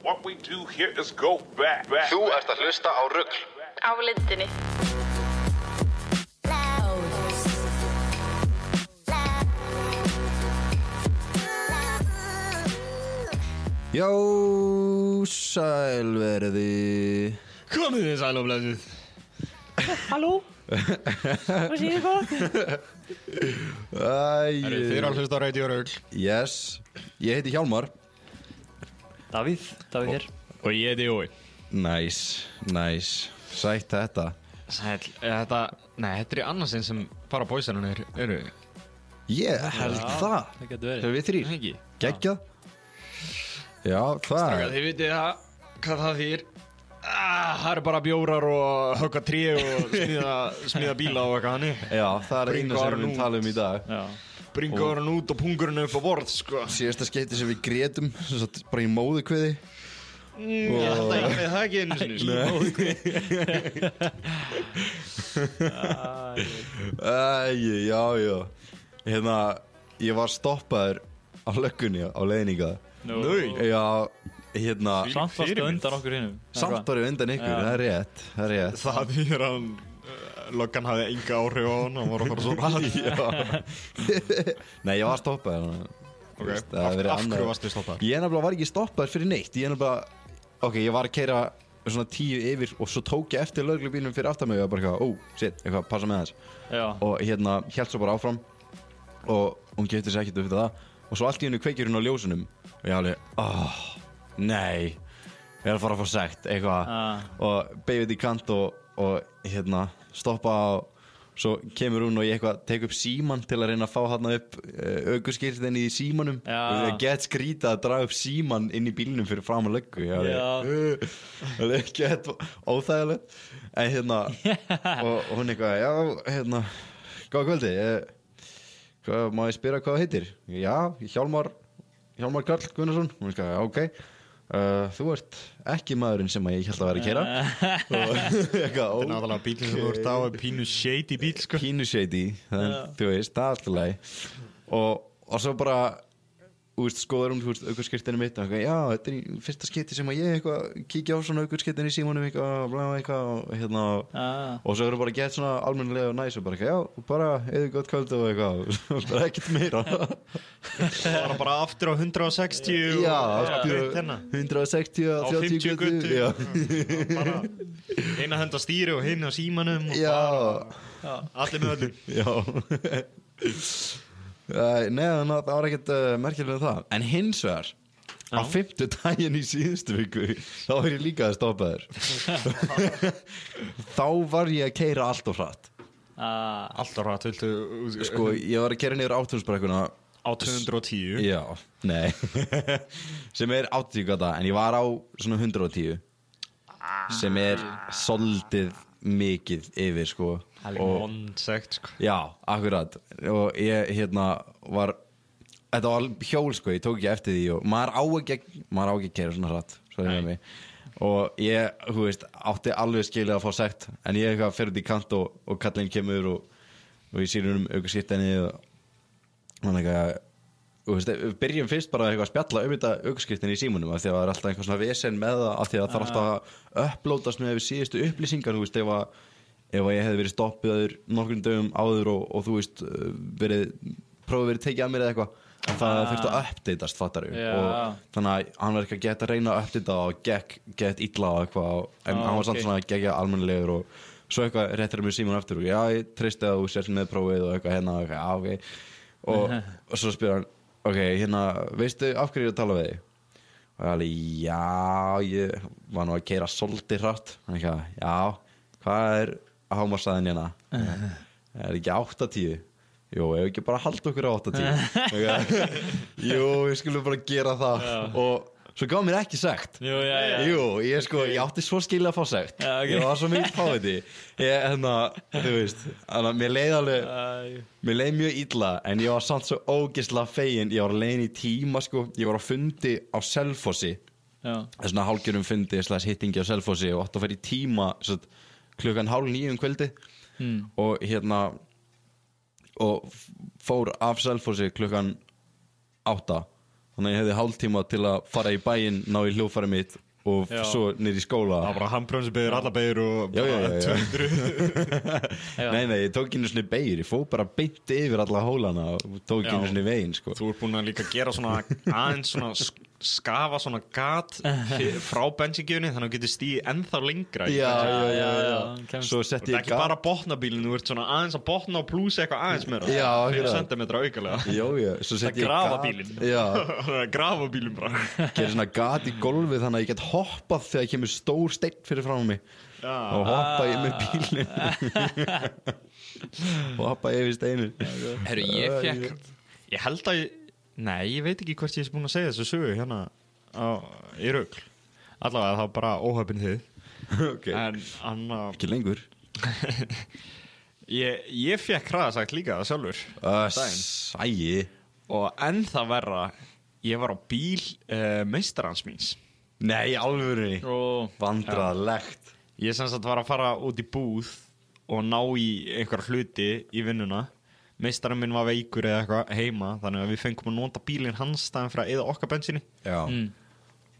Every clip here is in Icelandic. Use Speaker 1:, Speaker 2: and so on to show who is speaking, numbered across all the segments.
Speaker 1: What we do here is go back, back,
Speaker 2: Þú ert að hlusta á rugl.
Speaker 3: á lindinni
Speaker 4: Já, sælverði
Speaker 5: Komið þið sæl og blessuð
Speaker 6: Halló Hvað séu þið gott?
Speaker 4: Æ,
Speaker 5: Þeir eru að hlusta á Radio Rögl
Speaker 4: Yes, ég heiti Hjálmar
Speaker 7: Davíð, Davíð hér
Speaker 5: Og ég heiti Jói
Speaker 4: Næs, nice, næs nice. Sætt þetta
Speaker 5: Sæl, Eh, þetta, nei, þetta er í annarsinn sem bara bóisanum er, eru
Speaker 4: Ég held það
Speaker 7: Það getur verið
Speaker 5: Þegar við þrýr Hengi
Speaker 4: Gekkja Já, það
Speaker 5: Stráka, þið vitið það, hvað það þýr ah, Það eru bara bjórar og högga trí og smíða, smíða bíla og eitthvað hannig
Speaker 4: Já, það er einu sem við
Speaker 5: Bringar
Speaker 4: munum tala um í dag
Speaker 7: Já,
Speaker 5: Bringa hann út og pungurinn upp á borð, sko
Speaker 4: Síðasta skeiti sem við grétum sem sagt, Bara í móðu kviði
Speaker 5: Ég held að ég veit það ekki einu sinni sko.
Speaker 4: Æ, já, já Hérna, ég var stoppaður á löggunni á leininga
Speaker 7: nú
Speaker 4: Já, hérna
Speaker 7: Samt varstu undan okkur hinnum
Speaker 4: Samt var ég undan ykkur,
Speaker 7: Já.
Speaker 4: það er rétt Það er rétt
Speaker 5: Það þýr að uh, Loggan hafði enga áhrif á hann, hann var að fara svo ræð
Speaker 4: Já. Nei, ég var stoppað
Speaker 5: Ok,
Speaker 4: Veist, það hefði
Speaker 5: af,
Speaker 4: verið
Speaker 5: af hverju
Speaker 4: annað-
Speaker 5: varstu stoppar?
Speaker 4: Ég nefnilega var ekki stoppaður fyrir neitt Ég nefnilega, ok, ég var að keira svona tíu yfir og svo tók ég eftir lögreglubílnum fyrir aftan mig og ég var bara eitthvað, ó, shit, eitthvað, passa með þess
Speaker 7: Já,
Speaker 4: og hérna, held svo bara áfram og hún getur sér ekkert upp það og svo allt í hennu kveikir hún á ljósunum og ég alveg, oh, nei ég er að fara að fá sekt, eitthvað
Speaker 7: Ah.
Speaker 4: og beigði þetta í kant og, og hérna, stoppa og svo kemur hún og ég eitthvað tek upp síman til að reyna að fá hérna upp aukurskýrtin í símanum
Speaker 7: Já.
Speaker 4: og ég get skrýta að draga upp síman inn í bílnum fyrir fram að löggu ég alveg,
Speaker 7: Já.
Speaker 4: Það er ekki óþægilegt En hérna og, og hún eitthvað, já, hérna Góða kvöldi ég, hvað, Má ég spyrja hvað það heitir? Já, Hjálmar, Hjálmar Karl Gunnarsson Hún eitthvað, já, ok uh, Þú ert ekki maðurinn sem að ég held að vera að kera Og eitthvað,
Speaker 5: Það er
Speaker 4: ó,
Speaker 5: náttúrulega bílinn sem þú ert á er pínu shady bíl sko
Speaker 4: pínu shady þannig, Þú veist, það er alltaf lagi og, og svo bara Þú veist, skoðar hún, þú veist, aukurskirtinu mitt og eitthvað, já, þetta er í fyrsta skipti sem að ég eitthvað kíkja á svona aukurskirtinu í símanum eitthvað, blá, eitthvað, og hérna
Speaker 7: Ah.
Speaker 4: og svo eru bara gett svona almennilega og næs og bara eitthvað, já, bara, eða gott kvöld og eitthvað, og bara ekkert meira
Speaker 5: Það var bara aftur á 160 og-
Speaker 4: Já,
Speaker 5: bara breytt
Speaker 4: aftur
Speaker 5: hérna
Speaker 4: 160
Speaker 5: Á
Speaker 4: 30
Speaker 5: 50
Speaker 4: götu,
Speaker 5: götu.
Speaker 4: já,
Speaker 5: Bara Eina hend á stýri og hinn á símanum og
Speaker 4: já,
Speaker 5: bara Allir með öllum
Speaker 4: já Æ, Nei, þannig að það var ekkert uh, merkilega það, en hins vegar á fymtu daginn í síðustu viku þá var ég líka að stoppa þér þá var ég að keira allt og hratt
Speaker 7: ah,
Speaker 5: Alltaf rætt, viltu
Speaker 4: sko, ég var að keira niður átunnsbrekkuna
Speaker 5: Á 210
Speaker 4: já, nei sem er 80 gata, en ég var á svona 110 sem er soldið mikið yfir, sko
Speaker 5: Allir mondsegt sko
Speaker 4: já, akkurat og ég, hérna, var þetta var hjól, sko, ég tók ekki eftir því og maður á ekki, að- maður á ekki að keira svona hratt svo er með mig og ég, þú veist, átti alveg skilið að fá sekt en ég eitthvað fer út í kant og, og kallinn kemur og, og ég sýnur um auka skiptinni og hann eitthvað þú veist, við byrjum fyrst bara eitthvað að spjalla um þetta aukskiptin í símunum af því að það er alltaf einhver svona vesen með það af því að það þarf alltaf að upplótast með við síðustu upplýsingar þú veist, ef að, ef að ég hefði verið stoppiður nokkrum dögum áður og, og þú veist, uh, verið prófið verið tekið að mér eða eitthvað en það
Speaker 7: Ah.
Speaker 4: þurfti að uppdatast fattar við
Speaker 7: Já.
Speaker 4: og þannig að hann var ekki að geta að reyna að uppdata og gekk, gett illa og eitthvað og- en
Speaker 7: Ah,
Speaker 4: hann var samt
Speaker 7: ok.
Speaker 4: svona að gegja almennilegur og svo eitthvað réttir mér síman eftir og já, ég treysti að þú sért með prófið og eitthvað hérna og eitthvað, já, ok og, og svo spyr hann, ok, hérna veistu af hverju ég er að tala við þig? og ég alveg, já, ég var nú að keira svolítið hratt hann eitthvað, já, hvað er hámarsaðin hérna? er ekki 80? Jú, ef ekki bara halda okkur á 80 Eitthvað, Jú, við skulum bara gera það og svo gaf mér ekki sagt
Speaker 7: Jú, já, já.
Speaker 4: Jú, ég sko, ég átti svo skilja að fá sagt
Speaker 7: Já, ok.
Speaker 4: Ég var svo mikið fáiði Ég, hérna, þú veist Þannig að mér leið alveg
Speaker 7: Æ.
Speaker 4: Mér leið mjög illa en ég var samt svo ógisla fegin Ég var leiðin í tíma sko Ég var á fundi á Selfossi
Speaker 7: Já,
Speaker 4: Það er svona hálgjörum fundi slags hittingi á Selfossi og átt að fara í tíma satt, klukkan hálf nýjum kvöldi
Speaker 7: Mm.
Speaker 4: og hérna og f- fór af Selfossi klukkan átta þannig að ég hefði hálftíma til að fara í bæinn ná í hljófæri mitt og
Speaker 7: Já.
Speaker 4: svo niður í skóla
Speaker 5: Það var bara handbröðum sem beður alla beður og
Speaker 4: Já, já, já, já.
Speaker 5: 200
Speaker 7: Já.
Speaker 4: Nei, nei, ég tók einu svona beigir, ég fóð bara beint yfir alla hólana og tók
Speaker 5: Já.
Speaker 4: einu svona veginn, sko.
Speaker 5: Þú ert búin að líka gera svona aðeins svona sk- skafa svona gat fyr- frá bensingjöfni þannig að þú getur stíð ennþá lengra í
Speaker 4: Já,
Speaker 5: bensín.
Speaker 4: já, já, já.
Speaker 7: kemst.
Speaker 4: Svo
Speaker 5: Þú
Speaker 4: setti
Speaker 5: ert
Speaker 4: ég
Speaker 5: ekki bara að botna bílinn, þú ert svona aðeins að botna og plúsa eitthvað aðeins meira
Speaker 4: Já,
Speaker 5: Fyrir
Speaker 4: akkurat.
Speaker 5: sentimetra aukalega
Speaker 4: Jó, já, svo setti ég
Speaker 7: grafa
Speaker 4: gat-
Speaker 7: bílinn.
Speaker 4: Já,
Speaker 5: Grafa bílinn bara
Speaker 4: gerir svona gat í golfið þannig að ég get hoppað þegar kemur stór steinn fyrir frá mig
Speaker 5: Já.
Speaker 4: og hoppa ég með bílinn hoppa yfir steinin
Speaker 5: Herru, ég fekk Ég held að ég, Nei, ég veit ekki hvort ég er búin að segja þessu sögu hérna á, í rögl Allavega það var bara óhöfn þið
Speaker 4: okay.
Speaker 5: En annar
Speaker 4: ekki lengur
Speaker 5: Ég, ég fekk hraðasagt líka það sjálfur
Speaker 4: Uh, Sæi
Speaker 5: Og enn það verra Ég var á bíl uh, meistarans míns
Speaker 4: Nei, alvöru
Speaker 7: Og
Speaker 4: Vandræðalegt
Speaker 5: Ég sem sagt var að fara út í búð og ná í einhver hluti í vinnuna Meistarinn minn var veikur eða eitthvað heima Þannig að við fengum að nota bílinn hans staðan fyrir að eða okkar bensinni
Speaker 4: Já,
Speaker 7: Mm.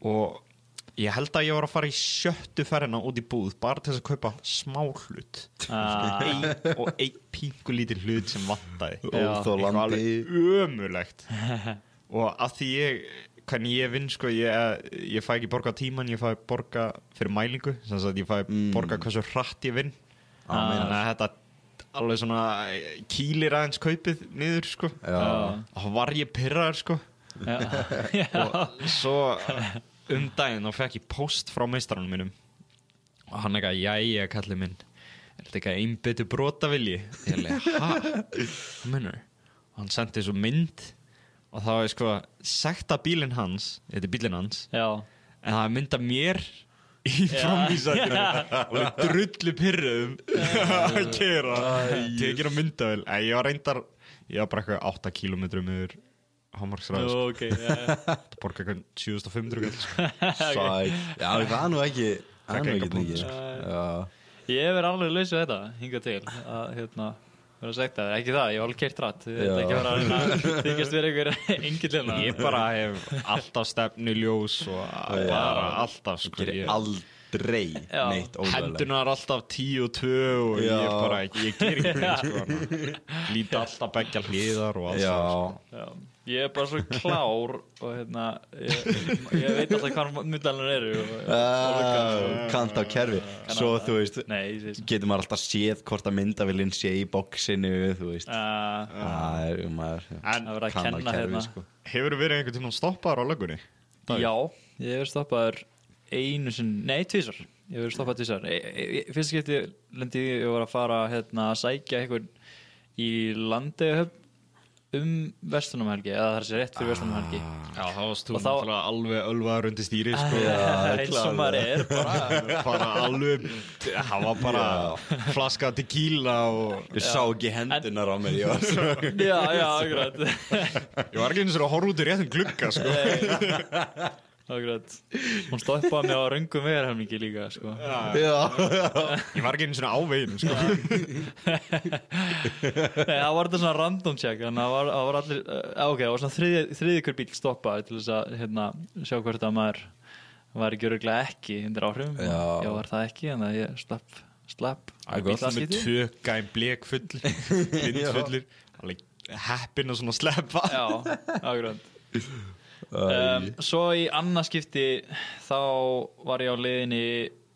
Speaker 5: Og ég held að ég var að fara í sjöttu ferðina út í búð Bara til þess að kaupa smá hlut
Speaker 7: Ah.
Speaker 5: ein, Og einn pingu lítil hlut sem vantaði
Speaker 4: óþólandi
Speaker 5: alveg ömulegt og að því ég hvernig ég vinn sko ég, ég fæ ekki borga tíman, ég fæ borga fyrir mælingu, sem sagt ég fæ borga hversu hratt ég vinn þannig að þetta alveg svona eh, kýlir aðeins kaupið niður sko
Speaker 4: Já.
Speaker 5: og var ég pyrraður sko og svo um daginn þá fekk ég post frá meistaranum mínum og hann eitthvað, jæja kallið minn er þetta eitthvað einbyttu brotavilji ég alveg, hæ, hvað mennur og hann sendi svo mynd og þá er sko, sekta bílinn hans þetta er bílinn hans
Speaker 7: Já.
Speaker 5: en það er mynd af mér í framvísættinu og við drullu pyrruðum að kera tekir á myndavel en ég var reyndar, ég var bara eitthvað 8 km yfir
Speaker 7: Nú,
Speaker 5: hámarksræð sko.
Speaker 7: ok. já, já.
Speaker 5: borga eitthvað 7500 kall, sko.
Speaker 4: Sæi Já, það er nú ekki Það er nú
Speaker 5: Taka
Speaker 4: ekki
Speaker 5: enga
Speaker 4: mikið Já
Speaker 7: Ég hef verið alveg laus við þetta, hingað til að hérna, vera sagt að ekki það, ég hef alveg keirt rætt Ég veit
Speaker 4: Já.
Speaker 7: ekki að vera að reyna að þykjast vera einhver engill hérna
Speaker 5: ég bara hef alltaf stefnu ljós og bara alltaf sko,
Speaker 4: Gerir
Speaker 5: ég-
Speaker 4: aldrei
Speaker 7: Já.
Speaker 4: neitt ólega
Speaker 5: hendunar alltaf 10 og 2 og ég
Speaker 4: Já.
Speaker 5: bara, ég ger ekki neitt, sko, líti alltaf begja hliðar og sko. allt það,
Speaker 4: Já,
Speaker 7: Já, ég er bara svo klár og hérna, ég, ég veit alltaf hvað myndalanur eru og,
Speaker 4: Ah, kant á kerfi svo þú veist
Speaker 7: Nei, ég veist
Speaker 4: getur maður alltaf séð hvort að myndavillin sé í bóksinu þú veist
Speaker 7: uh,
Speaker 4: það er um maður
Speaker 5: En-
Speaker 7: Það verður að
Speaker 4: kann á
Speaker 7: kenna
Speaker 4: kerfið,
Speaker 7: hérna
Speaker 4: sko.
Speaker 5: hefur verið einhvern tímann stoppaður á lögunni?
Speaker 7: Já, ég hef verið stoppaður einu sinn, nei tvísar Ég hef verið stoppaður tvísar E- e- e- Fyrst skipti lendi ég og var að fara hérna, að sækja einhvern í landeihöfn um vestunumhelgi eða það er sér rétt fyrir vestunumhelgi
Speaker 4: Ah.
Speaker 5: Já, þá varst þú
Speaker 7: Og þá-
Speaker 5: náttúrulega alveg ölvaður undir stýri sko,
Speaker 7: eins og maður er bara
Speaker 5: bara alveg það var bara flaska tequila og
Speaker 4: ég sá ekki hendunar á mér ég var svo
Speaker 7: Já, já, akkurat
Speaker 5: ég var ekki eins og að horfa út í réttum glugga sko.
Speaker 7: Akkurat Hún stoppaði mig á röngum vegarhelmingi líka sko.
Speaker 4: já,
Speaker 5: ég var ekki eins og á veginn sko.
Speaker 7: Nei, það var þetta svona random check þannig að það var, það var allir, uh, ok, það var svona þriði, þriði hver bíl stoppaði til þess að hérna, sjá hvort að maður var ekki öruglega ekki undir áhrifum
Speaker 4: Já.
Speaker 7: ég var það ekki, en að ég slapp slapp
Speaker 4: er gott
Speaker 7: bílaskipti.
Speaker 5: með tvö gæm blek fullir blind fullir alveg heppin að svona sleppa
Speaker 7: Já, ágrönd um, Svo í annað skipti þá var ég á leiðinni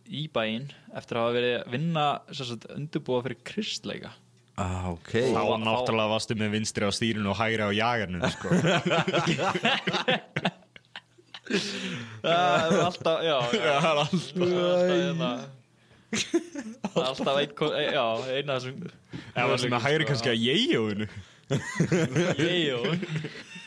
Speaker 7: í bæinn eftir að hafa verið að vinna sem sagt, undirbúa fyrir kristleika
Speaker 4: ah, ok
Speaker 5: Þá náttúrulega varstu með vinstri á stýrinu og hægri á jagarnu sko.
Speaker 7: Það er alltaf, já, já, alltaf, alltaf, hérna, alltaf einn, ko- já, einn af þessum
Speaker 5: Það var svona hægri kannski að jeijóinu
Speaker 7: Jú,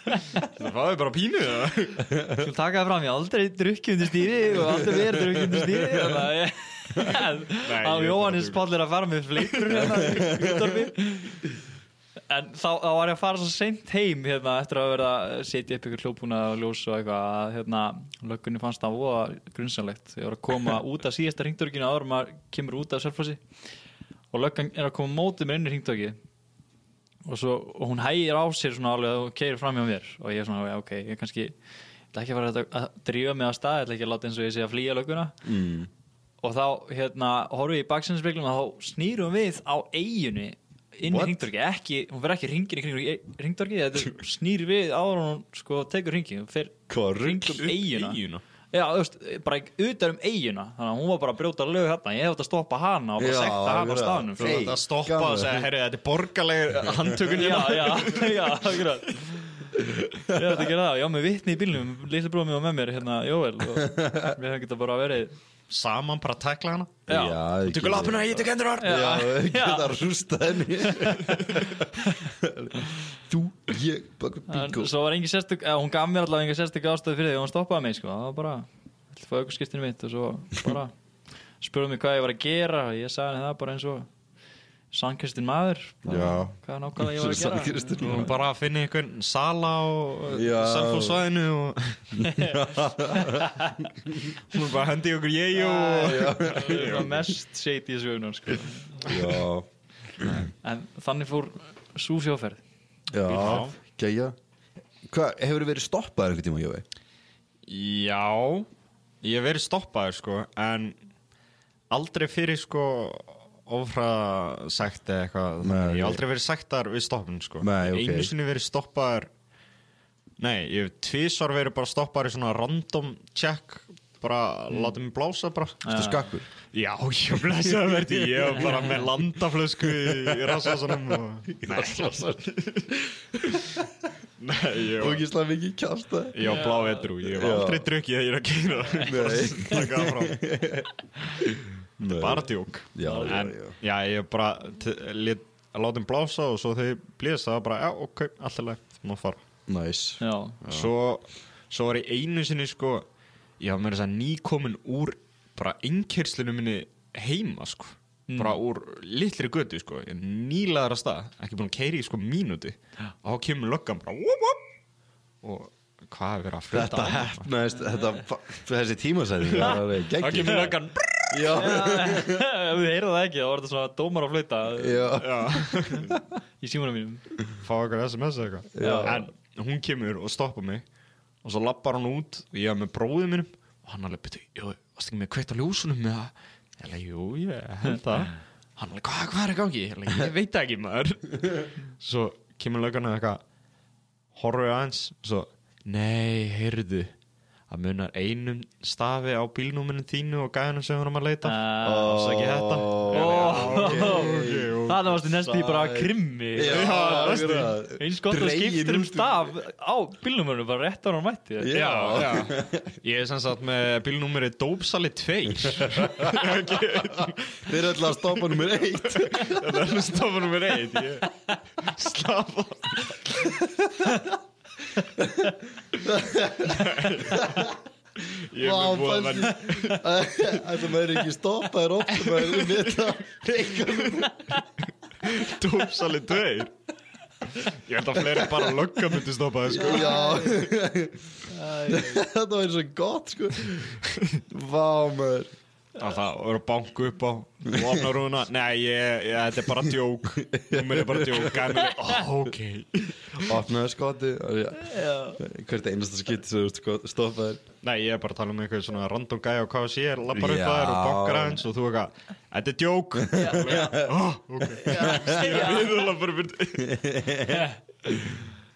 Speaker 5: Það var bara pínu það
Speaker 7: þú taka það fram, ég hef aldrei drukkið undir stýri og aldrei verið drukkið undir stýri Þannig að ég-
Speaker 5: Nei,
Speaker 7: að
Speaker 5: ég-
Speaker 7: Jóhannes Páll er að fara með fleikur hérna í útvarpi. En þá, þá var ég að fara svo seint heim hérna eftir að vera að setja upp ykkur hljópuna og ljós og eitthvað að hérna löggunni fannst það voða grunsanlegt. Ég var að koma út af síðasta ringdörginu áður en maður kemur út af sörflósi og löggan er að koma mótið mér inn í ringdörgi og, svo, og hún hægir á sér svona alveg að hún keirir fram hjá mér og ég er svona, já, ok, ég kannski ég ætla ekki að fara að, að drífa mig að stað ég ætla ekki að láta eins og ég sé að flýja lögguna mm. og þá, hérna, horfum við í baksinnspeglum og þá snýrum við á eiginni inn í
Speaker 4: What?
Speaker 7: ringdorki, ekki, hún verð ekki ringin í ringdorki, þetta snýr við áður en hún sko tekur ringin, hún fer
Speaker 4: Hvað,
Speaker 7: hring um
Speaker 5: upp
Speaker 7: eiguna,
Speaker 5: eyjuna?
Speaker 7: Já, þú veist, bara utan um eiguna þannig að hún var bara að brjóta lög hérna ég hef þetta að stoppa hana og bara
Speaker 4: Já,
Speaker 7: sekta hana á
Speaker 4: akkurat.
Speaker 7: staðnum
Speaker 5: Þú
Speaker 4: Hey,
Speaker 5: ætti að stoppa
Speaker 4: gaman.
Speaker 5: og segja, herri, þetta er borgarlegur handtökun
Speaker 7: Já, já, já, akkurat Ég ætti að gera það, já, með vitni í bílnum Lítið bróðum og með mér, hérna, Jóel og Við hefum getað bara verið
Speaker 5: Saman bara tækla hana
Speaker 7: Já,
Speaker 4: þú
Speaker 5: Tökur lapuna, ég tök endur orð
Speaker 4: Já,
Speaker 7: Já,
Speaker 4: við
Speaker 7: já.
Speaker 4: geta að rústa henni Þú, ég, bakur
Speaker 7: en
Speaker 4: bingo
Speaker 7: svo var engin sérstök eða, Hún gaf mér allavega engin sérstök ástöð fyrir því að hún stoppaði mig, sko Það var bara, ætti að fá aukurskiptinu mitt Og svo bara spurði mig hvað ég var að gera Ég sagði henni það bara eins og Sankristin maður bara,
Speaker 4: Já.
Speaker 7: Hvað nákvæmlega ég var að gera
Speaker 4: Sannkristin
Speaker 5: Hún bara að finna einhvern sala og
Speaker 4: Já.
Speaker 5: selfosvæðinu og hún er bara að hendi okkur ég og
Speaker 7: Það var mest shady í sögunar, sko
Speaker 4: Já,
Speaker 7: En þannig fór sú sjóferð
Speaker 4: já, gæja Hvað, hefur verið stoppaður einhvern tíma, Jói?
Speaker 5: Já, ég hef verið stoppaður sko en aldrei fyrir sko ofra sagt eða eitthvað
Speaker 4: Nei,
Speaker 5: þannig. ég hef
Speaker 4: ok.
Speaker 5: aldrei verið sagtar við stoppun sko
Speaker 4: Nei, ok.
Speaker 5: einu sinni verið stoppaður nei, ég hef tvísvar verið bara stoppaður í svona random check bara
Speaker 4: Mm.
Speaker 5: láta mig blása bara
Speaker 4: Þetta skakkur
Speaker 5: Já, ég blessa það verði ég var bara með landaflösku í rassasanum og... Nei, ég var
Speaker 4: Ógislega mikið kjasta
Speaker 5: Ég var blá edru, ég var
Speaker 4: Já.
Speaker 5: aldrei drukkið þegar ég er að kýra Ég bara
Speaker 4: Nei.
Speaker 5: slakaði frá. Þetta er bara djók
Speaker 4: Já, já,
Speaker 5: en,
Speaker 4: já.
Speaker 5: já ég bara t- lét að láta þeim blása og svo þegar ég blés það var bara, já, ok, allt er lægt, má fara
Speaker 4: Næs
Speaker 7: Já,
Speaker 5: svo, svo var ég einu sinni sko, ég var meira þess að nýkomin úr bara einkyrslinu minni heima sko bara úr litlir götu sko ég er nýlaðar að stað, ekki búin að keiri í sko mínúti og þá kemur löggan bara wop, wop, og hvað er verið að fluta
Speaker 4: Þetta hefnaðist, þetta, fa- þessi tímasæði Það var alveg
Speaker 5: Það
Speaker 4: geggjum
Speaker 5: kemur löggan
Speaker 4: Já,
Speaker 7: Ef þið heyrðu það ekki, þá var þetta svona dómar að flauta
Speaker 4: já
Speaker 7: í símanum mínum.
Speaker 5: Fá eitthvað sms eða eitthvað En hún kemur og stoppar mig Og svo lappar hann út Og ég er með bróðið mínum Og hann alveg betur Jú, varst ekki með kveitt á ljósunum með það Ég alveg, jú, ég held það Hann alveg, hvað, hvað er í gangi? Ég alveg, ég veit það ekki maður Svo kemur löggan eða eitthvað horfið aðeins svo, nei, heyrðu að munar einum stafi á bílnúminu þínu og gæðinu sem hún er að leita
Speaker 7: Ah.
Speaker 5: og svo ekki þetta
Speaker 7: Ó.
Speaker 5: ok,
Speaker 7: Það varst í næstu í bara krimmi.
Speaker 4: næstu
Speaker 7: Eins gott að skiptir um staf á bílnumörnum, bara rétt á hann mætti.
Speaker 4: Já.
Speaker 5: Já, já. Ég er sem sagt með bílnúmeri Dópsali 2
Speaker 4: Þeir eru alltaf að stoppa nummer eitt
Speaker 5: Það er stofa nummer 1 Slafa Ég er
Speaker 4: Vá,
Speaker 5: með búið að
Speaker 4: fannst
Speaker 5: vera
Speaker 4: þið- Þetta maður er ekki stoppaður oft maður er við það reikar
Speaker 5: Dópsali 2 Ég held að fleiri bara lögga myndi stoppa það sko
Speaker 4: Já Þetta var eins og gott sko Vá maður
Speaker 5: Það það eru banku upp á og opna rúna Nei, ég, ég, þetta er bara djók Númer er bara djók Gæmur, ó, ok
Speaker 4: Opnaði skoti Hvert einasta skipti sem þú ert sko, stoppaður
Speaker 5: Nei, ég er bara að tala um einhver svona random gæja og hvað sé ég, lappar upp
Speaker 4: Já.
Speaker 5: að þér og bankar aðeins og þú eitthvað, þetta er djók oh, ok, skýra við og lappar upp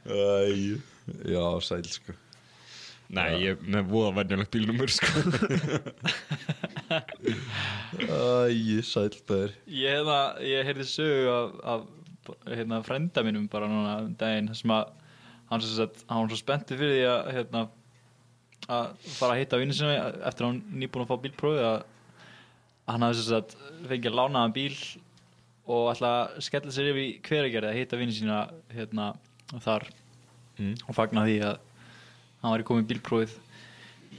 Speaker 4: Æ Já, sæl sko
Speaker 5: Nei, ég er með voða venjulegt bílnumur sko.
Speaker 4: Æ, sæl maður
Speaker 7: Ég, hefða, ég heyrði sögu af, af hérna, frenda mínum bara núna um daginn þar sem að hann, sem sagt, hann var svo spennti fyrir því að hérna, að fara að hitta vinnu sinni eftir að hann nýbúin að fá bílprófi að að hann hafði sem sagt, fengið lánaðan bíl og ætla að skella sér yfir í hveragerði að hitta vinnu sína hérna, þar og fagna því að hann var í komið bílprófið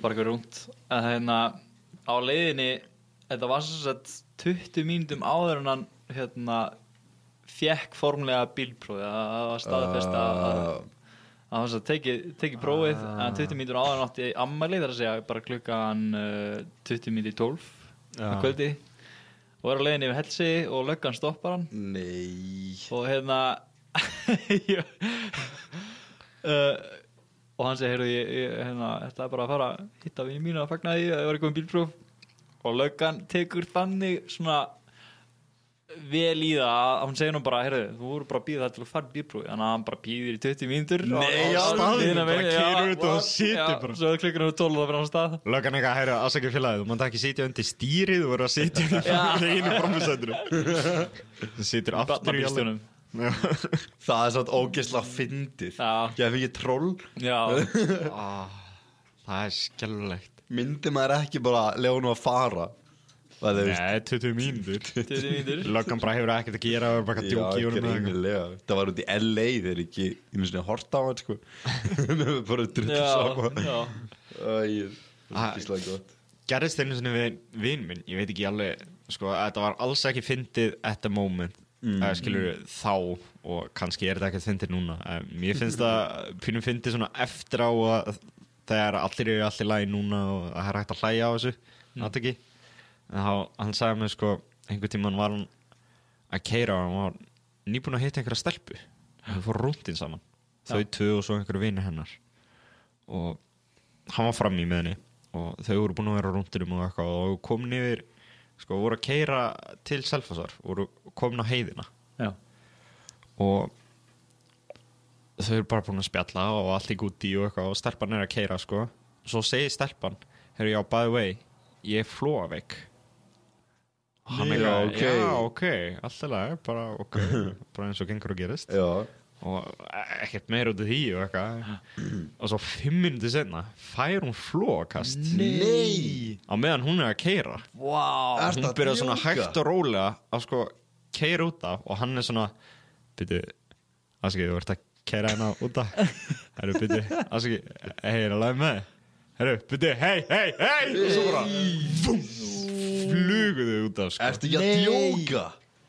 Speaker 7: bara eitthvað rúnt að hérna á leiðinni þetta var svo sett 20 mínútum áður en hann hérna fjekk formlega bílprófið að það var staðfest að að- að hann svo tekið teki prófið en 20 mínútur áður en átti ammæli þar að segja bara klukkan uh, 20 mínútur í 12
Speaker 5: Ah.
Speaker 7: að kvöldi og er á leiðinni yfir helsi og löggan stoppar hann
Speaker 4: Nei
Speaker 7: og hérna Já. uh, og hann segi heyrðu ég, ég hérna, ætlaði bara að fara að hitta við mínu að fagna því að það var eitthvað um bílpróf og löggan tekur þannig svona vel í það að hún segir nú bara heyrðu, þú voru bara að býða það til að fara í bílpróf þannig að hann bara býðir í 20 mínútur Nei,
Speaker 5: á staðnum, bara keyrir út og situr bara.
Speaker 7: svo klikkar hann 12 og það fyrir á stað
Speaker 5: Löggan eitthvað að hæra aðsækja félagið Þú mátt ekki sitja undir stýrið Þú verður að sitja undir einu framhjúsætinu Þú situr aftur í
Speaker 7: Barnabílstjónum.
Speaker 4: Það er svona ógeðslega fyndið
Speaker 7: Já.
Speaker 4: Gef ekki troll
Speaker 7: Já,
Speaker 5: Ah, Það er skellulegt
Speaker 4: Myndi maður ekki bara lega hún að fara Það er
Speaker 5: Nei, 20 mínútur
Speaker 7: 20 mínútur
Speaker 5: Löggan bara hefur ekkert að gera Það er bara að
Speaker 4: Já,
Speaker 5: djóki úr með
Speaker 4: greinilega. Það var út í LA þegar ekki Ég minnst að horta á hann sko Við erum bara drullu saman
Speaker 7: já,
Speaker 4: Æ,
Speaker 5: Æ.
Speaker 4: Það er slægt gott
Speaker 5: Gerðist einu sinni við vinn minn Ég veit ekki alveg Sko, að þetta var alls ekki fyndið At the moment mm. Skilur þá Og kannski er þetta ekkert fyndið núna en Mér finnst það Pínum fyndið svona eftir á að Þegar allir eru allir lagi núna Og það er hægt að hlæja á þessu Það ekki En þá, hann sagði mér sko einhvern tímann var hann að keira og hann var nýbúin að hitta einhverja stelpu þau fór rúndin saman þau tvö og svo einhverju vinir hennar og hann var fram í með henni og þau voru búin að vera á rúndinum og eitthvað og komin yfir sko voru að keira til Selfossar voru komin á heiðina
Speaker 7: já,
Speaker 5: og þau eru bara búin að spjalla og allt í gúti og eitthvað og stelpan er að keira sko svo segir stelpan, heyrðu já, by the way ég er flóaveik og hann
Speaker 4: Nei,
Speaker 5: er
Speaker 4: ok.
Speaker 5: okay. já, ok, alltaf lega bara ok, bara eins og gengur og gerist
Speaker 4: Já,
Speaker 5: og ekkert meir út af því og eitthvað og svo fimm minúti senna fær hún flóakast
Speaker 4: Nei.
Speaker 5: á meðan hún er að keira
Speaker 7: vá
Speaker 4: Ertu
Speaker 5: hún
Speaker 4: að
Speaker 5: byrjar svona
Speaker 4: djóka?
Speaker 5: hægt og rólega að sko keira út af og hann er svona byrju, aðsaki, þú ert að keira hérna út af herru, byrju, aðsaki, hei, er að laga með þig? herru, byrju, hei, hei, hei og svo bara vum, flugu þau út af sko
Speaker 4: ertu ekki að djóka?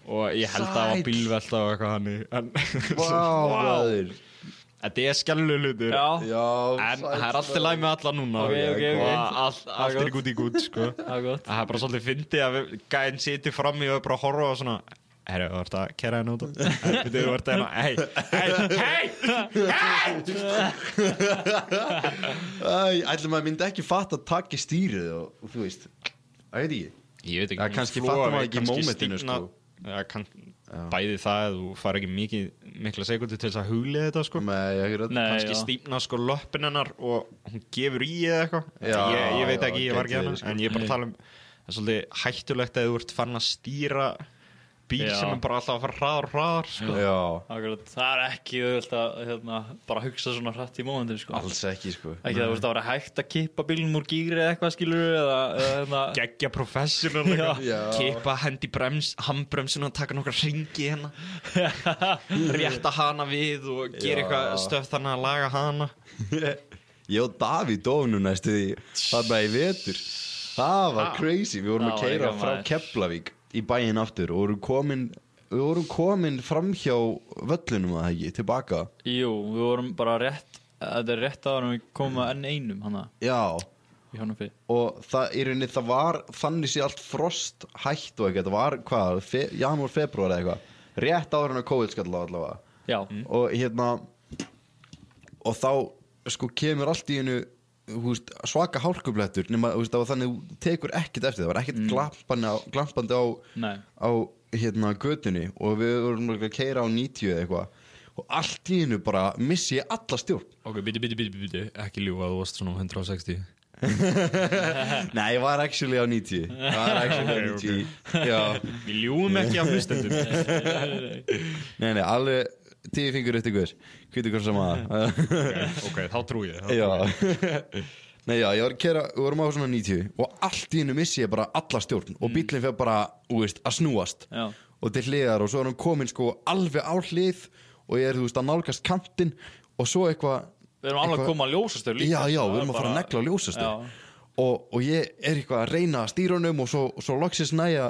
Speaker 5: og ég held að það
Speaker 4: sæll.
Speaker 5: var bílvelta og eitthvað hann en
Speaker 4: Vá, bræður
Speaker 5: þetta er skjálfur hlutur
Speaker 7: Já,
Speaker 4: Já,
Speaker 5: en það er alltaf læg með alla núna
Speaker 7: Ok, ok, ok.
Speaker 5: og all, allt er gúti gút sko
Speaker 7: það er gott
Speaker 5: Það er bara svolítið fyndið að við- gæinn siti fram í og er bara að horfa og svona Herru, þú ert að kera henni út á Herru, þú ert að hérna Hei, hei, hei
Speaker 4: Æ, ætlum maður myndi ekki fatta að taka stýrið og, og þú veist Það veit ekki
Speaker 5: Ég veit ekki
Speaker 4: Já,
Speaker 5: hún
Speaker 4: kannski
Speaker 5: flóar
Speaker 4: fattar maður
Speaker 5: við,
Speaker 4: ekki í
Speaker 5: kannski
Speaker 4: mómentinu,
Speaker 5: stífna-
Speaker 4: sko.
Speaker 5: Já, kann, bæði það að þú fara ekki mikið, mikla segundu til þess að huglega þetta sko
Speaker 4: Nei, ég er að
Speaker 7: Nei,
Speaker 5: kannski
Speaker 7: já.
Speaker 5: stýpna sko löppin hennar og hún gefur í eða eitthvað
Speaker 4: Já,
Speaker 5: ég, ég veit
Speaker 4: já,
Speaker 5: ekki, ég var
Speaker 4: gæti verið,
Speaker 5: ekki hennar
Speaker 4: sko.
Speaker 5: en ég er bara að tala um það er svolítið hættulegt að þú ert farin að stýra bíl
Speaker 7: Já.
Speaker 5: sem er bara alltaf að fara hraðar og hraðar sko.
Speaker 4: Já,
Speaker 7: Akkurat, það er ekki auðvelt að hérna, bara hugsa svona hratt í mómentinu sko.
Speaker 4: alls ekki sko
Speaker 7: Ekki það voru að vera hægt að kippa bílnum úr gýri eða eitthvað skilur eða, eða hérna,
Speaker 5: geggja professional eitthvað.
Speaker 4: Já.
Speaker 5: kippa hendi brems, handbremsinu og taka nokkra ringi hérna rétta hana við og
Speaker 4: Já.
Speaker 5: gera eitthvað stöf þannig að laga hana
Speaker 4: Ég og Davíð dófnum næstu því þarna í vetur Það var crazy, við vorum
Speaker 7: Það
Speaker 4: að
Speaker 7: var
Speaker 4: keira
Speaker 7: eitthvað
Speaker 4: frá
Speaker 7: maður.
Speaker 4: Keflavík í bæinn aftur og vorum komin við vorum komin framhjá völlunum að ekki, tilbaka
Speaker 7: Jú, við vorum bara rétt Þetta er rétt ára við komum að enn einum hana
Speaker 4: Já,
Speaker 7: í Hjónafi
Speaker 4: og það í rauninni það var þannig sé allt frost hætt og eitthvað, það var hvað, fe, janúar, februar eða eitthvað rétt áður en að COVID skall á allavega
Speaker 7: Já,
Speaker 4: og hérna og þá sko kemur allt í hennu húst, svaka hálkublettur nema húst, það var þannig að þú tekur ekkert eftir það var ekkert glampandi á, glampandi á,
Speaker 7: Nei.
Speaker 4: á hérna götunni og við vorum örugglega að keira á 90 eða eitthvað og allt í hennu bara missi ég alla stjórn
Speaker 5: ok, biti, biti, biti, biti ekki ljúga að þú varst svona 160
Speaker 4: Nei, ég var actually á 90 Það var actually á 90 Já,
Speaker 5: við ljúum ekki af hlustendum
Speaker 4: nei, nei, alveg tíu fingur eftir guður Hviti hvort sem að
Speaker 5: ok, þá trú ég þá trúi
Speaker 4: Já
Speaker 5: ég.
Speaker 4: Nei, já, ég var að kera, við vorum á svona 90 og allt í hennu missi ég bara alla stjórn
Speaker 5: Mm.
Speaker 4: og bíllinn fyrir bara, þú veist, að snúast
Speaker 7: Já.
Speaker 4: og til hliðar og svo er hann komin sko alveg á hlið og ég er, þú veist, að nálgast kantinn og svo eitthvað
Speaker 7: við erum alveg að
Speaker 4: eitthvað-
Speaker 7: koma að ljósastöð líka
Speaker 4: Já, já,
Speaker 7: sko,
Speaker 4: við erum að
Speaker 7: það
Speaker 4: fara að
Speaker 7: bara-
Speaker 4: negla á ljósastöð
Speaker 7: Já.
Speaker 4: og, og ég er eitthvað að reyna að stýra honum og svo, svo loksins næja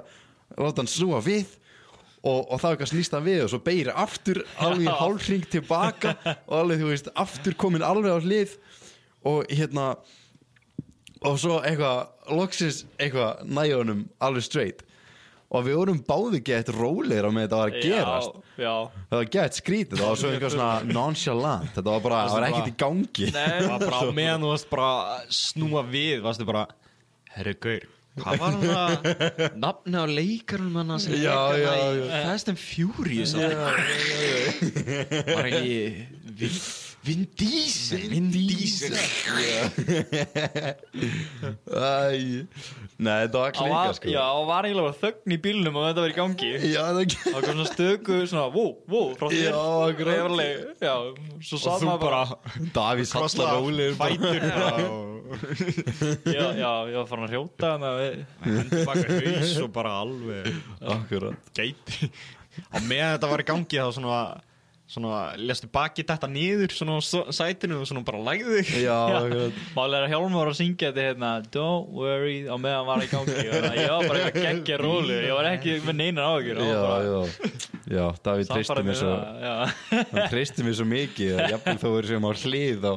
Speaker 4: láta hann snúa við og, og það er eitthvað snýst hann við og svo beir aftur alveg í hálfring tilbaka og alveg, þú veist, aftur komin alveg á hlið og hérna og svo eitthvað loksins eitthvað næja honum alveg straight og við vorum báði gett rólegir á með þetta var að gerast
Speaker 7: já, já.
Speaker 4: það var gett skrítið, það var svo einhver svona nonchalant, þetta var bara, það var ekkert í gangi
Speaker 7: Nei,
Speaker 5: var bara á meðan þú varst bara að snúa við varstu bara, herru gaur hvað var hann að nafni á leikarum hann sem
Speaker 4: Já, já,
Speaker 5: leikar
Speaker 4: já.
Speaker 5: í Fast and Furious var ekki Vin- Vin Diesel Vin Diesel
Speaker 4: Æ, nei, þetta var
Speaker 7: og var,
Speaker 4: klíka sko
Speaker 7: já, og var eiginlega bara þögn í bílnum og þetta var í gangi
Speaker 4: já það
Speaker 7: Það kom svona stöku, svona, vó, vó, frá þér
Speaker 4: Já, akkurat.
Speaker 7: Ég var alveg, Já, svo
Speaker 5: og
Speaker 7: satt
Speaker 5: þú
Speaker 7: maður
Speaker 5: bara
Speaker 7: bara
Speaker 4: Davís
Speaker 5: kalla
Speaker 4: hallar rólegir bara.
Speaker 5: fætur bara og
Speaker 7: Já, já, ég var farin að hrjóta þannig að við-
Speaker 5: hendur baka haus og bara alveg
Speaker 4: akkurat
Speaker 5: gæti á meðan þetta var í gangi þá svona svona lestu baki þetta niður svona á s- sætinu og svona bara lægði þig
Speaker 4: já, akkurat
Speaker 7: Málega er að Hjálmar var að syngja þetta hérna Don't worry, á meðan var í gangi Þannig að Ég var bara eitthvað geggja rólu Ég var ekki með neinar áhugjur
Speaker 4: já, já, já, Davíð treysti mér svo
Speaker 7: svo
Speaker 4: hann treysti mér svo mikið að jafnvel þó verið sem á hlið á, á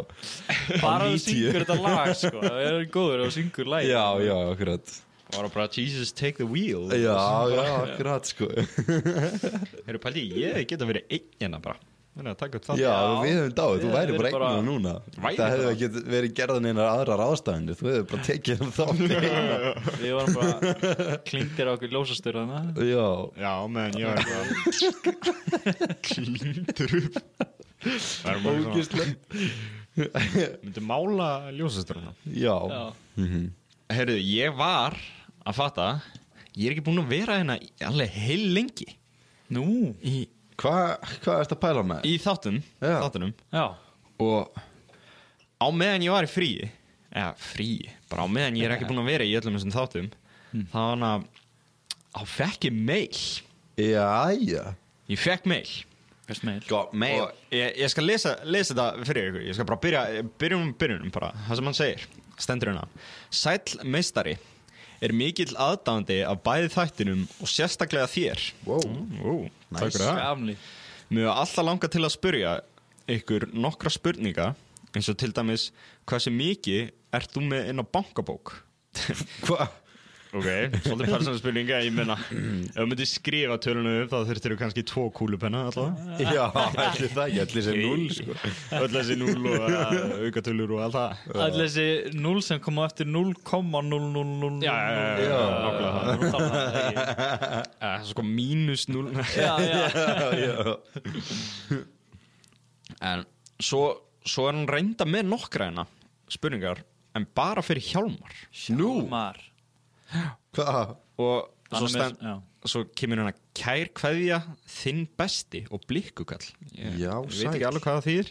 Speaker 7: Bara þú
Speaker 4: 90.
Speaker 7: syngur þetta lag, sko Það er góður og syngur lag
Speaker 4: já, já, akkurat
Speaker 5: var bara Jesus take the wheel
Speaker 4: já, já, akkurat sko
Speaker 5: Heru, pældi, ég geta verið einn hérna bara Þannig að taka upp það
Speaker 4: já, við höfum dáið, þú
Speaker 7: Ég
Speaker 4: væri
Speaker 7: væri
Speaker 4: bara
Speaker 7: bara-
Speaker 4: eignum núna
Speaker 5: Væri
Speaker 4: það hefði
Speaker 5: bara-
Speaker 4: ekki verið gerðan einar aðrar ástæðinir þú hefði bara tekið um hann þá
Speaker 7: Við varum bara klingdir á okkur ljósastur Þannig
Speaker 4: já,
Speaker 5: Já, meðan ég var bara Klindur upp Það er mjög svona
Speaker 4: ógislega
Speaker 5: Myndi mála ljósasturna
Speaker 4: já, Mhm.
Speaker 5: Herru, ég var að fatta Ég er ekki búinn að vera hérna í- alveg heil lengi
Speaker 7: Nú,
Speaker 5: Í,
Speaker 4: hvað hva ertu að pæla með
Speaker 5: í þáttum,
Speaker 4: Já.
Speaker 5: þáttunum
Speaker 7: já
Speaker 4: og,
Speaker 5: Á meðan ég var í fríi Eða fríi, bara á meðan ég er ekki búinn að vera í öllum þessum þáttum Þá hann að Á fekk ég mail
Speaker 4: já, já
Speaker 5: Ég fekk mail
Speaker 7: Hvers meil
Speaker 4: gott með
Speaker 5: Og ég, ég skal lesa, lesa þetta fyrir ykkur Ég skal bara byrja, byrjum um byrjunum bara Það sem hann segir, stendur hérna Sæll meistari er mikill aðdáandi af bæði þættinum og sérstaklega þér
Speaker 4: wow.
Speaker 5: Ó,
Speaker 4: Nice.
Speaker 7: Skamli
Speaker 5: Mér hefur alltaf langað til að spyrja ykkur nokkra spurninga eins og til dæmis hversu mikið ert þú með inn á bankabók?
Speaker 4: hvað
Speaker 5: Ok, svolítið persónlega spurninga, ég menna ef þú myndir skrifa tölunum upp þá þurftir þú kannski tvo kúlupenna alltaf
Speaker 4: Já, ætli það ekki, ætli sem núl sko.
Speaker 5: öll þessi núl og uh, aukatölur og allt það
Speaker 7: Allir þessi 0 sem koma eftir 0,0000
Speaker 5: Já, já, já, já, nákvæmlega það.
Speaker 7: já
Speaker 5: Eh, Sko mínus núl
Speaker 7: Já, já
Speaker 5: En svo, svo er hann reynda með nokkra hérna spurningar en bara fyrir hjálmar
Speaker 7: Hjálmar
Speaker 4: Hvað?
Speaker 5: og
Speaker 7: Hann
Speaker 5: svo,
Speaker 7: er með-
Speaker 5: stend,
Speaker 7: já.
Speaker 5: svo kemur hann að kær kveðja þinn besti og blikkukall ég
Speaker 4: Já,
Speaker 5: veit
Speaker 4: sæl
Speaker 5: ekki alveg hvað það þýðir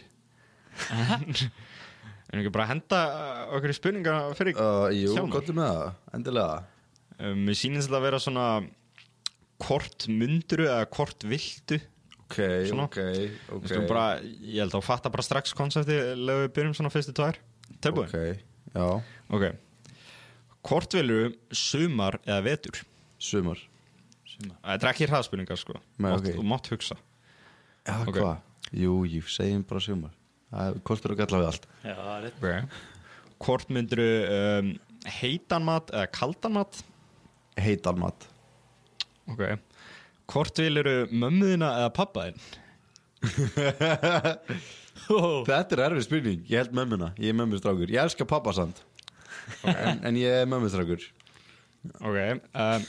Speaker 5: en ekki bara að henda uh, okkur í spurninga fyrir
Speaker 4: uh, Jú,
Speaker 5: Hjálmar.
Speaker 4: gott með það, endilega
Speaker 5: um, mér sýnist þetta að vera svona hvort munduru eða hvort viltu
Speaker 4: Ok,
Speaker 5: Svona.
Speaker 4: ok, ok
Speaker 5: okay. bara, ég held að þú fattar bara strax konsepti lega við byrjum svona fyrstu tvær
Speaker 4: Ok,
Speaker 5: tilbúin,
Speaker 4: já,
Speaker 5: ok hvort velur sumar eða vetur
Speaker 4: sumar
Speaker 5: þetta er ekki hraðspurningar sko
Speaker 4: Nei,
Speaker 5: Mátt-
Speaker 4: ok.
Speaker 5: þú mátt hugsa
Speaker 4: Já,
Speaker 5: Ok.
Speaker 4: hvað? Jú, jú, segjum bara sumar Það er Kostur og galla við allt
Speaker 7: Já, það er rétt.
Speaker 5: okay. Hvort myndur um, heitan mat eða kaldan mat
Speaker 4: Heitan mat
Speaker 5: okay. Hvort viluru mömmuðina eða pappaðin
Speaker 4: Þetta er erfið spurning, ég held mömmuna, ég er mömmustrákur Ég elska pappa samt en, en ég er mömmustrákur
Speaker 5: okay. um,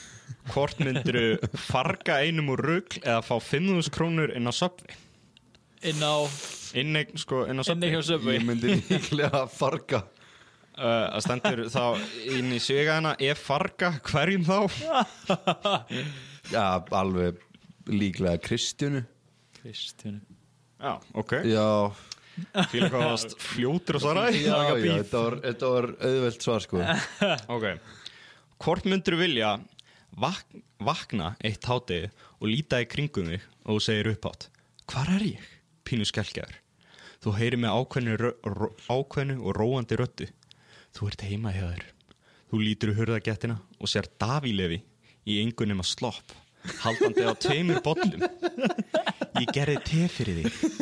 Speaker 5: Hvort mynduru farga einum úr rugl eða fá 500 krónur inn á söpvi
Speaker 7: Inn á
Speaker 5: Inneign sko inn á söpvi
Speaker 7: Inni hjá Subway
Speaker 4: Ég myndi líklega farga
Speaker 5: uh, að stendur þá inn í svigaðina ef farga hverjum þá
Speaker 4: Já, alveg líklega Kristjánu
Speaker 7: Kristjánu
Speaker 5: Já, ok,
Speaker 4: Já,
Speaker 5: fíla hvað það varst fljótur og svara
Speaker 4: já, já, þetta var, þetta var auðvelt svar sko
Speaker 5: Ok Hvort myndur vilja vak vakna eitt hátið og líta í kringum þig og þú segir upphátt Hvar er ég? Pínu skelkjaður Þú heyrir með ákveðnu, rö- ró- ákveðnu og róandi röddu Þú ert heima hjá þér Þú lítur í hurðagettina og sér Davílefi í engunum að slopp haldandi á tveimur bollum Ég gerði te fyrir þig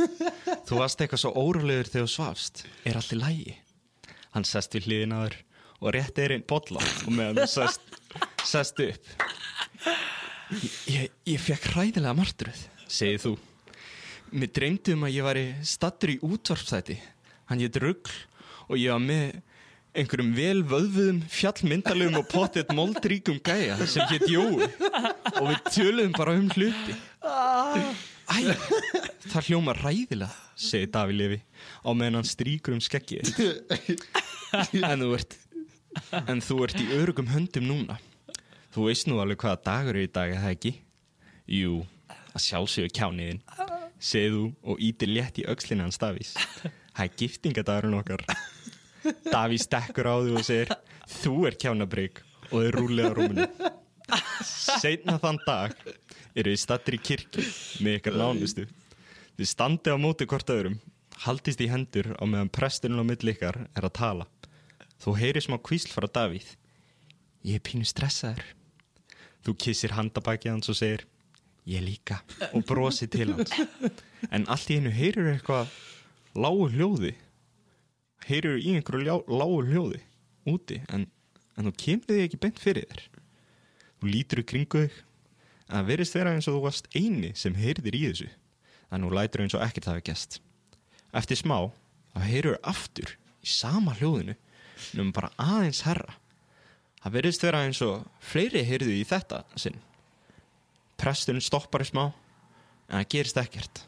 Speaker 5: Þú varst eitthvað svo órólegur þegar þú svafst Er allt í lægi? Hann sest við hliðin á þér sko, og rétti þér einn bolla og meðan þú sest, sest upp. Ég, ég fekk hræðilega martruð, segið þú. Mér dreymdi um að ég væri stattur í útvarpstæti. Hann ég drugl og ég var með einhverjum vel vöðvum, fjallmyndalegum og pottet moldríkum gæja sem hétt Jói og við töluðum bara um hluti. Æ, það hljóma ræðilega, segir Daví Levi á meðan hann strýkur um skeggið. En þú ert, en þú ert í örugum höndum núna. Þú veist nú alveg hvaða dagur er í dag, er það ekki? Jú, að sjálfsögur kjániðin. Segðu þú og ítir létt í öxlina hans Davís. Það er giftingadagurinn okkar. Davís dekkur á því og segir, þú er kjánabrygg og er rúlega rúminu. Seinna þann dag eru þið stattir í kirkju með ykkar nánustu. Þið standi á móti hvort öðrum, haldist í hendur og meðan presturinn á milli ykkar er að tala. Þú heyrir smá kvísl frá Davíð. Ég er pínu stressaður. Þú kissir handabækið hans og segir Ég líka og brosir til hans. En allt í einu heyrir eitthvað lágu hljóði. Heyrir í einhverju ljá- lágu hljóði úti en, en þú kemur þig ekki beint fyrir þér. Þú lítur í kringu þig en það verist þeirra eins og þú varst eini sem heyrðir í þessu en þú lætur eins og ekkert hafi gest. Eftir smá þá heyrur aftur í sama hljóðinu nefnum bara aðeins herra. Það verðist vera eins og fleiri heyrðu í þetta sinn. Presturinn stoppar í smá, en það gerist ekkert.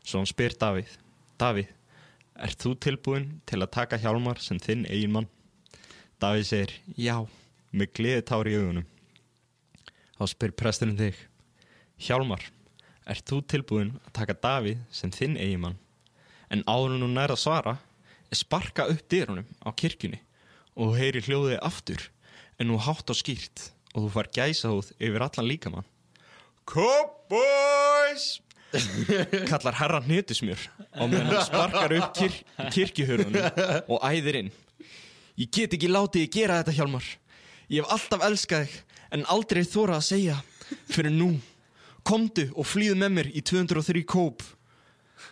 Speaker 5: Svo hann spyr Davíð. Davíð, ert þú tilbúinn til að taka Hjálmar sem þinn eigin mann? Davíð segir, já, með gleði tár í augunum. Þá spyr presturinn þig. Hjálmar, ert þú tilbúinn að taka Davíð sem þinn eigin mann? En áður en hún nær að svara er sparka upp dyrunum á kirkjunni og þú heyrir hljóðið aftur en nú hátt og skýrt og þú far gæsahúð yfir allan líkamann. Cowboys! kallar herra hnetusmjör og meðan hann sparkar upp kir kirkjuhörunum og æðir inn. Ég get ekki látið ég gera þetta Hjálmar. Ég hef alltaf elskað þig en aldrei þóra að segja fyrir nú. Komdu og flýðu með mér í 203 kóp.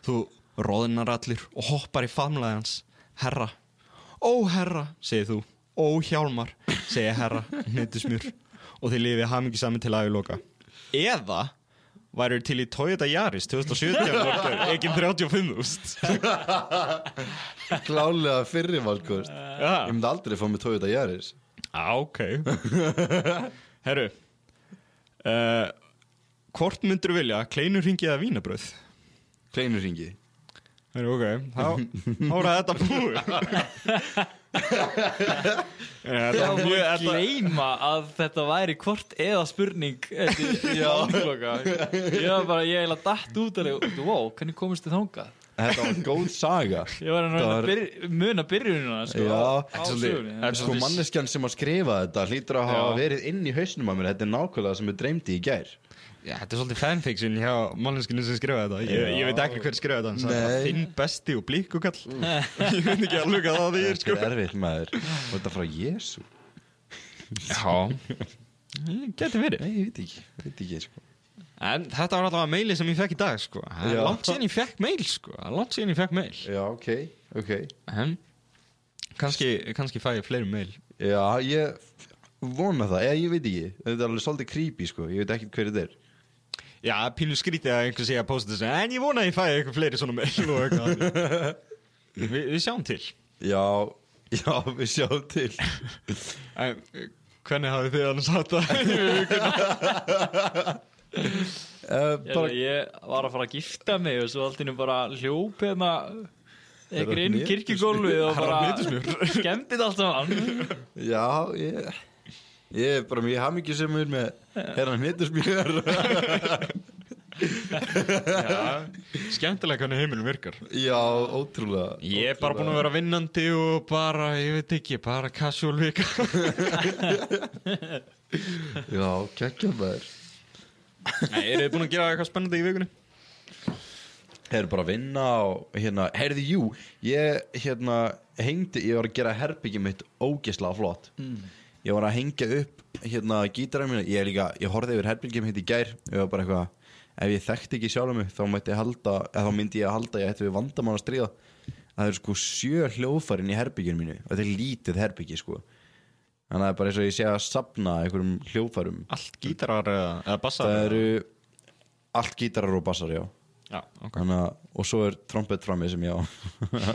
Speaker 5: Þú roðnar allir og hoppar í famlaði hans. Herra. Ó herra, segir þú. Ó hjálmar, segir herra, hnettusmjör. Og þið lifið hamingi saman til aðjóloka. Eða værið til í Toyota Yaris 2017 borgar, ekki 35 úst.
Speaker 4: Klálega fyrri valkost sko. Ég
Speaker 5: Já,
Speaker 4: myndi aldrei fá mig Toyota Yaris
Speaker 5: Á, ok. Herru, uh, hvort myndur vilja kleinur ringið að vínabröð?
Speaker 4: Kleinur ringi
Speaker 5: Herru, ok, þá þá er þetta búið. Já, þetta var mjög, þetta,
Speaker 7: gleyma að þetta væri hvort eða spurning eftir já. áloka ég var bara, ég heila datt út af því, wow, hvernig komist þið þangað
Speaker 4: Þetta var góð saga
Speaker 7: ég var
Speaker 4: Það
Speaker 7: að reyna
Speaker 4: var-
Speaker 7: að byrja, muna byrjununa sko,
Speaker 4: Já,
Speaker 7: á
Speaker 4: svolítið-
Speaker 7: sögunni
Speaker 4: sko manneskjan sem að skrifa þetta hlýtur að hafa
Speaker 5: Já.
Speaker 4: verið inn í hausnum að mér Þetta er nákvæmlega sem ég dreymdi í gær
Speaker 5: já, þetta er svolítið fanfiction hjá manneskinu sem skrifaði þetta. Ég, ég veit ekki hver skrifaði þetta, en það er bara
Speaker 4: Nei.
Speaker 5: þinn besti og blíkukall. ég veit ekki alveg hvað það er, sko.
Speaker 4: Þetta er erfitt maður Og þetta frá Jésu
Speaker 5: Já, geti verið.
Speaker 4: Nei, ég veit ekki, ég veit ekki sko.
Speaker 5: En þetta var allavega meili sem ég fekk í dag sko Það er
Speaker 4: Já.
Speaker 5: langt síðan ég fekk meil sko Það er langt síðan ég fekk meil
Speaker 4: Já, ok, ok
Speaker 5: En kannski, kannski fæ ég fleiri meil
Speaker 4: Já, ég vona það, ég, ég veit ekki Þetta er alveg svolítið creepy sko, ég veit ekki hver þetta er
Speaker 5: Já, pínu skrítið að einhver sé að posta þessu En ég vona að ég fæ eitthvað fleiri svona meil og eitthvað Vi, Við sjáum til
Speaker 4: Já, já, við sjáum til
Speaker 5: en, Hvernig hafið þið annars hatt það?
Speaker 4: uh,
Speaker 7: Ég, ég var að fara að gifta mig og svo allt innum bara hljóp hérna einhver inn í
Speaker 4: hnetusmjör.
Speaker 7: kirkjugólfið og
Speaker 5: Herra
Speaker 7: bara
Speaker 5: hnetusmjör.
Speaker 7: skemmdi þetta allt saman
Speaker 4: Já, ég Ég er bara mjög hamingisemur með Herran hnittusmjör
Speaker 5: Skemmtilega hvernig heimilum virkar
Speaker 4: Já, ótrúlega
Speaker 5: Ég er bara búin að vera vinnandi og bara, ég veit ekki, bara casual vika
Speaker 4: Já, kekkja maður
Speaker 5: Nei, eru þið búin að gera eitthvað spennandi í vikunni?
Speaker 4: Þeir eru bara að vinna og hérna Heyrðu, jú, ég hérna hengdi, ég var að gera herbyggjum mitt ógeðslega flott Ég var að hengja upp hérna gítara mínu Ég er líka, ég horfði yfir herbyggjum mitt í gær Ég var bara eitthvað, ef ég þekkti ekki sjálf mig þá, mætti ég halda, eða, þá myndi ég að halda ég ætti við vandamann að stríða Það eru sko sjö hljóðfærin í herbyggjum mínu og Þetta er lítið herbyggi sko Þannig að það er bara eins og ég sé að sapna einhverjum hljóðfærum
Speaker 5: Allt gítarar eða, eða bassar
Speaker 4: Það
Speaker 5: eða?
Speaker 4: eru allt gítarar og bassar, já
Speaker 5: Já, ok
Speaker 4: Þannig að, og svo er trompet frammi sem ég á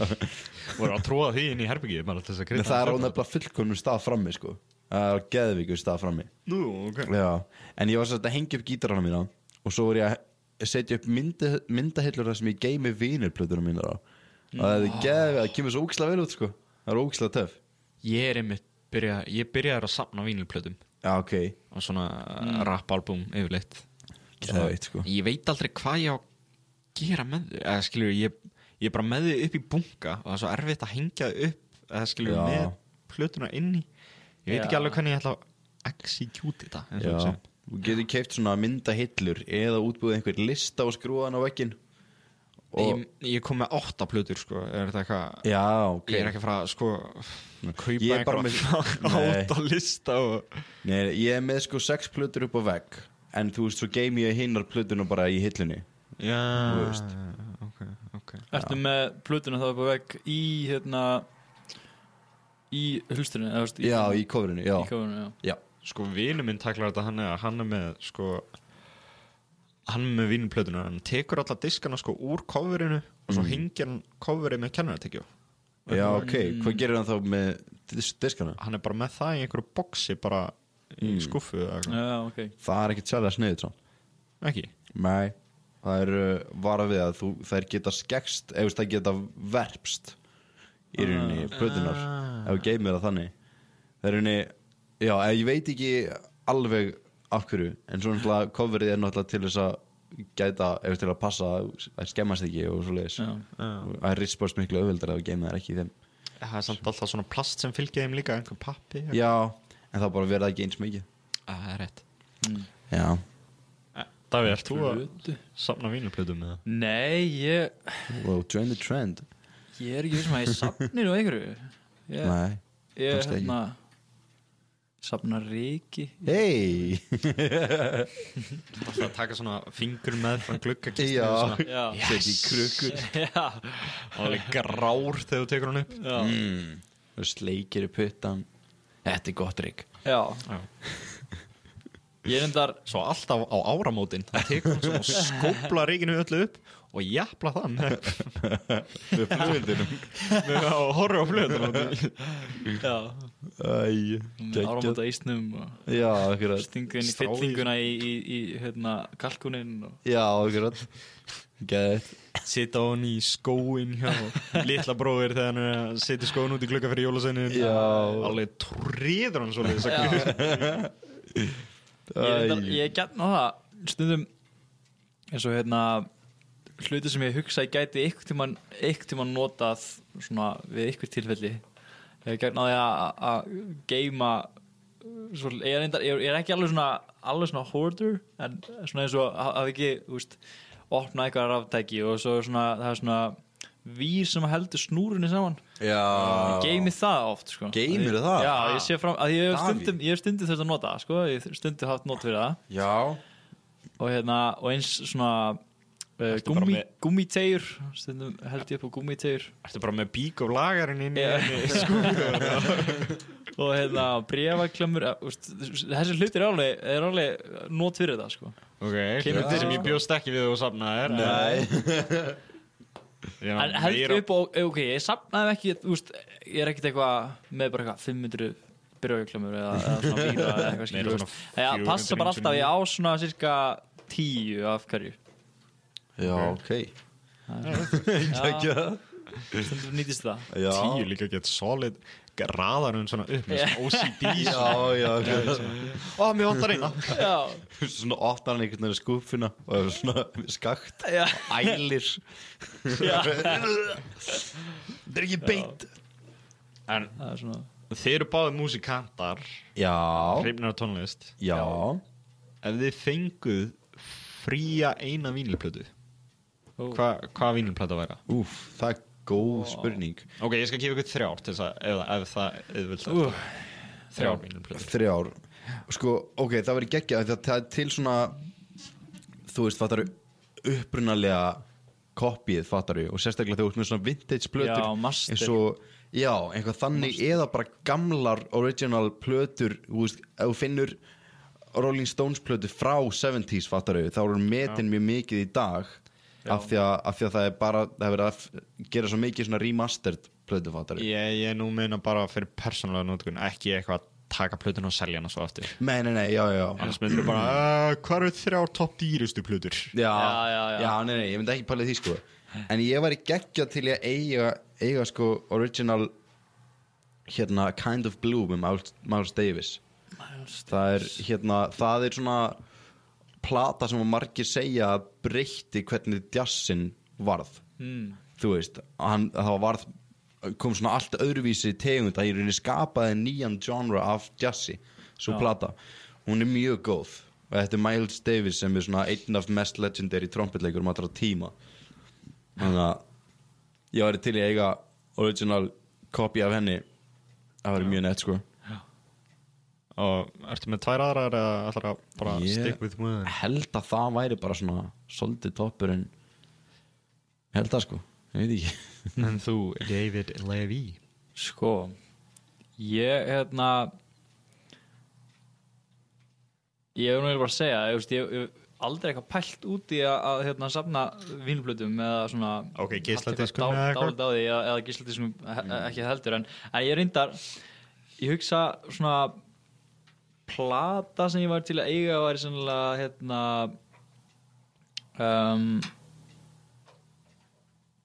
Speaker 5: Voru að tróða því inn í herbyggið bara til þess að
Speaker 4: En
Speaker 5: krydda
Speaker 4: það er á
Speaker 5: söguna.
Speaker 4: nefnilega fullkomnum stað frammi, sko Það er á geðvíku stað frammi
Speaker 5: Nú, ok
Speaker 4: Já, en ég var svolítið að hengja upp gítarana mína og svo var ég að setja upp myndi, myndahillur þar sem ég geymi vinirplötuna mína á og það, er geð, það kemur svo ógislega vel út sko það er ógislega töf
Speaker 5: Ég er einmitt byrja, Ég byrjaði að sapna vínilplötum
Speaker 4: Já, ok,
Speaker 5: og svona mm. rappalbum yfirleitt Og svona-
Speaker 4: Geðveikt, sko.
Speaker 5: Ég veit aldrei hvað ég á að gera með því eða skilur, ég, ég er bara með því upp í bunga og það er svo erfitt að hengja þau upp eða skilur,
Speaker 4: Já.
Speaker 5: með plötuna inn í Ég veit
Speaker 7: Já.
Speaker 5: ekki alveg hvernig ég ætla að execute þetta eins og við
Speaker 4: já
Speaker 5: segjum.
Speaker 4: Þú getur keift svona myndahillur eða útbúið einhver lista og skrúðan á vekkin og,
Speaker 5: ég, ég kom með átta plötur sko, er þetta eitthvað
Speaker 4: Já, ok
Speaker 5: Ég er ekki að fara að sko kaupa
Speaker 4: Ég er bara
Speaker 5: einhverja
Speaker 4: með-
Speaker 5: átta lista og
Speaker 4: Nei, ég er með sko sex plötur upp á vegg en þú veist, svo geymi ég hinnar plötuna bara í hillunni
Speaker 5: Já,
Speaker 4: veist.
Speaker 5: ok, ok
Speaker 7: Ertu með plötuna þá upp á vegg í hérna í hulsturinu eða, þú veist,
Speaker 4: Já, í kofrinu, já
Speaker 7: í kofinu, já.
Speaker 4: Já,
Speaker 5: sko vinur minn taklar þetta hann er, hann er með sko hann er með vinplötuna hann tekur alla diskana sko úr coverinu og
Speaker 4: Mm.
Speaker 5: svo hengir hann coverið með kennaratekjó
Speaker 4: já ok, hvað gerir hann þá með dis- diskana?
Speaker 5: hann er bara með það í einhverju boksi bara í
Speaker 4: Mm.
Speaker 5: skuffu eða eitthvað.
Speaker 7: já, ok
Speaker 4: Það er ekkert sérlega sniðið svo
Speaker 5: ekki
Speaker 4: Nei Það er uh, vara við að þú, þær geta skekst ef það geta verpst í rauninni,
Speaker 7: Ah.
Speaker 4: plötunar ef þú geymir það þannig það er rauninni, já, eh, ég veit ekki alveg af hverju en svo náttúrulega coverið er náttúrulega til þess að gæta, ef til að passa að skemmast ekki og svo leiðis
Speaker 7: Já.
Speaker 4: það er rispast miklu auðveldar að geymir þær ekki í þeim
Speaker 5: það er samt alltaf svona plast sem fylgir þeim líka einhver pappi Ah,
Speaker 4: Já, en það bara verða ekki eins mikið
Speaker 5: það er rétt
Speaker 4: Já,
Speaker 5: Davíð, ert þú að
Speaker 7: Plötu.
Speaker 5: sapna vinplötum
Speaker 4: Mm.
Speaker 5: með það?
Speaker 7: Nei, ég,
Speaker 4: well, join the trend
Speaker 7: ég er ekki vissum að ég sapnir á einhverju Ég,
Speaker 4: Nei,
Speaker 7: ég
Speaker 4: kannski ekki.
Speaker 7: hérna sapna reiki
Speaker 4: hei
Speaker 5: Alltaf að taka svona fingur með frá gluggakistu
Speaker 4: Já.
Speaker 7: Já,
Speaker 5: yes.
Speaker 4: Setja í krukku.
Speaker 7: já,
Speaker 5: alveg grár þegar þú tekur hann upp
Speaker 7: já,
Speaker 4: og sleikir í puttan Þetta er gott rík
Speaker 7: já.
Speaker 5: Já.
Speaker 7: Ég reyndar
Speaker 5: svo alltaf á áramótin það tekur hann svona og skópla reikinu öllu upp og jafla það með
Speaker 4: Með blöðinum
Speaker 5: að horfa á flöðunum
Speaker 7: Já,
Speaker 4: Æ,
Speaker 7: áramóta um ísnum og
Speaker 4: Já, akkurat
Speaker 7: stingu inn í
Speaker 5: Strá í-
Speaker 7: fyllinguna í, í, í hérna, kalkuninn og
Speaker 4: Já, akkurat Gæðið
Speaker 5: sita hann í skóin hjá litla bróðir þegar hann er að setja skóin út í glugga fyrir jólaseinu
Speaker 4: Já.
Speaker 5: alveg tríður hann svolítið já.
Speaker 7: ég, reyndar, ég gætna það stundum eins og hérna hluti sem ég hugsa ég gæti einhvern tímann einhvern tímann notað svona við einhver tilfelli ég gætna því að- að geima svo, ég, er reyndar, ég, er- ég er ekki alveg svona alveg svona hoarder en svona eins og ha- hafi ekki þú veist, opna eitthvað ráftæki og svo er svona, það er svona vír sem heldur snúrunni saman
Speaker 4: Já
Speaker 7: Ég geymi það oft sko.
Speaker 4: Geymirðu
Speaker 7: Að-
Speaker 4: það?
Speaker 7: Já, ég sé fram að ég hef
Speaker 4: Davíð.
Speaker 7: stundum, ég hef stundum þurft að nota það, sko, ég hef stundum haft not fyrir það
Speaker 4: Já
Speaker 7: og hérna, og eins svona uh,
Speaker 5: Ertu bara
Speaker 7: gummi,
Speaker 5: með-
Speaker 7: gummitegjur stundum held ég upp á gummitegjur
Speaker 5: ertu bara með bík og lagarinn inn í
Speaker 7: Já.
Speaker 5: henni sko.
Speaker 7: og hérna, brefaklemmur eh, úst, þessi hlutir er alveg, er alveg not fyrir það, sko
Speaker 5: ok,
Speaker 7: Kemur
Speaker 5: hlutir
Speaker 7: til-
Speaker 5: sem ég bjóst ekki við og safnaði er
Speaker 4: Nei
Speaker 5: Já,
Speaker 7: en held
Speaker 5: meira-
Speaker 7: upp á, eh, ok, ég sapnaði ekki úst, ég er ekkert eitthvað með bara eitthvað 500 brefaklemmur eða, eða svona víra eða eitthvað
Speaker 5: Meira
Speaker 7: skilur,
Speaker 5: svona
Speaker 7: úst Já, passa bara
Speaker 5: 499.
Speaker 7: alltaf, ég á svona cirka 10 af hverju
Speaker 4: Já, ok Gæðið
Speaker 7: stundum nýtist það
Speaker 4: Já
Speaker 5: tíu líka gett solid raðar hún svona upp með
Speaker 7: Já.
Speaker 5: svona OCD
Speaker 4: Já, já akkurat.
Speaker 5: ó, mér vantar eina
Speaker 7: Já,
Speaker 4: Svona opnar hann einhvern veginn skúfina og er svona skakt
Speaker 7: já,
Speaker 4: Ælir
Speaker 7: já
Speaker 4: Það er ekki beint
Speaker 5: en
Speaker 7: Það er svona
Speaker 5: þið eru báðið músikantar
Speaker 4: Já
Speaker 5: hrifnar af tónlist
Speaker 4: Já
Speaker 5: ef þið fenguð fría eina vínilplötu
Speaker 7: Ó.
Speaker 5: hva, hvað vínilplata væri?
Speaker 4: Úf, það er góð spurning
Speaker 5: ok, ég skal gefa ykkur þrjár til þess að ef, það- ef það auðvöld
Speaker 7: Ú.
Speaker 5: uh. þrjár vínilplötu
Speaker 4: þrjár sko, ok, það verður geggjað það, það er til svona þú veist, það er upprunalega kopið fattar við og sérstaklega þegar þú ert með svona vintage plötur
Speaker 7: Já, master.
Speaker 4: eins og, já, einhvað þannig eða bara gamlar original plötur þú veist, ef þú finnur Rolling Stones plötu frá 70s fattar við, þá eru metin mjög mikið í dag af því, að, af því að það er bara það er verið að f- gera svo mikið svona remastered plötu fattar við
Speaker 5: Ég, ég nú meina bara fyrir persónulega notkun ekki eitthvað að taka plötun og selja hana svo aftur
Speaker 4: Nei, nei, nei, já, já, já
Speaker 5: annars myndir bara uh, hvað eru þrjár topp dýrustu plötur
Speaker 4: Já,
Speaker 7: já, já.
Speaker 4: nei, nei, ég myndi ekki pæla í því sko En ég væri geggjað til ég eiga, eiga sko original hérna Kind of Blue með Miles, Miles Davis Það er hérna, það er svona plata sem að margir segja að breytti hvernig djassin varð mm. Þú veist, hann, það varð kom svona allt öðruvísi tegund að ég rauninni skapaði nýjan genre af djassi, svo plata hún er mjög góð og þetta er Miles Davis sem er svona einn af mest legendary trompetleikurum allra tíma þannig að ég væri til í að eiga original copy af henni það væri mjög nett sko
Speaker 5: og ertu með tvær aðrar eða ætlar að bara
Speaker 4: Ég-
Speaker 5: stick with one
Speaker 4: held að það væri bara svona svolítið toppur en held að sko, ég veit ekki
Speaker 5: en þú David Levy
Speaker 7: Sko Ég, hérna Ég hef nú eiginlega bara að segja Ég veist, ég hef aldrei eitthvað pælt út í að, að hérna, safna vínblötum eða svona
Speaker 5: ok, geisladiskum
Speaker 7: eða
Speaker 5: eða
Speaker 7: eitthvað
Speaker 5: eitthvað Mm.
Speaker 7: dálítið á því eða, eða gísladiskum ekki heldur en, en ég reyndar ég hugsa svona plata sem ég var til að eiga var sannlega hérna um,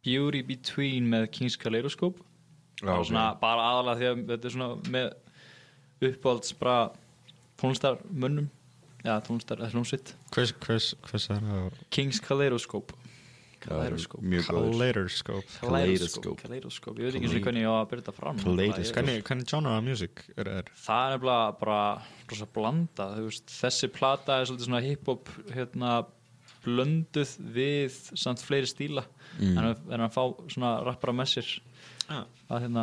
Speaker 7: Beauty Between með King's Kaleidoscope
Speaker 4: Já,
Speaker 7: Bara
Speaker 4: ok.
Speaker 7: svona, bara aðalega því að þetta er svona með uppáhalds bara tónlistarmönnum eða tónlistar, eða hljómsvitt
Speaker 5: hvers, hvers, hvers er það
Speaker 7: King's Kaleidoscope Kaleidoscope
Speaker 4: mjög góður
Speaker 5: Kaleidoskop
Speaker 4: Kaleidoskóp.
Speaker 7: Kaleidoskóp, ég veit ekki einu sinni hvernig ég á að byrja þetta fram
Speaker 4: Kaleidoskóp.
Speaker 5: hvernig, hvernig genre af music er það
Speaker 7: Ég- Það er nefnilega bara rosa blanda, þú veist, þessi plata er svolítið svona hiphop hérna, blönduð við samt fleiri stíla en, að- en að fá svona rappara með sér
Speaker 5: Ah.
Speaker 7: að hérna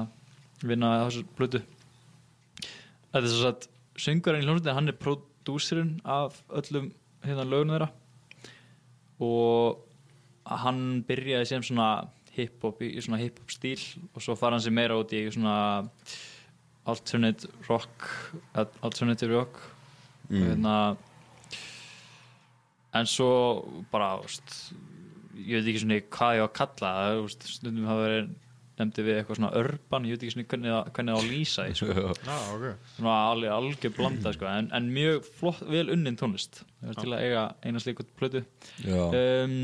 Speaker 7: vinna að þessu blötu Þetta er svo að söngurinn í hljómsveitin, hann er prodúsirinn af öllum hérna lögunum þeirra og hann byrjaði sem svona hip-hop í í svona hip-hop stíl og svo fara hann sér meira út í svona alternate rock al- alternative rock mm. hérna, en svo bara úst, ég veit ekki svona hvað ég á að kalla það úst, stundum hafa verið nefndi við eitthvað svona urban, ég veit ekki svona hvernig það, hvernig það á að lýsa því, sko.
Speaker 5: já, ok
Speaker 7: svona alveg algjör blanda sko. en, en mjög flott, vel unnin tónlist það er til að eiga eina slíkut plötu
Speaker 4: Já.
Speaker 7: um,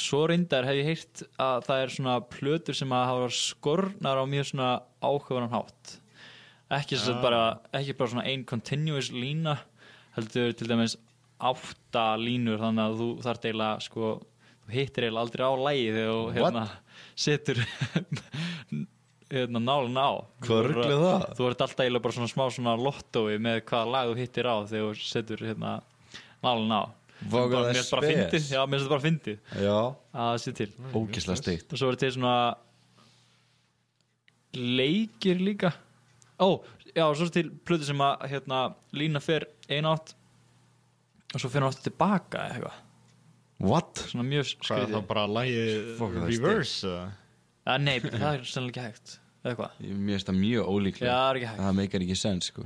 Speaker 7: svo reyndar hef ég heyrt að það er svona plötur sem að hafa skornar á mjög svona áhugaðan hátt ekki, ja.
Speaker 4: Ah.
Speaker 7: bara, ekki bara svona ein continuous lína heldur til dæmis átta línur þannig að þú þarf eiginlega sko, þú hittir eiginlega aldrei á lægi þegar þú hérna, setur hérna nálin á
Speaker 4: Hvað rugl er það?
Speaker 7: þú ert alltaf eiginlega bara svona smá svona lottói með hvaða lag þú hittir á þegar þú setur hérna nálin á
Speaker 4: Vá, hvað það er
Speaker 7: Bara- mér finnst bara
Speaker 4: spes.
Speaker 7: fyndið, já, mér finnst þetta bara fyndið
Speaker 4: já,
Speaker 7: að það sé til
Speaker 4: ógislega steikt
Speaker 7: og svo er til svona leikir líka ó, já, svo er til plötu sem að hérna, lína fer einátt og svo fer hann átt tilbaka eða eitthvað,
Speaker 4: what?
Speaker 7: svona mjög
Speaker 5: hvað er
Speaker 7: skrítið
Speaker 5: það bara lagið
Speaker 4: Fuck, það er
Speaker 5: reverse eða?
Speaker 7: að nei, það er sannlega ekki hægt eða eitthvað,
Speaker 4: mér finnst það mjög
Speaker 7: já,
Speaker 4: ólíklega
Speaker 7: það er ekki hægt
Speaker 4: það meikar ekki sens sko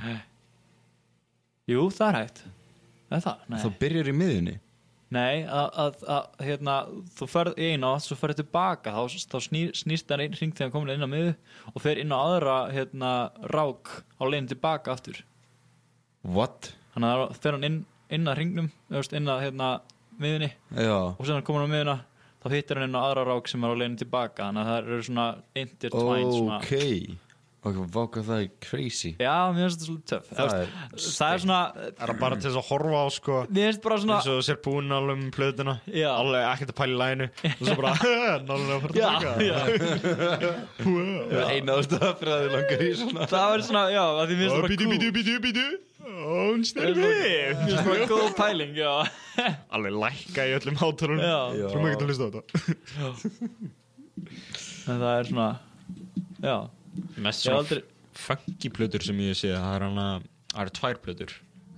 Speaker 7: jú, það er hægt eða það, nei
Speaker 4: þá byrjar í miðjunni
Speaker 7: Nei, að, að, að hérna, þú ferð í eina átt, svo ferð tilbaka, þá, þá snýr, snýst hann einn hring þegar hann komin inn á miðu og fer inn á aðra hérna, rák á leiðin tilbaka aftur.
Speaker 4: what?
Speaker 7: Þannig að þá fer hann inn, inn að hringnum, öfst, inn að hérna, miðunni
Speaker 4: já,
Speaker 7: og sem hann komin á miðuna, þá hittir hann inn á aðra rák sem er á leiðin tilbaka, þannig að það eru svona intertwined svona.
Speaker 4: ok ok, vaka það er crazy
Speaker 7: Já, mér finnst þetta svolítið töff.
Speaker 4: Það
Speaker 7: Það, það, það er svona,
Speaker 5: er það bara til þess að horfa á sko
Speaker 7: mér finnst bara svona,
Speaker 5: eins og þú sér búinn alveg um plöðuna
Speaker 7: Já.
Speaker 5: alveg ekkert að pæla í læginu og svo bara nálega að fara að
Speaker 7: já,
Speaker 5: taka
Speaker 7: já,
Speaker 4: eina ástæða fyrir að þið langar í svona
Speaker 7: það var svona, já, að því mér finnst
Speaker 5: Og
Speaker 7: bara
Speaker 5: bítu,
Speaker 7: cool.
Speaker 5: bítu, bítu, bítu Hún sneri
Speaker 7: Mér
Speaker 5: við
Speaker 7: finnst bara góð pæling, já.
Speaker 5: Alveg lækka í öllum hátunum
Speaker 7: Já.
Speaker 5: Svo maður getur að hlusta á þetta
Speaker 7: en það er svona já,
Speaker 5: Mest
Speaker 7: Ég aldrei-
Speaker 5: funky plötur sem ég sé Það er hana Það eru tvær plötur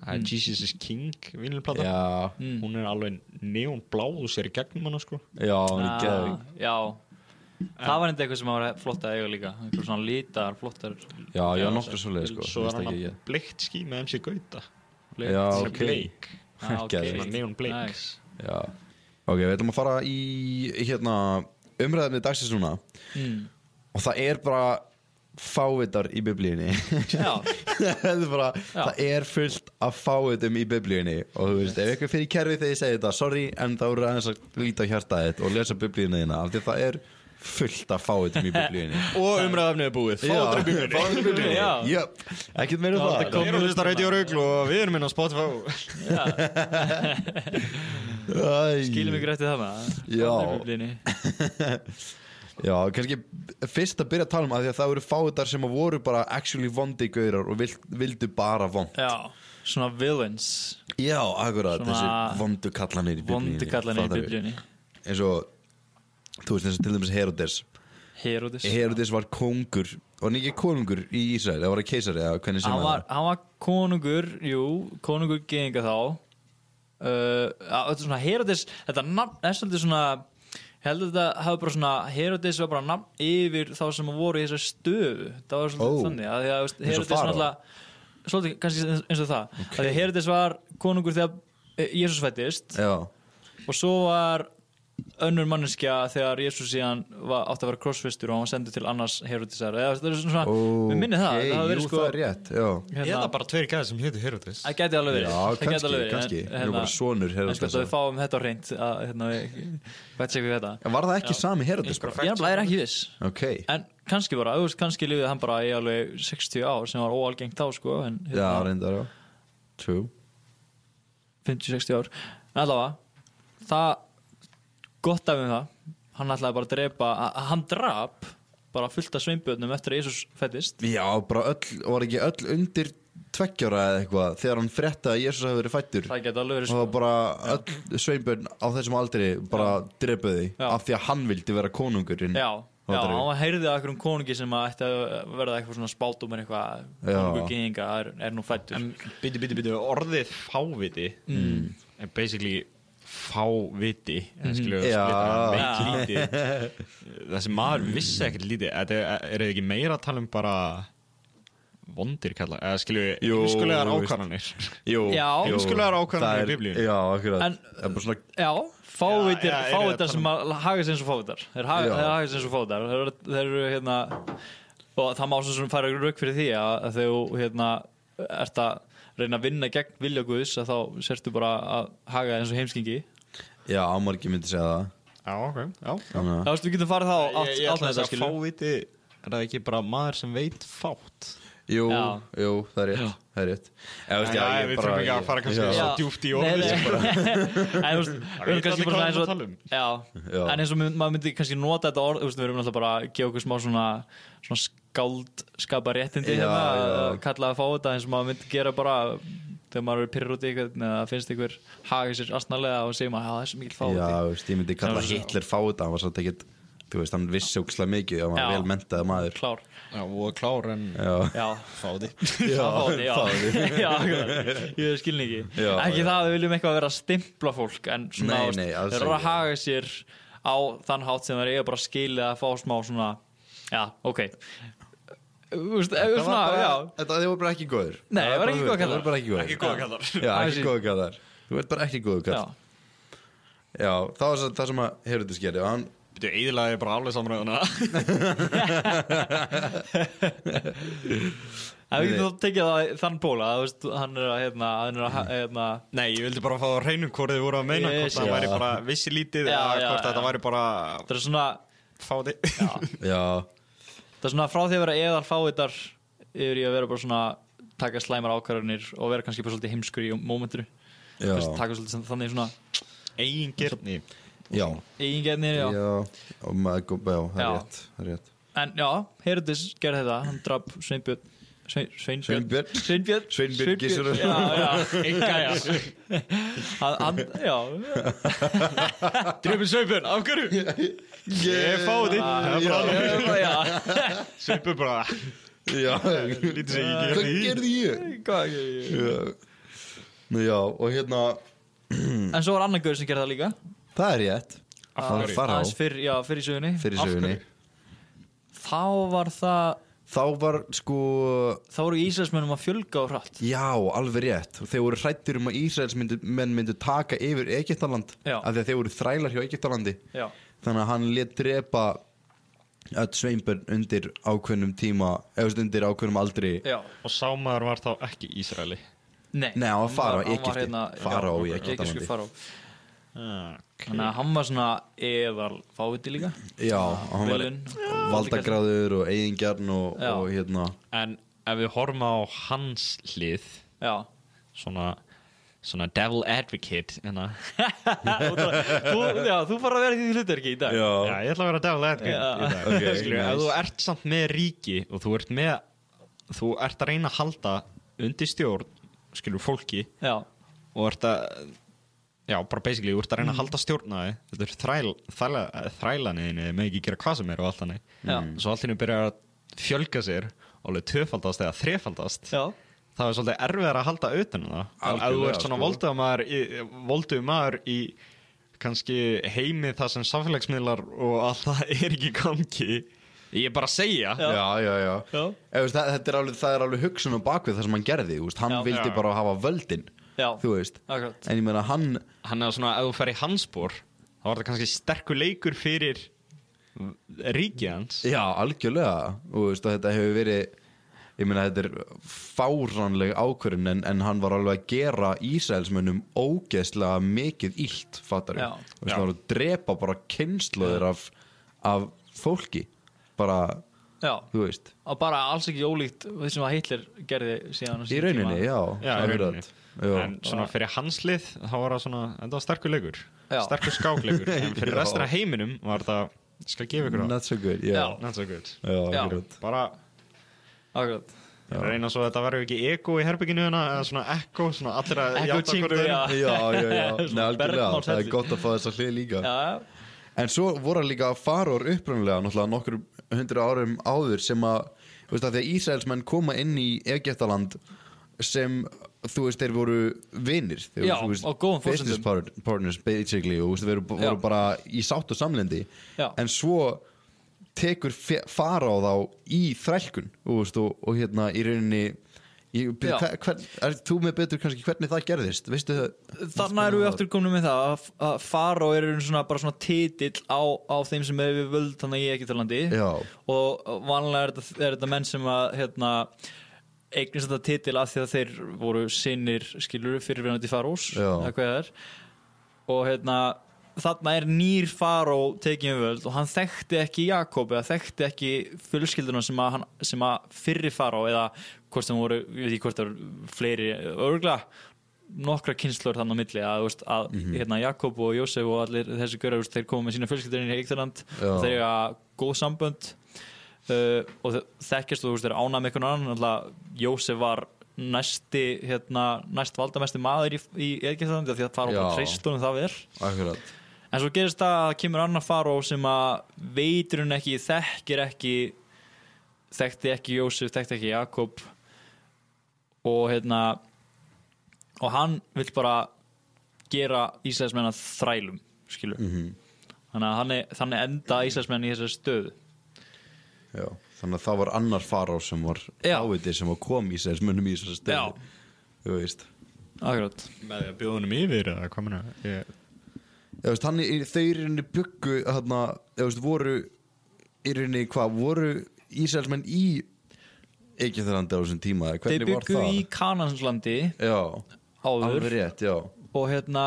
Speaker 5: það er Jesus is King vinilplata,
Speaker 4: Já,
Speaker 5: hún er alveg neonblá og sér í gegnum hana sko
Speaker 4: já, hún er
Speaker 7: Ah,
Speaker 4: geðvig
Speaker 7: já það var enda eitthvað sem var flott að eiga líka eitthvað svona lítar, flottar
Speaker 4: Já, já, nokkuð svoleið sko
Speaker 5: svo er
Speaker 4: finnst
Speaker 5: hann
Speaker 4: ekki
Speaker 5: að
Speaker 4: ég.
Speaker 5: bleikt ský með MC Gauta
Speaker 7: bleikt.
Speaker 4: Já,
Speaker 5: sem
Speaker 4: ok
Speaker 5: bleik
Speaker 7: ah, ok.
Speaker 4: Geðveikt.
Speaker 5: Svona neon bleik.
Speaker 7: Nice.
Speaker 4: Já Ok, við ætlum að fara í hérna umræðinni dagsins núna
Speaker 7: Hmm.
Speaker 4: og það er bara fávitar í biblíunni
Speaker 7: já,
Speaker 4: það, er bara, það er fullt af fávitum í biblíunni og þú veist, ef ykkur fyrir kerfi þegar ég segi þetta sorry, en þá eru aðeins að líta á hjartaðið þitt og lesa biblíunni þína, af því að það er fullt af fávitum í biblíunni
Speaker 5: og umræðafnið er búið
Speaker 4: Fávitar í biblíunni Fávitar í
Speaker 7: Já.
Speaker 4: biblíunni, jöp, ekkert meira um það
Speaker 5: Við erum að hlusta á Radio Rögl og við erum inn á Spotify
Speaker 4: Æ.
Speaker 7: skilum ykkur eftir það maður.
Speaker 4: Já.
Speaker 7: Aldrei í Biblíunni.
Speaker 4: Já, kannski fyrst að byrja að tala um að því að það eru fáitar sem að voru bara actually vondi gaurar og vild, vildu bara vond
Speaker 7: já, svona villains
Speaker 4: Já, akkurat,
Speaker 7: Svona
Speaker 4: þessi vondu kallanir í biblíunni
Speaker 7: vondi kallan í
Speaker 4: fattar við.
Speaker 7: biblíunni
Speaker 4: Eins og, þú veist, eins og til dæmis Herodes
Speaker 7: Herodes
Speaker 4: Herodes var kongur, var hann ekki konungur í Ísrael, það var hann keisari eða hvernig sem
Speaker 7: hann var, hann var konungur, jú, konungur geðinga þá uh, að- Þetta er svona Herodes, þetta nafn er svolítið svona ég held að þetta hafi bara svona Herodes var bara nafn yfir þá sem voru í þessar stöðu það var
Speaker 4: Ó.
Speaker 7: svona þannig að því að veist,
Speaker 4: og
Speaker 7: Herodes
Speaker 4: faraó.
Speaker 7: náttúrulega svolítið kannski eins og það okay. að því að Herodes var konungur þegar Jésús fættist
Speaker 4: Já, Eh.
Speaker 7: og svo var önnur manneskja þegar Jésús síðan var, átti að vera krossfistur og hann var sendur til annars Herodesar eða það er svona,
Speaker 4: Ó,
Speaker 7: við minni það,
Speaker 4: ok,
Speaker 7: það hafi verið sko-
Speaker 4: jú, það sko- er rétt, já
Speaker 7: hérna-
Speaker 5: Eða bara tveir gæðir sem hétu Herodes
Speaker 7: Það gæti alveg verið
Speaker 4: Já,
Speaker 7: það gæti
Speaker 4: kannski,
Speaker 7: alveg verið,
Speaker 4: kannski,
Speaker 7: en, hérna,
Speaker 4: við erum bara sonur
Speaker 7: En sko þetta við
Speaker 4: Herodes
Speaker 7: fáum þetta á reynd að, hérna, við- Hvað sé við þetta
Speaker 4: Var það ekki sami Herodes bara?
Speaker 7: Ég nefnilega er ekki viss
Speaker 4: Ok,
Speaker 7: En kannski bara, auðvist kannski lífið hann bara í alveg 60 ár sem var óalgengt þá sko en,
Speaker 4: já,
Speaker 7: hérna,
Speaker 4: reyndar, já True
Speaker 7: 50-60 ár En allavega, það gott af um það Hann ætlaði bara að drepa, að- að hann drap bara fullt af sveimbjörnum eftir að Jésús fættist
Speaker 4: Já, bara öll, var ekki öll undir tveggjára eða eitthvað þegar hann frétta að Jésús hafi verið fættur
Speaker 7: Það gæti alveg verið
Speaker 4: og það
Speaker 7: sko
Speaker 4: var bara öll sveinbjörn á þessum aldri bara drepaði
Speaker 7: Já.
Speaker 4: af því að hann vildi vera konungurinn
Speaker 7: Já, já
Speaker 4: Fattar
Speaker 7: hann
Speaker 4: við?
Speaker 7: var heyrðið af einhverjum konungi sem að ætti að verða eitthvað svona spátumir eitthvað
Speaker 4: Já.
Speaker 7: konungur gýðinga er, er nú fættur
Speaker 5: En byrju, byrju, byrju, orðið fáviti er basically fáviti en skilur við
Speaker 4: Já.
Speaker 5: að veik lítið þessi maður vissi ekkert lítið þetta er, er þið ekki meira að tala um bara vondir kalla eða skilur við
Speaker 4: Jú,
Speaker 5: heimskulegar
Speaker 4: veist.
Speaker 5: ákvarðanir
Speaker 4: Jú,
Speaker 7: Já.
Speaker 5: Heimskulegar ákvarðanir
Speaker 4: það
Speaker 5: í
Speaker 4: er-
Speaker 5: Biblíunni.
Speaker 4: Já, akkurat
Speaker 7: En-
Speaker 4: Það er bara svona
Speaker 7: Já, fávitir,
Speaker 5: Já, já, eru
Speaker 7: fávitar
Speaker 5: það
Speaker 7: sem að haga sér eins og fávitar Þeir haga,
Speaker 4: Já.
Speaker 7: þeir haga sér eins og fávitar Þeir, eru- þeir eru hérna og það má svo sem færa rauk fyrir því að, að þegar hérna ert að reyna að vinna gegn vilja Guðs að þá sértu bara að haga þér eins og heimskingi
Speaker 4: Já, ámargi myndi segja það
Speaker 5: Já, ok, já
Speaker 4: Þannig
Speaker 7: Þá veist við getum farið þá átt,
Speaker 5: Ég, ég
Speaker 7: átt
Speaker 5: ætla þess
Speaker 7: með þetta
Speaker 5: að
Speaker 7: skilur
Speaker 5: fáviti er það ekki bara maður sem veit fátt
Speaker 4: að Jú,
Speaker 7: Já.
Speaker 4: jú, það er rétt Það er rétt Já, veist,
Speaker 5: Já,
Speaker 4: já, ég
Speaker 5: við
Speaker 4: bara-
Speaker 5: þurfum ekki að fara kannski
Speaker 4: Já.
Speaker 5: að-
Speaker 7: Já.
Speaker 5: svo djúpt í
Speaker 7: Nei,
Speaker 5: orðið sko.
Speaker 7: nei.
Speaker 5: sem bara-
Speaker 7: En þú veist, við erum
Speaker 5: veit
Speaker 7: kannski
Speaker 5: allir
Speaker 7: bara
Speaker 5: hvað við
Speaker 7: eins
Speaker 5: erum
Speaker 7: og
Speaker 5: að tala um.
Speaker 7: Já,
Speaker 4: Já.
Speaker 7: en eins og mynd- maður myndi kannski nota þetta orð þú veist, Við erum alltaf bara að gefa okkur smá svona, svona skáldskapa réttindi
Speaker 4: Já,
Speaker 7: hérna,
Speaker 4: já.
Speaker 7: að kalla að fá þetta eins og maður myndi gera bara þegar maður er pyrr út í eitthvað eða finnst einhver hagið sér astnalega og segir maður að það er svo mikil fá
Speaker 4: Já, veist, ég myndi kalla
Speaker 7: Já.
Speaker 4: Hitler fáið hann var svolítið ekkert Þú veist, hann vissi ókslega mikið og hann var
Speaker 7: Já.
Speaker 4: vel mentaði maður
Speaker 7: klár
Speaker 5: Já, og klár en
Speaker 4: Já,
Speaker 7: Já,
Speaker 5: fáti
Speaker 7: já, fáði, já. já akkurat. ég skilni ekki
Speaker 4: Já,
Speaker 7: Ekki
Speaker 4: já.
Speaker 7: það að við viljum eitthvað vera að stimpla fólk en svona,
Speaker 4: Nei,
Speaker 7: þú veist,
Speaker 4: nei, alls
Speaker 7: þeir eru að
Speaker 4: ekki.
Speaker 7: haga sér á þann hátt sem þeir eiga bara skilið að fá smá svona Já, ok Úst, svona,
Speaker 4: Það var bara,
Speaker 7: já,
Speaker 4: þetta þið voru bara ekki góður
Speaker 7: Nei, það var ekki
Speaker 4: bara-
Speaker 7: góður
Speaker 4: Það
Speaker 7: kallar.
Speaker 4: voru bara ekki góður
Speaker 5: Ekki góða kallar
Speaker 4: Já,
Speaker 7: Aðeins
Speaker 4: ekki
Speaker 7: í-
Speaker 4: góður kallar Þú ert bara ekki góður
Speaker 7: já,
Speaker 4: kallar Já, það var svo- það sem að Herodes gerði og hann,
Speaker 5: Býtu, eðilaði ég bara alveg samræðuna
Speaker 7: En við getum þá tekið það í þann póla að, þú veist, hann er að hérna, hann er að
Speaker 4: Mm.
Speaker 7: hérna,
Speaker 5: Nei, ég vildi bara fá það á hreinu hvort þið voru að meina
Speaker 7: Ég
Speaker 5: hvort
Speaker 7: sé
Speaker 5: það
Speaker 7: það.
Speaker 5: væri bara vissi lítið
Speaker 7: Já,
Speaker 5: eða
Speaker 7: já,
Speaker 5: hvort
Speaker 7: já.
Speaker 5: þetta væri bara
Speaker 7: það er svona
Speaker 5: fáti
Speaker 4: já,
Speaker 7: það er svona frá því að vera eðal fávitar yfir í að vera bara svona taka slæmar ákvarðanir og vera kannski bara svolítið heimskur í mómentinu
Speaker 4: já,
Speaker 7: Þú veist, taka svolítið sem- þannig svona
Speaker 5: Egin gerðni
Speaker 4: já,
Speaker 7: eigingjarnir, já.
Speaker 4: já, og maður, kom- já, það er
Speaker 7: Já.
Speaker 4: rétt, það er rétt
Speaker 7: En já, Herodis gerði þetta, hann draf Sveinbjörn Svein, Sveinbjörn
Speaker 4: Sveinbjörn,
Speaker 7: Sveinbjörn
Speaker 4: Sveinbjörn Gizurarson.
Speaker 7: Já, já, enga, já Hann, hann, já
Speaker 5: Drefin Sveipur, af hverju? Ég er fáti
Speaker 4: Já.
Speaker 7: Já, já,
Speaker 5: Sveipur bara
Speaker 4: já,
Speaker 5: Lítið sem ég
Speaker 4: hvað
Speaker 5: gerði í
Speaker 4: gerði ég?
Speaker 7: hvað ekki
Speaker 4: Já. Nú já, og hérna
Speaker 7: En svo var annan gaur sem gerði það líka
Speaker 4: Það er rétt Það er fara á
Speaker 7: Aðeins fyrr, já, fyrr í sögunni
Speaker 4: fyrir
Speaker 7: Af
Speaker 4: sögunni
Speaker 7: hverju? Þá var það
Speaker 4: Þá var sko
Speaker 7: Þá voru Íslandsmennum að fjölga og hratt
Speaker 4: Já, alveg rétt Þeir voru hrættir um að Ísraels myndu, menn myndu taka yfir Egyptaland
Speaker 7: Já.
Speaker 4: Af því að þeir voru þrælar hjá Egyptalandi
Speaker 7: Já.
Speaker 4: Þannig að hann let drepa öll sveinbörn undir ákveðnum tíma eða þú veist, undir ákveðnum aldri
Speaker 7: Já,
Speaker 5: Og sámaður var þá ekki í Ísraeli
Speaker 7: nei
Speaker 4: Nei, hann var faró í
Speaker 7: hann var
Speaker 4: Egypti.
Speaker 7: hérna-
Speaker 4: Faró
Speaker 7: já,
Speaker 4: í Egyptalandi.
Speaker 7: egypskur faró.
Speaker 5: okay.
Speaker 7: Þannig að hann var svona eðal fáviti líka
Speaker 4: Já, og hann var
Speaker 7: Velun.
Speaker 4: valdagráður og eigingjarn og,
Speaker 7: Já.
Speaker 4: og hérna
Speaker 5: En ef við horfum á hans hlið
Speaker 7: Já
Speaker 5: Svona, svona devil advocate hérna.
Speaker 7: þú, já, þú fara að vera í því hlutverki í dag
Speaker 5: Já, ég ætla að vera devil advocate í dag.
Speaker 4: ok,
Speaker 5: Skilju,
Speaker 4: nice.
Speaker 5: Ef þú ert samt með ríki og þú ert með Þú ert að reyna að halda undir stjórn Skilur fólki
Speaker 7: Já,
Speaker 5: og ert að já, bara basically, þú ert að reyna að halda stjórna þig þetta er þræl, þræla, þrælaneðinni með ekki gera hvað sem er og allt hannig
Speaker 7: Já.
Speaker 5: svo allt henni byrjar að fjölga sér alveg töfaldast eða þrefaldast
Speaker 7: já,
Speaker 5: það er svolítið erfiðar að halda auðan um það En ef þú
Speaker 4: Algjörlega,
Speaker 5: ert svona
Speaker 4: sko.
Speaker 5: volduð maður í, voldugur maður í kannski heimi það sem samfélagsmiðlar og allt það er ekki í gangi ég er bara að segja
Speaker 7: Já.
Speaker 4: Já, já, já,
Speaker 7: Já.
Speaker 4: Ef, veist, það, þetta er alveg, það er alveg hugsun á bakvið það sem hann gerði, þú veist, hann
Speaker 7: Já.
Speaker 4: vildi
Speaker 5: Já.
Speaker 4: bara hafa völdin,
Speaker 7: já
Speaker 4: þú veist
Speaker 7: Akkurat
Speaker 4: en ég meina hann,
Speaker 5: hann er svona, ef þú fer í hansbór þá var þetta kannski sterkur leikur fyrir ríkið hans
Speaker 4: já, algjörlega þú veist, og þetta hefur verið ég meina þetta er fáránleg ákvörun en, en hann var alveg að gera Ísraelsmönnum ógeðslega mikið illt, fattar
Speaker 7: Já.
Speaker 4: við þú veist, hann var að drepa bara kynsluður af, af fólki bara,
Speaker 7: Já,
Speaker 4: þú veist
Speaker 7: og bara alls ekki ólíkt því sem að Hitler gerði síðan á
Speaker 4: í
Speaker 7: sínum
Speaker 4: rauninni, já,
Speaker 5: Já, í rauninni.
Speaker 4: akkurat. já.
Speaker 5: En svona fyrir hanslið þá var það svona, þetta var sterkur leikur
Speaker 7: Já.
Speaker 5: Sterkur skákleikur En fyrir
Speaker 4: Já.
Speaker 5: restina af heiminum var það, ég skal gefa ykkur það
Speaker 4: not so good, já,
Speaker 7: Já.
Speaker 5: Not so good
Speaker 4: já,
Speaker 7: Já.
Speaker 4: akkurat
Speaker 5: Bara
Speaker 7: Akkurat
Speaker 5: reyna svo að þetta verður ekki eko í herbygginu hana Eða svona eko, svona allir að
Speaker 7: Echo
Speaker 5: játa hvort
Speaker 7: chamber,
Speaker 5: öðru.
Speaker 7: já.
Speaker 4: já, já, já, Nei,
Speaker 7: Svona
Speaker 4: algjörlega,
Speaker 7: Bergmál
Speaker 4: það er
Speaker 7: helli.
Speaker 4: gott að fá þess að hlið líka
Speaker 7: Já,
Speaker 4: en svo voru líka faror upprunlega náttúrulega nokkur hundru árum áður sem að, þú veist að því að Ísraelsmenn koma inn í Egyptaland sem, þú veist, þeir voru vinnir, þeir
Speaker 7: Já,
Speaker 4: voru, þú veist,
Speaker 7: á góðum forsendum.
Speaker 4: business part, partners basically, og þú veist, þeir voru,
Speaker 7: Já.
Speaker 4: voru bara í sátt og samlendi,
Speaker 7: Já.
Speaker 4: en svo tekur fe- fara á þá í þrælkun, þú veist, og, og hérna í rauninni Ég,
Speaker 7: Já.
Speaker 4: hver, hver, er þú með betur kannski hvernig það gerðist veistu það
Speaker 7: Þannig erum við aftur komin með það að- að Faró er í raun svona, bara svona titill á, á þeim sem hefur við völd þannig í Egyptalandi
Speaker 4: Já.
Speaker 7: og vanlega er þetta, er þetta menn sem að hérna, eignast þetta titill af því að þeir voru sinnir skilur fyrirvinandi Farós
Speaker 4: Já.
Speaker 7: eða hvað það er og hérna þarna er nýr Faró tekið um völd og hann þekkti ekki Jakob eða þekkti ekki fjölskylduna sem að, hann, sem að fyrri Faró eða hvort sem voru, ég veit ekki hvort það voru fleiri, örgla nokkra kynslur þannig á milli að, þú veist, að hérna, Jakob og Jósef og allir þessi görar, þeir koma með sína fjölskyldurinn í Eiktaland
Speaker 4: Já.
Speaker 7: og þeir eiga góð sambönd uh, og þe- þekkjast og þú veist, þeir ánað með einhvern annan Náttúrulega, Jósef var næsti hérna, næst valdamesti maður í, í Eiktaland því að það var
Speaker 4: Já.
Speaker 7: bara treistunum það vel
Speaker 4: akkurat
Speaker 7: en svo gerist það að kemur annar faró sem að veitur hún ekki, þekkir ekki þekkti ekki Jósef, þekkti ekki Jakob og hérna og hann vill bara gera Íslandsmenn að þrælum skilu þannig að hann er, þannig enda Íslandsmenn í þessari stöðu
Speaker 4: Já, þannig að það var annar fará sem var
Speaker 7: Já.
Speaker 4: áviti sem var kom í sér munum í þessari
Speaker 7: Já.
Speaker 4: stöðu þú veist,
Speaker 7: akkurat
Speaker 5: Með því að bjóða honum yfir eða hvað meina ég...
Speaker 4: Ég veist hann, í- þau í rauninni byggu þarna, ég veist, voru í rauninni hvað, voru Ísraelsmenn í Egyptalandi á þessum tíma, eða
Speaker 7: þeir
Speaker 4: hvernig var
Speaker 7: byggu
Speaker 4: það?
Speaker 7: í Kananslandi
Speaker 4: Já,
Speaker 7: áður
Speaker 4: alveg rétt, já
Speaker 7: og hérna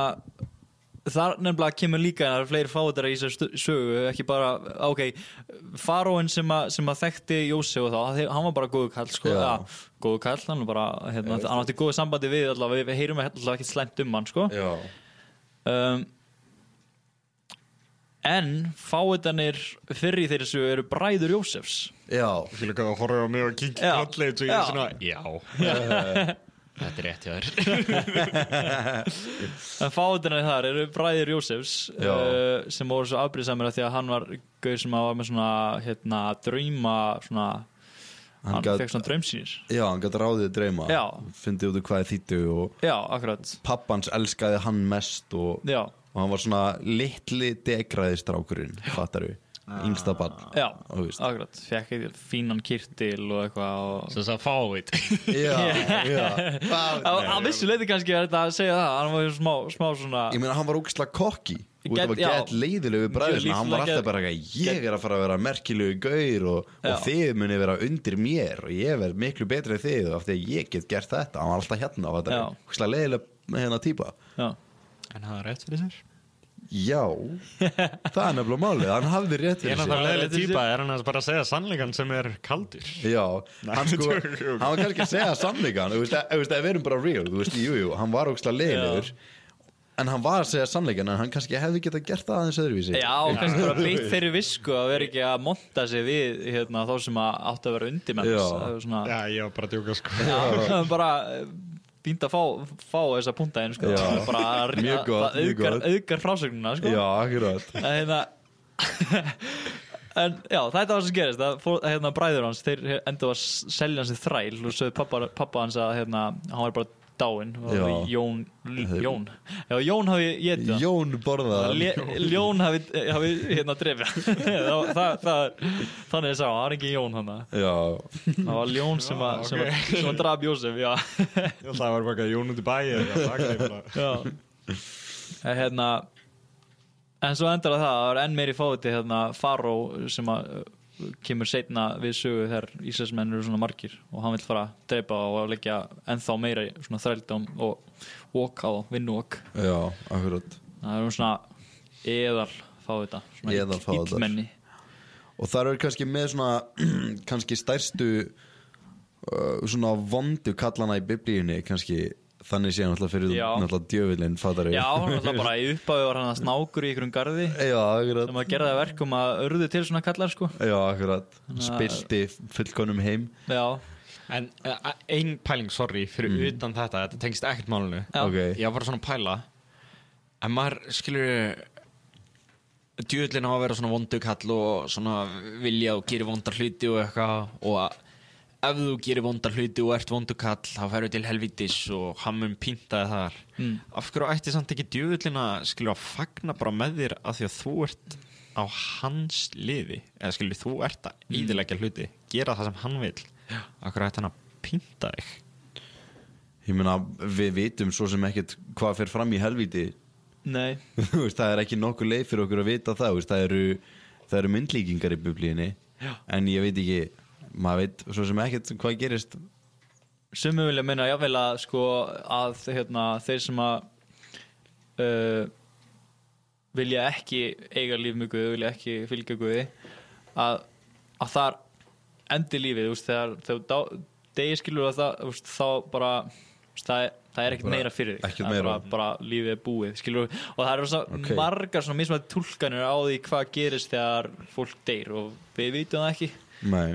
Speaker 7: þar nefnilega kemur líka það eru fleiri fátar í þessar stu- sögu ekki bara, ok, faróin sem, að- sem að þekkti Jósef og þá þeir- hann var bara góðu kall, sko
Speaker 4: Já.
Speaker 7: ja, góðu kall, hann var bara, hérna, hann átti góðu sambandi við allavega, við heyrum allavega ekki slæmt um hann, sko
Speaker 4: Já,
Speaker 7: um, en fáitanir fyrir í þeirri sögu eru bræður Jósefs
Speaker 4: já,
Speaker 5: Fyrir hvað að horfa á mig og kingi
Speaker 7: Já.
Speaker 5: kolleit og ég
Speaker 7: Já.
Speaker 5: er svona, já Eh, Þetta er rétt hjá þér
Speaker 7: En fáðunar þar eru bræðir Jósefs
Speaker 4: Já.
Speaker 7: uh, sem voru svo afbrýðsamir af því að hann var gauð sem að var með svona hérna, drauma svona hann
Speaker 4: gat-
Speaker 7: fekk svona draumsýnir
Speaker 4: Já, hann gæti ráðið drauma
Speaker 7: Já.
Speaker 4: Fyndi út úr hvað er þýttu og
Speaker 7: já, akkurat
Speaker 4: pappans elskaði hann mest og,
Speaker 7: já,
Speaker 4: og hann var svona litli degraðistrákurinn Fattar við, yngsta barn
Speaker 7: já,
Speaker 4: Þú veist.
Speaker 7: akkurat fekk eitthvað fínan kirtil og eitthvað og...
Speaker 5: Svo þess að fávit
Speaker 4: Já, já Vá,
Speaker 7: Á, á vissu leiti kannski er þetta að segja það hann var smá, smá svona
Speaker 4: Ég meina, hann var ógisla kokki og þetta
Speaker 7: Get-
Speaker 4: var
Speaker 7: já.
Speaker 4: gett leiðilegu við bræðina hann var
Speaker 7: lítillega-
Speaker 4: alltaf bara eitthvað, ég er að fara að vera merkilegu gaur og, og
Speaker 7: Já.
Speaker 4: þið muni vera undir mér og ég verð miklu betri en þið af því að ég get gert þetta, hann var alltaf hérna og þetta
Speaker 7: Já.
Speaker 4: er ógisla leiðilega hérna típa
Speaker 7: já,
Speaker 5: En það er rétt fyrir sér
Speaker 4: Já, það er nefnilega málið hann hafði rétt
Speaker 5: Ég er
Speaker 4: fyrir sér
Speaker 5: náttúrulega
Speaker 7: leiðileg
Speaker 5: leðileg
Speaker 7: týpa,
Speaker 5: típa Er hann bara að segja sannleikan sem er kaldur
Speaker 4: Já, hann sko, hann var kannski að segja sannleikan, þú veist, að- þú veist, ef við erum bara real, þú veist, jú, jú, hann var ógisla leiðilegur en hann var að segja sannleikan en hann kannski hefði getað gert það aðeins öðruvísi
Speaker 7: já og kannski bara beitt þeirri visku að vera ekki að monta sig við hérna, þá sem að áttu að vera undir með
Speaker 4: Já.
Speaker 7: svona,
Speaker 5: Já, ég var bara að djóka sko
Speaker 7: já. bara eh, fínt að fá, fá þessa punta einn sko,
Speaker 4: Já.
Speaker 7: bara að-
Speaker 4: Mjög gott,
Speaker 7: að
Speaker 4: mjög
Speaker 7: auðgar,
Speaker 4: gott.
Speaker 7: auðgar frásögnuna sko.
Speaker 4: Já, akkurat
Speaker 7: að hérna En já, þetta var sem gerist að fór, hérna, bræður hans, þeir endur að s- selja hans í þræl og sögðu pappa, pappa hans að hérna, hann var bara dáinn og
Speaker 4: Já.
Speaker 7: Jón, Jón Já, Jón hafi getið hann
Speaker 4: Jón borðaði hann.
Speaker 7: Le, Ljón hafi, hafi hérna drefið hann. það, það, það, er- þannig ég sá, það var ekki Jón hann
Speaker 4: Já,
Speaker 7: það var Ljón sem, a, sem, a,
Speaker 5: ok.
Speaker 7: sem að draf Jósef já.
Speaker 5: Það var bara að Jón út í bæi
Speaker 7: Já En hérna En svo endur það, það var enn meiri fáti hérna Faró sem að uh, kemur seinna við sögu þegar Íslandsmenn eru svona margir og hann vil fara að dreipa og að leggja ennþá meira í svona þrældum og walk á þá, vinnuvok
Speaker 4: Já, akkurat
Speaker 7: það er um svona eðal fáta svona
Speaker 4: Eðalfávita.
Speaker 7: illmenni
Speaker 4: Og þar eru kannski með svona kannski stærstu uh, svona vondu kallana í biblíunni kannski þannig séð náttúrulega fyrir
Speaker 7: Já.
Speaker 4: náttúrulega djöfillin fattar
Speaker 7: Já, hann var alltaf bara í upphafi var hann að snákur í ykkurum garði
Speaker 4: Já, akkurat
Speaker 7: sem að gera það verkum að urðu til svona kallar sko
Speaker 4: Já, akkurat
Speaker 7: Þannig að-
Speaker 4: Spilti fullkonum heim
Speaker 7: Já,
Speaker 5: En eh, ein pæling, sorry, fyrir utan þetta Þetta tengst ekkert málinu
Speaker 7: Já.
Speaker 4: Ok.
Speaker 5: Ég var bara svona að pæla En maður skilur Djúðlinn á að vera svona vondukall Og svona vilja og gerir vondar hluti Og eitthvað Og að- ef þú gerir vondar hluti og ert vondukall Þá ferðu til helvitis og hammum píntaði þar Af hverju ætti samt ekki djúðlinn að Skilur að fagna bara með þér Af því að þú ert á hans liði Eða skilur þú ert að íðilegja hluti Gera það sem hann vil Af hverju ætti hann að pínta þig
Speaker 4: Ég meina, við vitum svo sem ekkert hvað fer fram í helvíti
Speaker 7: nei
Speaker 4: Þú veist, það er ekki nokkuð leið fyrir okkur að vita það þú veist, það, eru, það eru myndlíkingar í biblíunni En ég veit ekki maður veit svo sem ekkert hvað gerist
Speaker 7: Sumi vilja minna jáfnvel að sko að hérna, þeir sem að uh, vilja ekki eiga líf með Guði, vilja ekki fylgja Guði að, að þar endi lífið, þú veist, þegar þegar þú degi skilur að það, þú veist, þá bara þú veist, það, er- það er ekkert
Speaker 4: Bara
Speaker 7: meira fyrir þig
Speaker 4: ekkert
Speaker 7: Það er
Speaker 4: meira.
Speaker 7: bara, bara lífið er búið, skilur og það eru svona
Speaker 4: Ok.
Speaker 7: margar svona mismætt tólkanir á því hvað gerist þegar fólk deyr og við vitum það ekki
Speaker 4: Nei,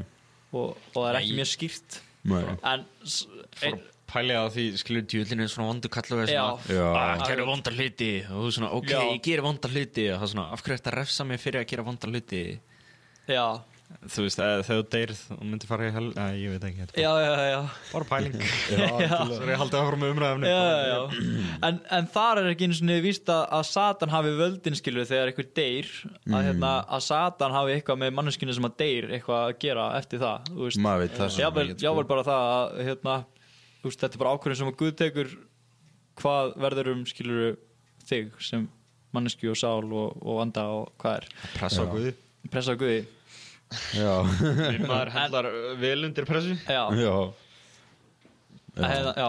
Speaker 7: og, og það er ekki
Speaker 5: Nei.
Speaker 7: mjög skýrt
Speaker 4: nei
Speaker 7: en s- ein,
Speaker 5: pælið á því, skilur djúðlinn er svona vondur kallur og er svona,
Speaker 7: Já.
Speaker 4: Já.
Speaker 5: að gera vondar hluti og þú svona, ok,
Speaker 7: Já.
Speaker 5: ég gera vondar hluti og það er svona, af hverju ertu að refsa mig fyrir að gera vondar hluti
Speaker 7: já,
Speaker 5: þú veist, eða þegar þú deyrð og myndir fara í hel, að ég veit ekki
Speaker 7: já, já, já, já.
Speaker 5: bara pæling svo er ég haldið áfram með umræðum
Speaker 7: já, já. En, en þar er ekki eins og niður víst að, að Satan hafi völdin skilur þegar einhver deyr
Speaker 4: Mm.
Speaker 7: að, hérna, að Satan hafi eitthvað með manneskinu sem að deyr eitthvað að gera eftir það þú veist.
Speaker 4: Maður veit það svo sem
Speaker 7: Jafnvel-
Speaker 4: ekkert, sko.
Speaker 7: jafnvel bara það að hérna, þú veist, þetta er bara ákvörðin sem að Guð tekur hvað verður um skilur þig sem mannesku og sál og, og anda og hvað er
Speaker 5: pressa á guði
Speaker 7: pressa á Guði
Speaker 4: Já,
Speaker 5: Minn maður hendlar vel undir pressu
Speaker 7: já,
Speaker 4: já
Speaker 7: En hérna, já.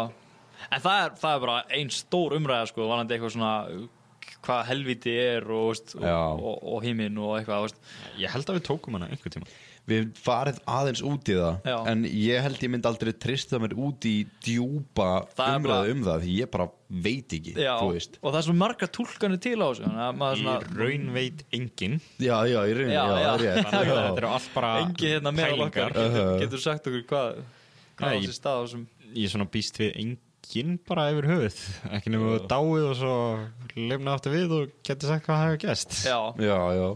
Speaker 7: En það er, það er bara ein stór umræða sko, varandi eitthvað svona hvað helviti er og, veist, og,
Speaker 4: Já.
Speaker 7: og, og himinn og eitthvað veist.
Speaker 5: ég held að við tókum hana einhver tíma
Speaker 4: Við farið aðeins út í það
Speaker 7: Já.
Speaker 4: En ég held ég myndi aldrei trista mér út í djúpa
Speaker 7: Það er bara-
Speaker 4: umræðu um það Því ég bara veit ekki,
Speaker 7: Já,
Speaker 4: þú
Speaker 7: og
Speaker 4: veist
Speaker 7: það er svo marga tólkanir til á þessu þannig að
Speaker 5: í
Speaker 7: maður svona,
Speaker 5: raun veit engin
Speaker 4: Já, já, í rauninni,
Speaker 7: Já,
Speaker 4: já,
Speaker 7: já.
Speaker 4: já, já.
Speaker 5: þannig að þetta eru allt bara
Speaker 7: engi hérna meðal okkar
Speaker 5: pælingar
Speaker 7: getur,
Speaker 4: Uh-huh.
Speaker 7: getur sagt okkur hvað hvað
Speaker 5: Nei.
Speaker 7: á þessi stað á þessum
Speaker 5: ég svona býst við enginn bara yfir höfuð ekki nefnum að dáið og svo lefna aftur við og getur sagt hvað hafa gæst
Speaker 7: Já,
Speaker 4: já, já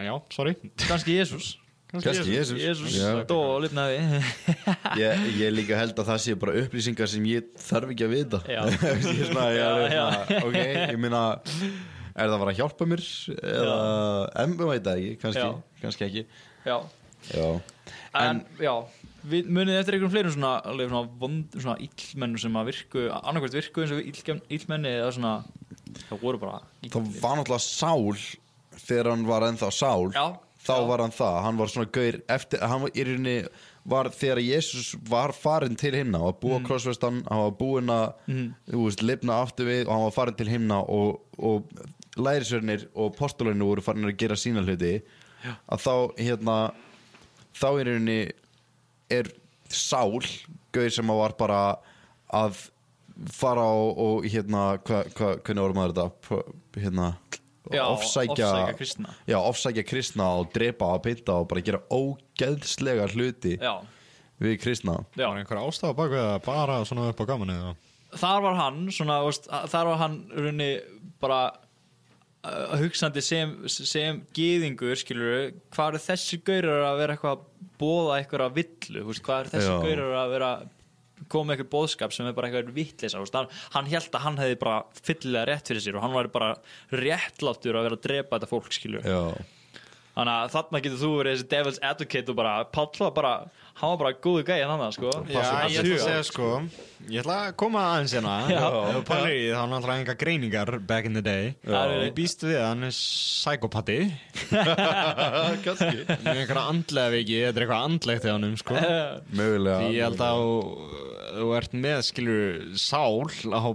Speaker 5: en já, sorry
Speaker 7: kannski Jésús
Speaker 4: Kannski Jesús.
Speaker 7: Jésús
Speaker 4: Já.
Speaker 7: stólið með því
Speaker 4: ég, ég líka held að það sé bara upplýsingar sem ég þarf ekki að vita
Speaker 7: Já.
Speaker 4: ég er svona, já,
Speaker 7: Já,
Speaker 4: já,
Speaker 7: já.
Speaker 4: ok, ég meina er það bara að hjálpa mér eða, en við veit það ekki, kannski,
Speaker 7: Já.
Speaker 4: kannski ekki
Speaker 7: Já,
Speaker 4: já,
Speaker 7: en já Við munið eftir einhverjum fleirum svona, alveg svona, vond, svona illmennu sem að virku annarkvæmt virku eins og illgem- illmenni eða svona, það voru bara
Speaker 4: þá var náttúrulega sál þegar hann var ennþá sál
Speaker 7: Já.
Speaker 4: þá
Speaker 7: Já.
Speaker 4: var hann það, hann var svona gaur eftir, hann var í rauninni var þegar Jésús var farin til himna og að búa mm. krossvestan, hann var búinn að þú veist, lifna aftur við og hann var farin til himna og, og lærisörnir og postulunir voru farin að gera sína hluti Já. að þá hérna þá í rauninni er sál gaur sem að var bara að fara og, og hérna hva, hva, hvernig voru maður þetta Pro- hérna
Speaker 7: Já,
Speaker 4: ofsækja,
Speaker 7: ofsækja kristna.
Speaker 4: já, ofsækja kristna og drepa og pynta og bara gera ógeðslega hluti
Speaker 7: Já,
Speaker 4: við kristna
Speaker 7: já
Speaker 5: Var einhver ástafa bak við það bara svona upp á gamanu eða?
Speaker 7: þar var hann svona, þú veist, þar var hann runni bara uh, hugsandi sem, sem gýðingur skilur, hvað eru þessi gaurar að vera eitthvað að bóða eitthvað að villu þú veist, hvað eru þessi
Speaker 4: Já.
Speaker 7: gaurar að vera að koma með eitthvað bóðskap sem er bara eitthvað vitleisa þú veist, hann, hann held að hann hefði bara fyllilega rétt fyrir sér og hann var bara réttlátur að vera að drepa þetta fólk skilur
Speaker 4: já,
Speaker 7: þannig að þarna getur þú verið þessi devil's advocate og bara palla bara hann var bara góðu gæði hann annað sko
Speaker 5: Já,
Speaker 7: Passa
Speaker 5: ég
Speaker 7: hans
Speaker 5: ætla að
Speaker 7: huga.
Speaker 5: segja sko Ég ætla að koma aðeins hérna Ef þú pælir í því, þá er náttúrulega enga greiningar back in the day
Speaker 7: Það er-
Speaker 5: Ég býst við að hann er psykopati
Speaker 4: Sko, kannski
Speaker 5: Með einhverja andlega veiki, þetta er eitthvað andlegt í honum sko
Speaker 4: mögulega
Speaker 5: Því ég held að þú- þú ert með skilur sál að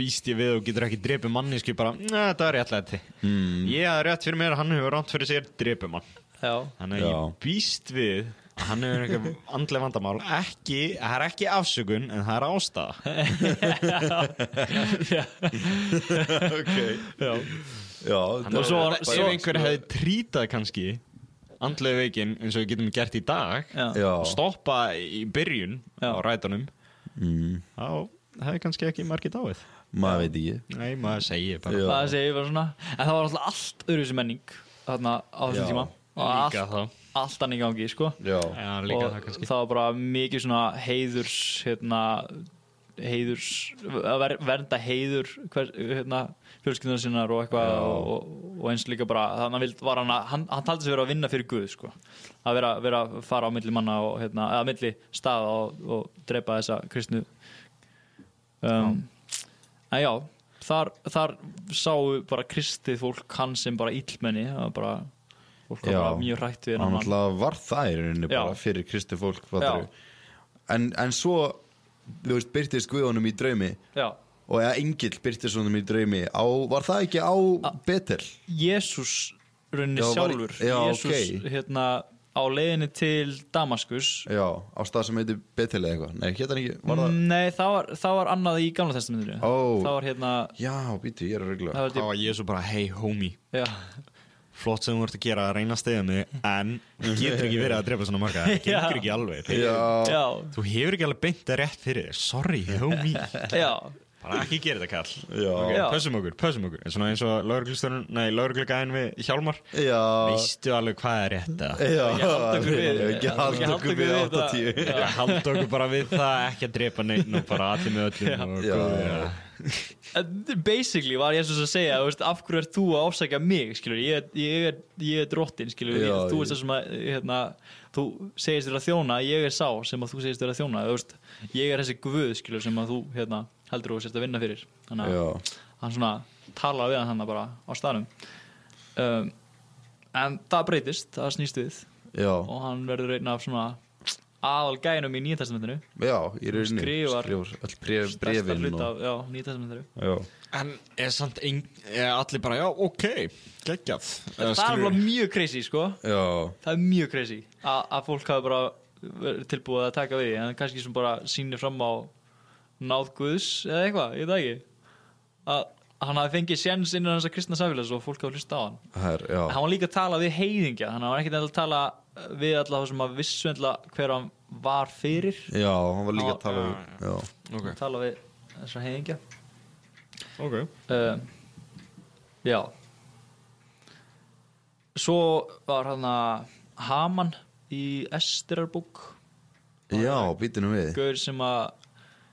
Speaker 5: býst ég við og getur ekki dreipið mannisku bara, "Nei, þetta er réttlæti mm. ég hafði rétt fyrir mér, hann hefur rátt fyrir sér dreipið mann,
Speaker 7: Já.
Speaker 5: þannig að
Speaker 4: Já.
Speaker 5: ég býst við að hann hefur eitthvað andlega vandamál ekki, það er ekki afsökun en það er ástæða
Speaker 4: okay.
Speaker 7: Já.
Speaker 4: já,
Speaker 7: Og svo var-
Speaker 5: ef einhver hefði trítað kannski andlega veikin eins og við getum gert í dag
Speaker 7: Já.
Speaker 4: já,
Speaker 5: og stoppa í byrjun
Speaker 7: Já.
Speaker 5: á rætunum
Speaker 4: Mm.
Speaker 5: þá hefði kannski ekki margir dáið
Speaker 4: maður veit ekki
Speaker 5: Nei, maður segir bara
Speaker 4: Já.
Speaker 7: það segi ég bara svona en það var alltaf allt öðruvísi menning þarna á
Speaker 4: Já.
Speaker 7: þessum tíma og
Speaker 5: Líka
Speaker 7: allt,
Speaker 5: það
Speaker 7: allt annir gangi sko
Speaker 4: já,
Speaker 5: Já, líka
Speaker 7: og
Speaker 5: það kannski
Speaker 7: það var bara mikið svona heiðurs hérna heiðurs, að ver, vernda heiður hver, hérna, fjölskyldunar sinnar og eitthvað og, og eins líka bara þannig að vild- var hann að, hann, hann taldi sig vera að vinna fyrir Guð sko, að vera, vera að fara á milli manna og hérna, eða milli staða og, og drepa þessa kristnu um, en já þar, þar sáu bara kristið fólk hann sem bara illmenni það var bara, fólk var
Speaker 4: Já.
Speaker 7: bara mjög hrætt við
Speaker 4: hann
Speaker 7: þennan mann.
Speaker 4: alltaf var það í rauninni
Speaker 7: Já.
Speaker 4: bara fyrir kristi fólk fattarðu. en, en svo þú veist, byrtist Guðunum í draumi
Speaker 7: já
Speaker 4: og eða engill byrtist honum í draumi á, var það ekki á Betel
Speaker 7: Jésús runni
Speaker 4: Já, var-
Speaker 7: sjálfur
Speaker 4: já,
Speaker 7: Jésús
Speaker 4: ok.
Speaker 7: hérna á leiðinni til Damaskus
Speaker 4: já, á stað sem heitir Betel eða eitthvað nei, hérna ekki, var það
Speaker 7: Nei, það var, það var annað í gamla testamentinu
Speaker 4: Ó.
Speaker 7: Það var hérna
Speaker 4: já, býtu, ég er að regla
Speaker 7: það var,
Speaker 5: Þá var ég svo bara, hey homie
Speaker 7: já,
Speaker 5: Flott sem þú ert að gera að reyna að stiða mig En getur ekki verið að drepa svona marga Það
Speaker 7: Já.
Speaker 5: getur ekki alveg
Speaker 4: já,
Speaker 7: já,
Speaker 5: Þú hefur ekki alveg beint að rétt fyrir þér Sorry, homie
Speaker 7: já,
Speaker 5: Bara ekki gera þetta kall
Speaker 4: já,
Speaker 5: Ok,
Speaker 7: Já.
Speaker 5: Pössum okkur, pössum okkur En Svona eins og lauruglustörun, nei, lauruglugaðin við Hjálmar
Speaker 4: já
Speaker 5: Veistu alveg hvað er rétt að
Speaker 4: já,
Speaker 7: Ekki halda okkur við-
Speaker 4: ekki halda okkur við
Speaker 7: við
Speaker 4: 80
Speaker 7: þetta.
Speaker 5: Já, halda okkur bara við það, ekki að drepa neitt og bara allir með öllum og
Speaker 4: Já.
Speaker 5: góðir að-
Speaker 7: En Basically var Jésús að segja þú veist, Af hverju ert þú að ásækja mig skilur, ég, er- ég, er, ég er drottin skilur,
Speaker 4: Já,
Speaker 7: ég, Þú
Speaker 4: ég-
Speaker 7: veist það sem að hérna, Þú segist þér að þjóna Ég er sá sem að þú segist þér að þjóna þú veist, Ég er þessi guð skilur, sem að þú hérna, heldur og sérst að vinna fyrir Þannig að
Speaker 4: já,
Speaker 7: hann svona talaði við hann bara á staðnum um, en það breytist, það snýst við
Speaker 4: já,
Speaker 7: og hann verður einn af svona aðal gænum í nýjastestamentinu
Speaker 4: já í rauninni
Speaker 7: Skrifar-
Speaker 4: öll bref,
Speaker 7: stærsta
Speaker 4: brefin og,
Speaker 7: hluta af já, nýjastestamentinu
Speaker 4: já,
Speaker 5: En er samt ein, er allir bara, já, ok, geggjað Eða
Speaker 7: það er
Speaker 5: skilur-
Speaker 7: alveg mjög crazy sko
Speaker 4: já,
Speaker 7: það er mjög crazy að að fólk hafi bara verið tilbúið að taka við því, en kannski sem bara sýnir fram á náð guðs eða eitthvað, ég veit það ekki að hann hafi fengið séns innan hans að kristna samfélags og fólk hafi hlustað á hann
Speaker 4: her, já
Speaker 7: hann var líka að tala við heiðingja þannig að hann var ekkert endilega að tala við alla þá sem að vissu endilega hver hann var fyrir
Speaker 4: já, hann var líka
Speaker 7: Já,
Speaker 4: að tala um- já,
Speaker 5: Ok,
Speaker 7: að tala við þessar heiðingja
Speaker 5: ok
Speaker 7: uh, já svo var hann að Haman í Esterarbúk
Speaker 4: Já, býtunum við
Speaker 7: Gaur sem að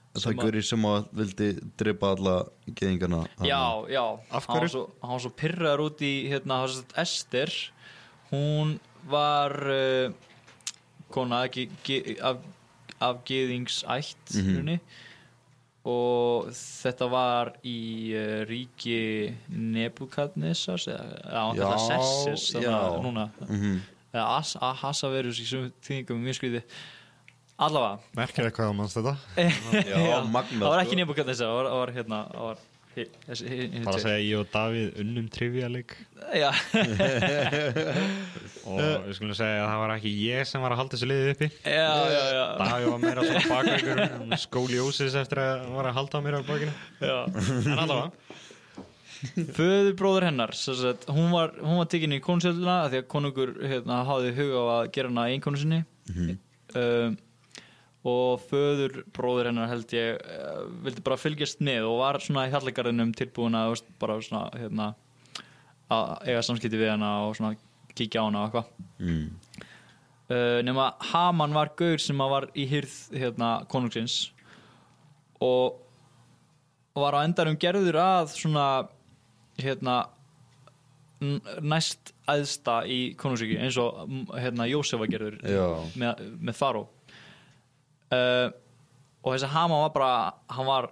Speaker 4: Það
Speaker 7: sem
Speaker 4: er
Speaker 7: að-
Speaker 4: gurið sem að vildi dripa alla geðingarna þarna.
Speaker 7: Já, já
Speaker 5: Af
Speaker 7: Hann var
Speaker 5: hverju?
Speaker 7: svo, hann var svo pyrraður út í hérna, hann var svo Ester Hún var uh, kona af ge- ge- af, af geðingsætt mm og þetta var í uh, ríki Nebukadnesar eða hann
Speaker 4: Já,
Speaker 7: kallar Sessis
Speaker 4: já.
Speaker 7: núna eða As- Ahasverus í sumum tíðingum mjög skriði allavega
Speaker 5: Merkir eitthvað að mannst þetta
Speaker 4: Já, magnað,
Speaker 7: það var
Speaker 4: sko.
Speaker 7: ekki Nebukadnesar, það var, það var hérna það var hi- þessi- hi- hinir
Speaker 5: Bara
Speaker 7: tveir.
Speaker 5: að segja ég og Davíð unnum trivialeg
Speaker 7: Já,
Speaker 5: Og
Speaker 4: Eh.
Speaker 5: við skulum segja að það var ekki ég sem var að halda þessu liðið uppi
Speaker 7: já, já, já,
Speaker 5: Davíð var meira svona bakveikur Skóli Jósis eftir að hann var að halda á mér á bakinu
Speaker 7: já.
Speaker 5: En allavega
Speaker 7: Föðurbróður hennar sem sagt, hún, var, hún var tekinni í konusjölduna af því að konungur hérna, hafði hug á að gera hana einkonu sinni um, og föðurbróður hennar held ég uh, vildi bara fylgjast með og var svona í hallegarðinum tilbúin að þú veist, bara svona hérna, að eiga samskipti við hana og svona kíkja á hana og eitthvað
Speaker 4: mm.
Speaker 7: uh, nema Haman var gaur sem að var í hýrð hérna, konungsins og var á endanum gerður að svona hérna n- næst æðsta í konungsíki eins og m- hérna Jósef var gerður
Speaker 4: Já.
Speaker 7: með, með Faró uh, og þessi Haman var bara hann var,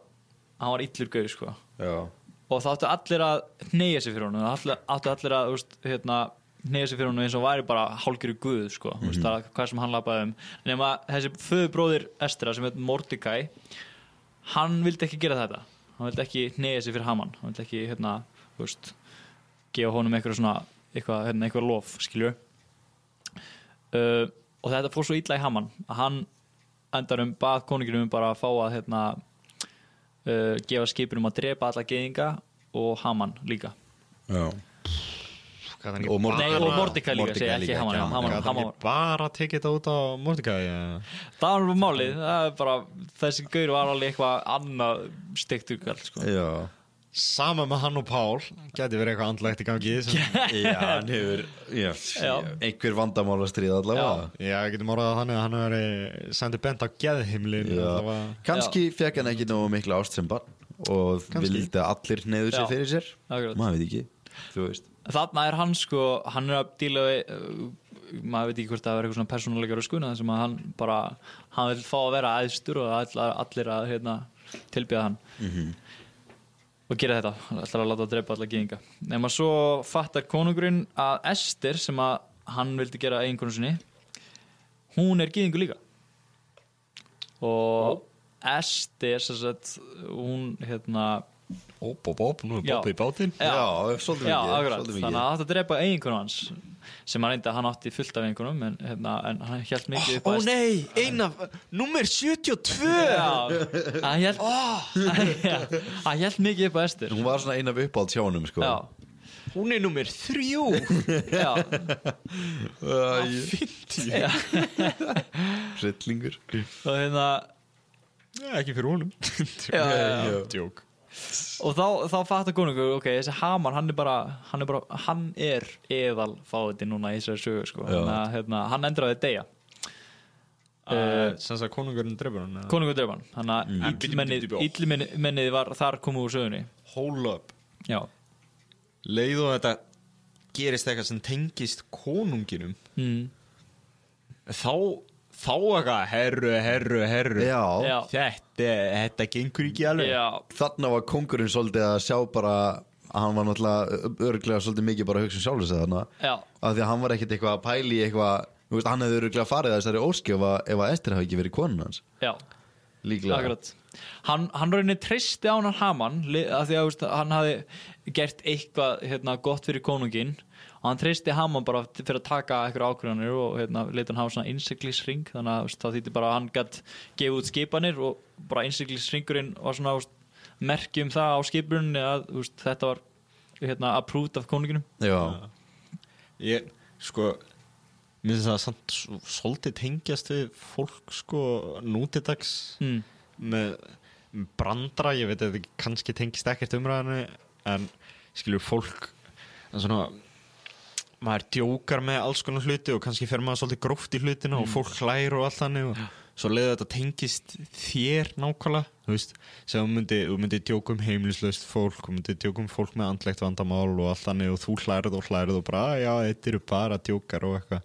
Speaker 7: hann var illur gaur sko
Speaker 4: Já
Speaker 7: og það áttu allir að neyja sig fyrir honum það áttu- áttu allir að úst, hérna, neyja sig fyrir honum eins og væri bara hálgjöru guð sko, mm -hmm. það, hvað sem hann lapaði um nema þessi föðubróðir Estra sem heit Mordecai hann vildi ekki gera þetta hann vildi ekki neyja sig fyrir Haman hann vildi ekki hérna, úst, gefa honum eitthvað svona eitthvað, hérna, eitthvað lof skilju uh, og þetta fór svo illa í Haman að hann endarum bað koninginum bara að fá að hérna, uh, gefa skipunum að drepa alla geðinga og Haman líka
Speaker 4: Já,
Speaker 5: Gat hann ekki
Speaker 4: Og Mordecai.
Speaker 7: Nei,
Speaker 5: bara-
Speaker 7: og Mordecai líka,
Speaker 4: Mordecai
Speaker 7: segi ég,
Speaker 4: líka,
Speaker 7: ekki Haman,
Speaker 4: ekki
Speaker 7: já,
Speaker 4: Haman,
Speaker 7: Haman,
Speaker 5: Gat hann
Speaker 7: Haman,
Speaker 5: ekki bara tekið þetta út á Mordecai eða?
Speaker 7: Það var málið, það er bara þessi gaur var alveg eitthvað annað stektur kall, sko
Speaker 4: já
Speaker 5: Sama með hann og Pál Gæti verið eitthvað andlegt í gangi í þessu.
Speaker 4: Já, hann hefur já,
Speaker 7: Já.
Speaker 4: Einhver vandamál að stríða allavega
Speaker 5: Já, við getum orðað þannig að hann er sendið bent á geðhimlin
Speaker 4: Já. Kanski fekk hann ekki nógu mikla ást sem barn Og vildi að allir neyður sér
Speaker 7: Já.
Speaker 4: fyrir sér
Speaker 7: Akkurat.
Speaker 4: Maður veit ekki, þú veist
Speaker 7: Þarna er hann, sko, hann er að díla við uh, maður veit ekki hvort það er eitthvað svona persónuleikar og skuna sem að hann bara hann vil fá að vera æðstur og allar, allir að hérna, tilbyða hann og gera þetta, hann ætlar að láta að drepa alla geðinga nema svo fattar konungurinn að Ester sem að hann vildi gera eiginkonu sinni hún er gyðingu líka og Ester sem sagt, hún hérna
Speaker 5: Óp, óp, óp, nú er
Speaker 7: Já.
Speaker 5: Bobbi í bátinn
Speaker 4: Já, svolítið
Speaker 7: Já,
Speaker 4: mikið,
Speaker 7: akkurat,
Speaker 4: svolítið mikið.
Speaker 7: þannig að það átti að drepa eiginkonu hans sem hann reyndi að hann átti fullt af eiginkonum en, hérna, en hann held mikið upp að
Speaker 5: nei, eina, nummer 72
Speaker 7: Já, hann held oh. hann held mikið upp að estir
Speaker 4: Hún var svona eina af uppáld hjá honum sko.
Speaker 7: Já,
Speaker 5: Hún er nummer 3
Speaker 7: já,
Speaker 4: Æ,
Speaker 7: já
Speaker 4: Rillingur
Speaker 7: og hérna
Speaker 5: Ekki fyrir honum
Speaker 7: já, já, já.
Speaker 5: Djók
Speaker 7: og þá, þá fattar konungur, ok, þessi Haman hann er bara, hann er, bara, hann er eðal fáðið núna í þessari sögu sko.
Speaker 4: Já.
Speaker 7: þannig að hérna, hann endur á því deyja
Speaker 5: uh, Sens að konungurinn dreifur hann eða?
Speaker 7: konungur drefan, þannig
Speaker 5: En bíddu,
Speaker 7: að
Speaker 5: bíddu, bíddu, ó.
Speaker 7: illmennið var þar komið úr sögunni
Speaker 5: Hold up
Speaker 7: já,
Speaker 5: Leið og þetta gerist eitthvað sem tengist konunginum
Speaker 7: mm.
Speaker 5: Þá, þá eitthvað, herru, herru, herru
Speaker 4: Já,
Speaker 7: já.
Speaker 5: Þetta, þetta gengur ekki alveg
Speaker 7: Já,
Speaker 4: þarna var kongurinn svolítið að sjá bara að hann var náttúrulega örglega svolítið mikið bara að hugsa um sjálfins þarna
Speaker 7: Já.
Speaker 4: af því að hann var ekkert eitthvað að pæli eitthvað þú veist, hann hefði örglega farið að þessari óski ef að, ef að Esther hafi ekki verið konun hans
Speaker 7: já,
Speaker 4: líklega
Speaker 7: akkurat Hann, hann rauninni treysti á hann Haman li- af því að veist, hann hafi gert eitthvað hérna, gott fyrir konungin og hann treysti Haman bara t- fyrir að taka eitthvað ákvörðanir og hérna, leita hann hafa svona innsiklisring þannig að veist, það þýtti bara að hann gætt gefið út skipanir og bara innsiklisringurinn var svona veist, merki um það á skipunni að veist, þetta var hérna, approved af konunginum
Speaker 4: Já,
Speaker 5: Ég, sko Mér finnst það samt s- svolítið tengjast við fólk sko nútidags
Speaker 7: Mm.
Speaker 5: með með brandra, ég veit að þetta kannski tengist ekkert umræðinu en skilur fólk en svona maður djókar með alls konar hluti og kannski fer maður svolítið gróft í hlutina og fólk hlær og allt þannig og svo leiði þetta tengist þér nákvæmlega, þú veist sem þú myndi, þú myndi djóka um heimlislaust fólk þú myndi djóka um fólk með andlegt vandamál og allt þannig og þú hlærið og hlærið og bara "Æ, já, þetta eru bara djókar og eitthvað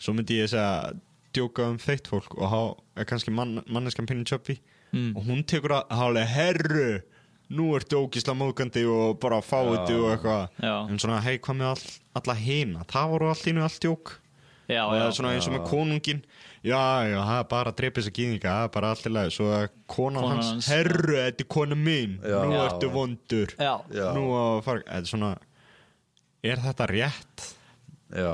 Speaker 5: svo myndi ég segja djóka um þeitt fólk og há, er kannski mann, manneskan pinni tjöppi og hún tekur að hálega herru nú ertu ógisla móðgandi og bara fáiði og eitthvað
Speaker 7: Já.
Speaker 5: en svona hei hvað með all, alla hina það voru allt innu allt djók
Speaker 7: já,
Speaker 5: og
Speaker 7: já,
Speaker 5: það er svona eins og með konungin já já það er bara að dreipa þess að gýðinga það er bara allt í lagi svo að konan
Speaker 7: Konan
Speaker 5: hans,
Speaker 7: hans,
Speaker 5: herru þetta er kona mín
Speaker 4: Já.
Speaker 5: nú
Speaker 4: Já.
Speaker 5: ertu vondur
Speaker 7: já,
Speaker 4: Já.
Speaker 5: nú á að fara þetta er svona er þetta rétt
Speaker 4: Já,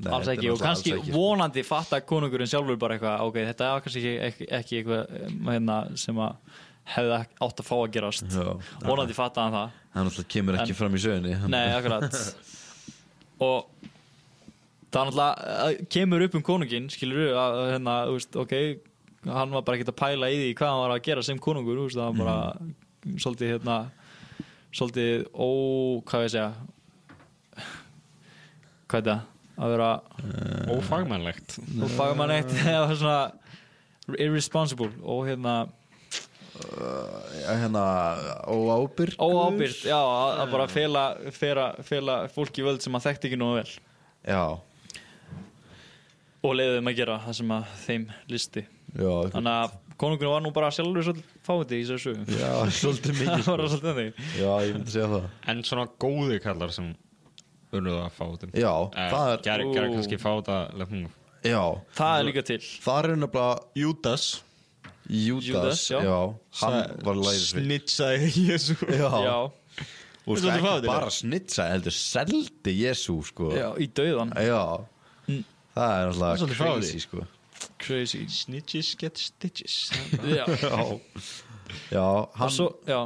Speaker 4: nei, þetta
Speaker 7: alls
Speaker 4: er
Speaker 7: ekki og
Speaker 4: náttúrulega
Speaker 7: kannski
Speaker 4: alls ekki, sko.
Speaker 7: vonandi fatta konungurinn sjálfur bara eitthvað ok, þetta er kannski ekki, ekki, ekki eitthvað um, hérna, sem að hefði átt að fá að gerast
Speaker 4: Já.
Speaker 7: vonandi fatta hann það
Speaker 4: Hann alltaf kemur ekki fram í sögunni hann-
Speaker 7: Nei, akkurat Og það er náttúrulega að kemur upp um konungin skilur við að að hérna, þú veist, ok hann var bara ekkert að pæla í því hvað hann var að gera sem konungur, þú veist, það var bara svolítið hérna svolítið ó, hvað á ég að segja hvað er það? að vera
Speaker 5: ófagmannlegt
Speaker 7: og faga mann eitt eða svona irresponsible og hérna
Speaker 4: Já, Hérna, óábyrg
Speaker 7: óábyrgt, já, að að bara fela, fela, fela fólki völd sem að þekkti ekki nógu vel
Speaker 4: Já,
Speaker 7: og leiðið um að gera það sem að þeim listi
Speaker 4: já,
Speaker 7: þannig að konungurinn var nú bara sjálfur svolítið fáiði í þessu sögum
Speaker 4: já Svolítið mikið
Speaker 7: það
Speaker 4: sko.
Speaker 7: var svolítið þannig
Speaker 4: Já, ég myndi segja það
Speaker 5: en svona góði kallar sem urðuðu að um. fáiði
Speaker 4: Já,
Speaker 5: Eh,
Speaker 4: það er,
Speaker 5: gerði
Speaker 7: Ú.
Speaker 5: kannski fáiða
Speaker 4: já
Speaker 7: það er líka til
Speaker 4: Það er nefnilega
Speaker 5: Júdas
Speaker 4: Judas,
Speaker 7: Judas, já.
Speaker 4: já Hann var lærisveit
Speaker 5: snitsaði Jésu
Speaker 4: Já,
Speaker 7: já,
Speaker 4: og
Speaker 5: Þetta
Speaker 4: sko
Speaker 5: er
Speaker 4: ekki
Speaker 5: fátíðlegt.
Speaker 4: bara snitsa heldur seldi Jésu sko
Speaker 7: já, í dauðan
Speaker 4: Já.
Speaker 7: Mm.
Speaker 4: það er
Speaker 5: er
Speaker 4: alltaf
Speaker 5: svolítið
Speaker 4: crazy sko
Speaker 7: crazy
Speaker 5: Snitches get stitches
Speaker 7: já,
Speaker 4: já, já
Speaker 7: og
Speaker 4: hann
Speaker 7: svo, já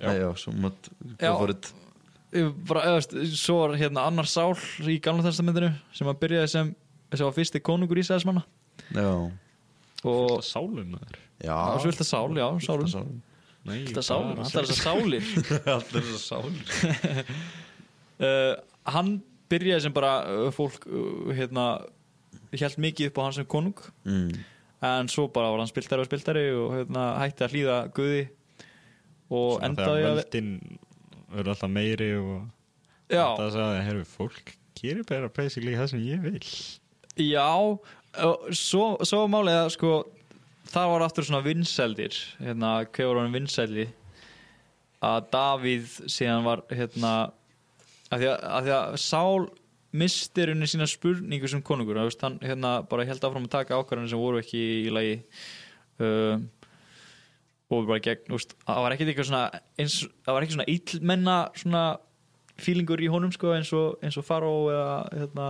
Speaker 4: já. Nei, já, svo mat,
Speaker 7: Já.
Speaker 4: já.
Speaker 7: Ég bara, eða, veist, svo var hérna annar sál í gamla testamentinu sem að byrjaði sem sem var fyrsti konungur Ísæðismanna
Speaker 4: já
Speaker 7: og
Speaker 5: Sálum maður
Speaker 4: já,
Speaker 7: og svo viltu sál, já, sálum
Speaker 4: sálum.
Speaker 5: Nei,
Speaker 7: Þetta er sálin, þetta er þess að sálin
Speaker 4: alltaf þess að sálin
Speaker 7: uh, Hann byrjaði sem bara uh, fólk uh, hérna held mikið upp á hann sem konung
Speaker 4: mm.
Speaker 7: en svo bara var hann spiltari og spiltari og hérna, hætti að hlýða guði og endaði
Speaker 5: Þegar
Speaker 7: að
Speaker 5: völdin verður alltaf meiri og
Speaker 7: já,
Speaker 5: það sagði, herru, fólk gerir bara basically það sem ég vil
Speaker 7: já og svo, svo var málið að sko þar var aftur svona vinsældir hérna, hver var hann vinsældi að Davíð síðan var hérna að því að, að, því að Sál mistir unni sína spurningu sem konungur þú veist, hann hérna bara held áfram að taka ákvarðanir sem voru ekki í lagi um, og bara gegn þú veist, það var ekkert eitthvað svona eins, það var ekki svona illmenna svona fílingur í honum sko eins og, eins og Faró eða hérna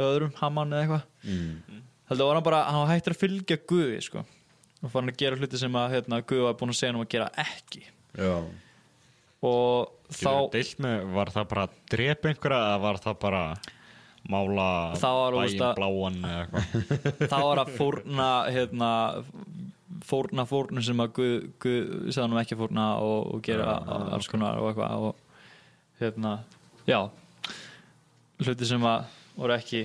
Speaker 7: eða öðrum Haman eða eitthvað mm. heldur var hann bara, hann var hættur að fylgja Guði sko og fann að gera hluti sem að hérna, Guði var búin að segja hann um að gera ekki
Speaker 4: já,
Speaker 7: og
Speaker 5: Þá,
Speaker 7: þá
Speaker 5: deilt með, var það bara að drepa einhverja eða var það bara mála
Speaker 7: Það var, þú veist,
Speaker 5: bæinn
Speaker 7: að-
Speaker 5: bláan eða eitthvað
Speaker 7: þá var að fórna hérna, fórna fórnum sem að Guð, Guð sagði hann um ekki að fórna og, og gera alls konar og eitthvað og hérna, já hluti sem að voru ekki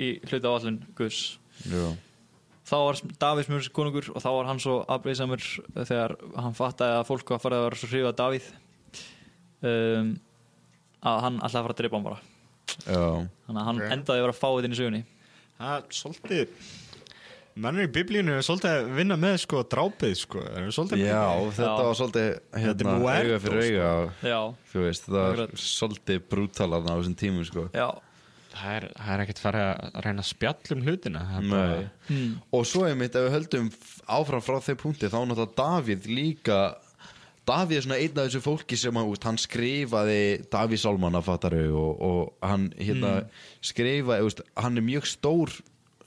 Speaker 7: í hluti á allin Guðs
Speaker 4: já.
Speaker 7: þá var Davís mjög konungur og þá var hann svo afbreyðsamur þegar hann fattaði að fólk var farið að vera svo hrifið að Davíð um, að hann alltaf fara að drepa hann bara
Speaker 4: já.
Speaker 7: þannig að hann endaði að vera fáið inn í sögunni
Speaker 5: Það er svolítið Mennur í biblíunum er svolítið að vinna með sko drápið sko er svolítið
Speaker 4: Já, þetta
Speaker 7: Já.
Speaker 4: var svolítið
Speaker 5: Þetta er
Speaker 4: hérna,
Speaker 5: Muerto,
Speaker 4: auga fyrir auga og,
Speaker 7: já,
Speaker 4: þú veist, þetta var
Speaker 7: sko. Akkurat.
Speaker 4: svolítið brútalarna á þessum tímum sko.
Speaker 7: já,
Speaker 5: það er, það er ekkert farið að reyna að spjalla um hlutina það er bara-
Speaker 4: Nei. og svo einmitt ef við höldum f- áfram frá þeim punkti þá er náttúrulega Davíð líka Davíð er svona einn af þessu fólki sem að, úst, hann skrifaði Davíð Sálmanna fattaru og, og hann hérna skrifaði, úst, hann er mjög stór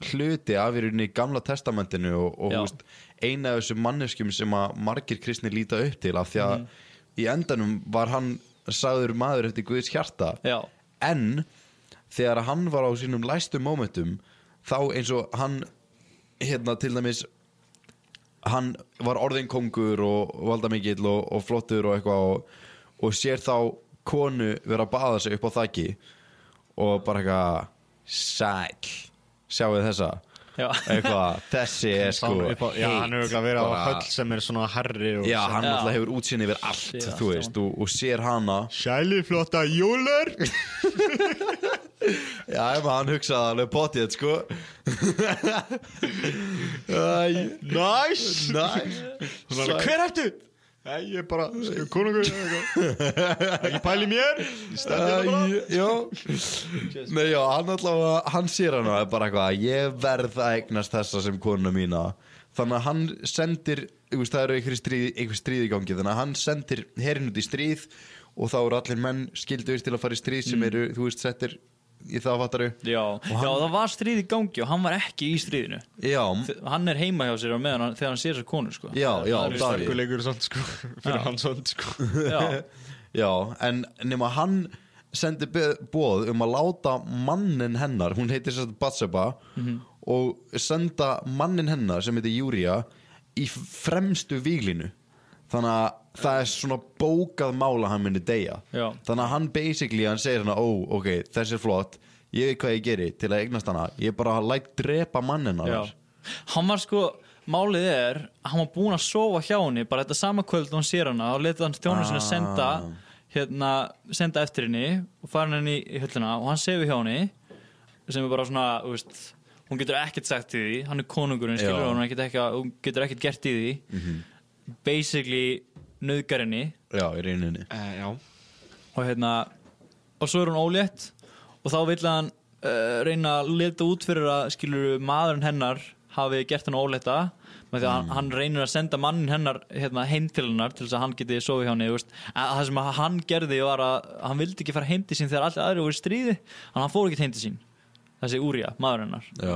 Speaker 4: hluti af í rauninni gamla testamentinu og, og
Speaker 7: Já.
Speaker 4: úst, eina af þessum manneskjum sem að margir kristni líta upp til af því að í endanum var hann sagður maður eftir Guðs hjarta
Speaker 7: Já.
Speaker 4: en þegar hann var á sínum læstu mómentum þá eins og hann hérna til dæmis hann var orðin kongur og valdamikill og, og flottur og eitthvað og, og sér þá konu vera að baða sig upp á þakki og bara eitthvað sæl, sjáu þessa
Speaker 7: Já.
Speaker 4: eitthvað, þessi er sko
Speaker 5: upp á, já, hann
Speaker 4: heit,
Speaker 5: er auðvitað að vera á
Speaker 4: bara-
Speaker 5: höll sem er svona harri og
Speaker 4: já, hann
Speaker 7: Já.
Speaker 4: alltaf hefur útsýn yfir allt,
Speaker 7: Sér
Speaker 4: þú
Speaker 7: allt
Speaker 4: veist, og, og sér hana
Speaker 5: Sæliflotta júlar
Speaker 4: Já, ef hann hugsaði alveg potið, sko Æ,
Speaker 5: Næs
Speaker 4: næs
Speaker 5: Sæl. Hver ertu? Nei, ég er bara sko, konungur Ekki pæli mér
Speaker 4: Æ, já Nei, já, hann allavega, hann sér hann og er bara eitthvað Ég verð að eignast þessa sem konuna mína Þannig að hann sendir, þú veist, það eru einhver stríð, einhver stríð í gangi Þannig að hann sendir herinn út í stríð Og þá eru allir menn skilduðist til að fara í stríð sem eru, þú veist, settir í það fattaru
Speaker 7: Já, já, það var stríð í gangi og hann var ekki í stríðinu
Speaker 4: Já,
Speaker 7: Þe- Hann er heima hjá sér á meðan hann, þegar hann sér þessar konur sko.
Speaker 4: já, já,
Speaker 7: Það er-
Speaker 4: Davíð
Speaker 5: Stökkulegur samt sko Fyrir hann samt sko
Speaker 7: já,
Speaker 4: Já, en nema hann sendi bóð um að láta mannin hennar, hún heitir sérst Batseba
Speaker 7: Mhm.
Speaker 4: og senda mannin hennar sem heitir Júria í f- fremstu víglinu þannig að það er svona bókað mála hann minni deyja
Speaker 7: Já.
Speaker 4: þannig að hann basically, hann segir hann ó, ok, þessi er flott, ég veit hvað ég geri til að eignast hana, ég bara læt drepa mannin
Speaker 7: já.
Speaker 4: hennar
Speaker 7: Hann var sko Málið er, hann var búinn að sofa hjá henni bara þetta sama kvöld og hann sér hana og leta hann þjónu
Speaker 4: Ah.
Speaker 7: sinna senda hérna, senda eftir henni og fara henni í höllina og hann sefur hjá henni sem er bara svona, þú veist hún getur ekkert sagt í því, hann er konungurinn
Speaker 4: Já.
Speaker 7: skilur
Speaker 4: Mhm.
Speaker 7: hún, getur ekki, hún getur ekkert gert í því basically nöðgar henni
Speaker 4: já, í reyninni
Speaker 5: Já
Speaker 7: og hérna og svo er hún ólétt og þá vill hann uh, reyna að leta út fyrir að skilur maðurinn hennar hafi gert hann ólétta með því að hann, hann reynir að senda mannin hennar hérna, heim til hennar til þess að hann geti sofið hjá henni þú veist. að það sem að hann gerði var að hann vildi ekki fara heim til sín þegar allir aðri voru í stríði en hann fór ekki heim til sín þessi Úrja, maður hennar
Speaker 4: já,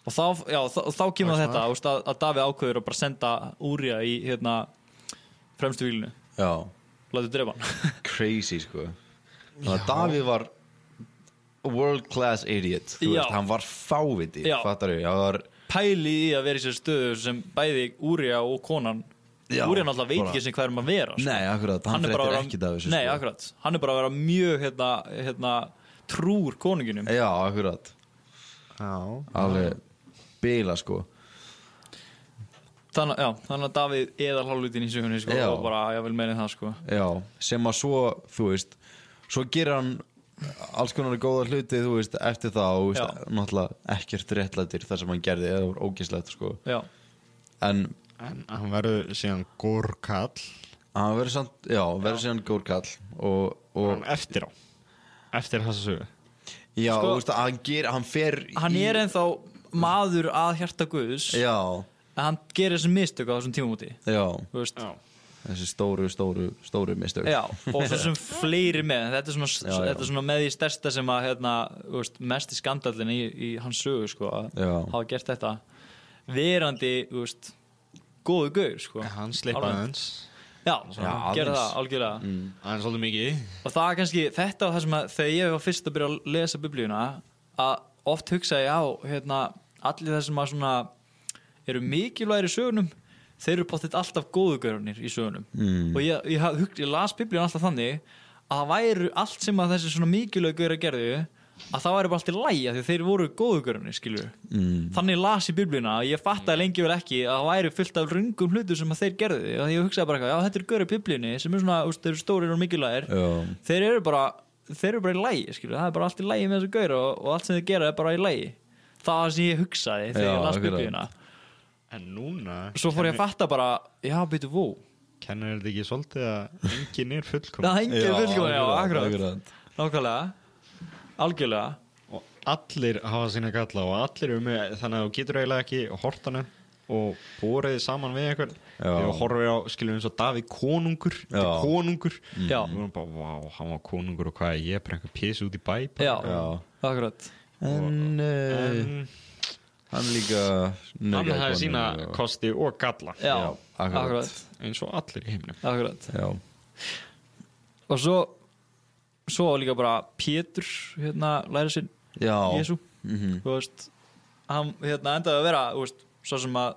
Speaker 7: og þá, já, þá, þá kemur þetta þú veist, að, að Davi ákveður að bara senda Úrja í hérna, fremstu vílinu
Speaker 4: já
Speaker 7: látið drefa hann
Speaker 4: crazy sko þannig að Davíð var world class idiot þú
Speaker 7: Já.
Speaker 4: veist, hann var fáviti
Speaker 7: Já.
Speaker 4: fattar við, hann var
Speaker 7: pæli í að vera í sér stöðu sem bæði Úrja og konan
Speaker 4: Já,
Speaker 7: Úrja náttúrulega veit
Speaker 4: bara-
Speaker 7: ekki sem hvað er um að vera sko.
Speaker 4: Nei, akkurat, hann
Speaker 7: er bara að
Speaker 4: fréttir
Speaker 7: vera-
Speaker 4: ekkert af þessu,
Speaker 7: Nei,
Speaker 4: sko.
Speaker 7: akkurat, hann er bara að vera mjög hérna, hérna, trúr konunginum
Speaker 4: já, akkurat,
Speaker 5: Já
Speaker 4: alveg bila sko
Speaker 7: þannig, já, þannig að Davíð eða hálflutin í sögunni sko,
Speaker 4: Já.
Speaker 7: og bara, ég vil meina það sko.
Speaker 4: já, sem að svo, þú veist svo gerir hann alls konar góða hluti, þú veist, eftir það og, þú veist,
Speaker 7: Já.
Speaker 4: náttúrulega ekkert réttlætir það sem hann gerði, það var ógislegt sko
Speaker 7: já,
Speaker 4: en
Speaker 5: En hann verður síðan górkall
Speaker 4: hann verður samt, já, verður síðan góð kall og, og
Speaker 5: Eftir á Eftir þessa sögu
Speaker 4: já,
Speaker 7: Sko-
Speaker 4: þú veist, hann ger, hann fer
Speaker 7: hann
Speaker 4: í,
Speaker 7: er ennþá maður að hjarta Guðs
Speaker 4: já,
Speaker 7: en hann gerir þessum mistök á þessum tímamúti
Speaker 4: já,
Speaker 7: þú veist
Speaker 5: Já
Speaker 4: þessi stóru, stóru, stóru mistök
Speaker 7: Já, og svo sem fleiri með þetta er svona,
Speaker 4: Já, já.
Speaker 7: Þetta er svona með því stærsta sem að hérna, þú veist, mest í skandallin í, í hans sögu sko, að
Speaker 4: Já.
Speaker 7: hafa gert þetta verandi þú veist, góðu gaur sko.
Speaker 5: Hann sleipaði
Speaker 7: Alveg.
Speaker 5: aðeins
Speaker 7: Já,
Speaker 4: Já,
Speaker 7: gera
Speaker 4: aðeins.
Speaker 7: það algjörlega
Speaker 5: Aðeins svolítið mikið
Speaker 7: og það er kannski, þetta var það sem að þegar ég var fyrst að byrja að lesa biblíuna að oft hugsa ég á hérna, allir það sem að svona eru mikilvægir í sögunum þeir eru bóttið alltaf góðugörunir í sögunum mm. og ég, ég, haf- hug, ég las biblíuna alltaf þannig að það væru allt sem að þessi svona mikilvægur að gerðu að það væri bara allt í lægja því að þeir voru góðugörunir skilur mm. þannig las ég biblíuna að ég fattaði lengi vel ekki að það væri fullt af rungum hlutu sem að þeir gerðu og ég hugsaði bara eitthvað, já þetta eru görur biblíunni sem er svona, þú veist, þeir eru stórir og mikilvægir
Speaker 4: Já.
Speaker 7: þeir eru bara þeir eru bara í lægi, skilur, það er bara allt í lægi með þessu gaur og, og allt sem þið gera er bara í lægi það var það sem ég hugsaði þegar
Speaker 4: Já,
Speaker 7: ég las
Speaker 4: akkurat.
Speaker 7: biblíuna
Speaker 5: En núna
Speaker 7: svo fór ég að fatta bara, já, byrju, vó
Speaker 5: Kennir þetta ekki svolítið að enginn er fullkomun
Speaker 7: það hengið fullkomlega, já, akkurat
Speaker 4: akkurat.
Speaker 7: nákvæmlega, algjörlega
Speaker 5: og allir hafa sína galla og allir eru með þannig að þú getur eiginlega ekki hortanum og borið þið saman við einhvern
Speaker 4: Já.
Speaker 5: og horfið á skilum eins og Davíð konungur þetta er
Speaker 4: Já.
Speaker 5: konungur
Speaker 7: Já.
Speaker 5: og hann bara, vá, hann var konungur og hvað er ég bara einhver písi út í bæ bara?"
Speaker 7: já,
Speaker 4: Já.
Speaker 7: akkurat eh,
Speaker 4: en uh,
Speaker 5: en
Speaker 4: hann líka
Speaker 5: hann
Speaker 4: nauðgaði
Speaker 5: hefði
Speaker 4: konur
Speaker 5: sína
Speaker 4: og-
Speaker 5: kosti og galla
Speaker 7: já,
Speaker 4: Já, akkurat.
Speaker 7: akkurat,
Speaker 5: eins og allir í heimnum
Speaker 7: akkurat
Speaker 4: já,
Speaker 7: og svo svo var líka bara Pétur hérna, læra sinn
Speaker 4: já. Mhm.
Speaker 7: Jésu þú veist hann hérna, endaði að vera þú veist, svo sem að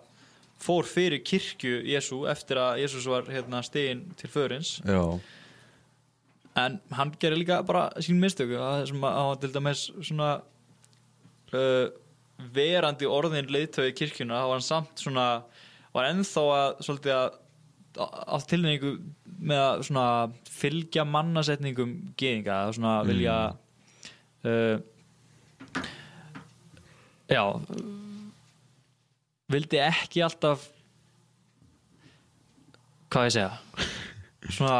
Speaker 7: fór fyrir kirkju Jésu eftir að Jésus var hérna, stegin til förins
Speaker 4: já,
Speaker 7: en hann gerir líka bara sín mistök það sem að hann var til dæmis svona uh, verandi orðin leiðtögi kirkjuna þá var hann samt svona var ennþá að svolítið að á tilningu með að svona fylgja mannasetningum geðinga, að svona vilja uh, já vildi ekki alltaf hvað á ég að segja svona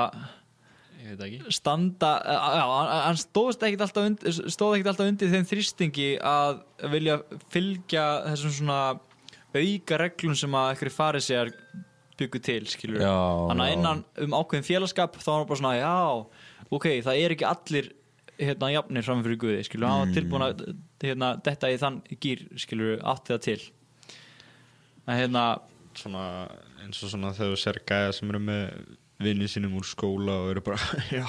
Speaker 5: ég veit það ekki
Speaker 7: standa eh, já, hann- hann stóðst ekkit alltaf undir, stóð ekkit alltaf undir þeim þrýstingi að vilja fylgja þessum svona auka reglum sem að ekkert farið sér byggu til skilur
Speaker 4: Já,
Speaker 7: þannig
Speaker 4: já.
Speaker 7: að innan um ákveðin félagskap þá var hann bara svona já ok, það er ekki allir hérna jafnir fram fyrir Guði skilur, hann
Speaker 5: Mm.
Speaker 7: var tilbúin að hérna, detta í þann gýr skilur, átti það til en hérna
Speaker 5: svona, eins og svona þegar þú sér gæja sem eru með vinnið sínum úr skóla og eru bara, já,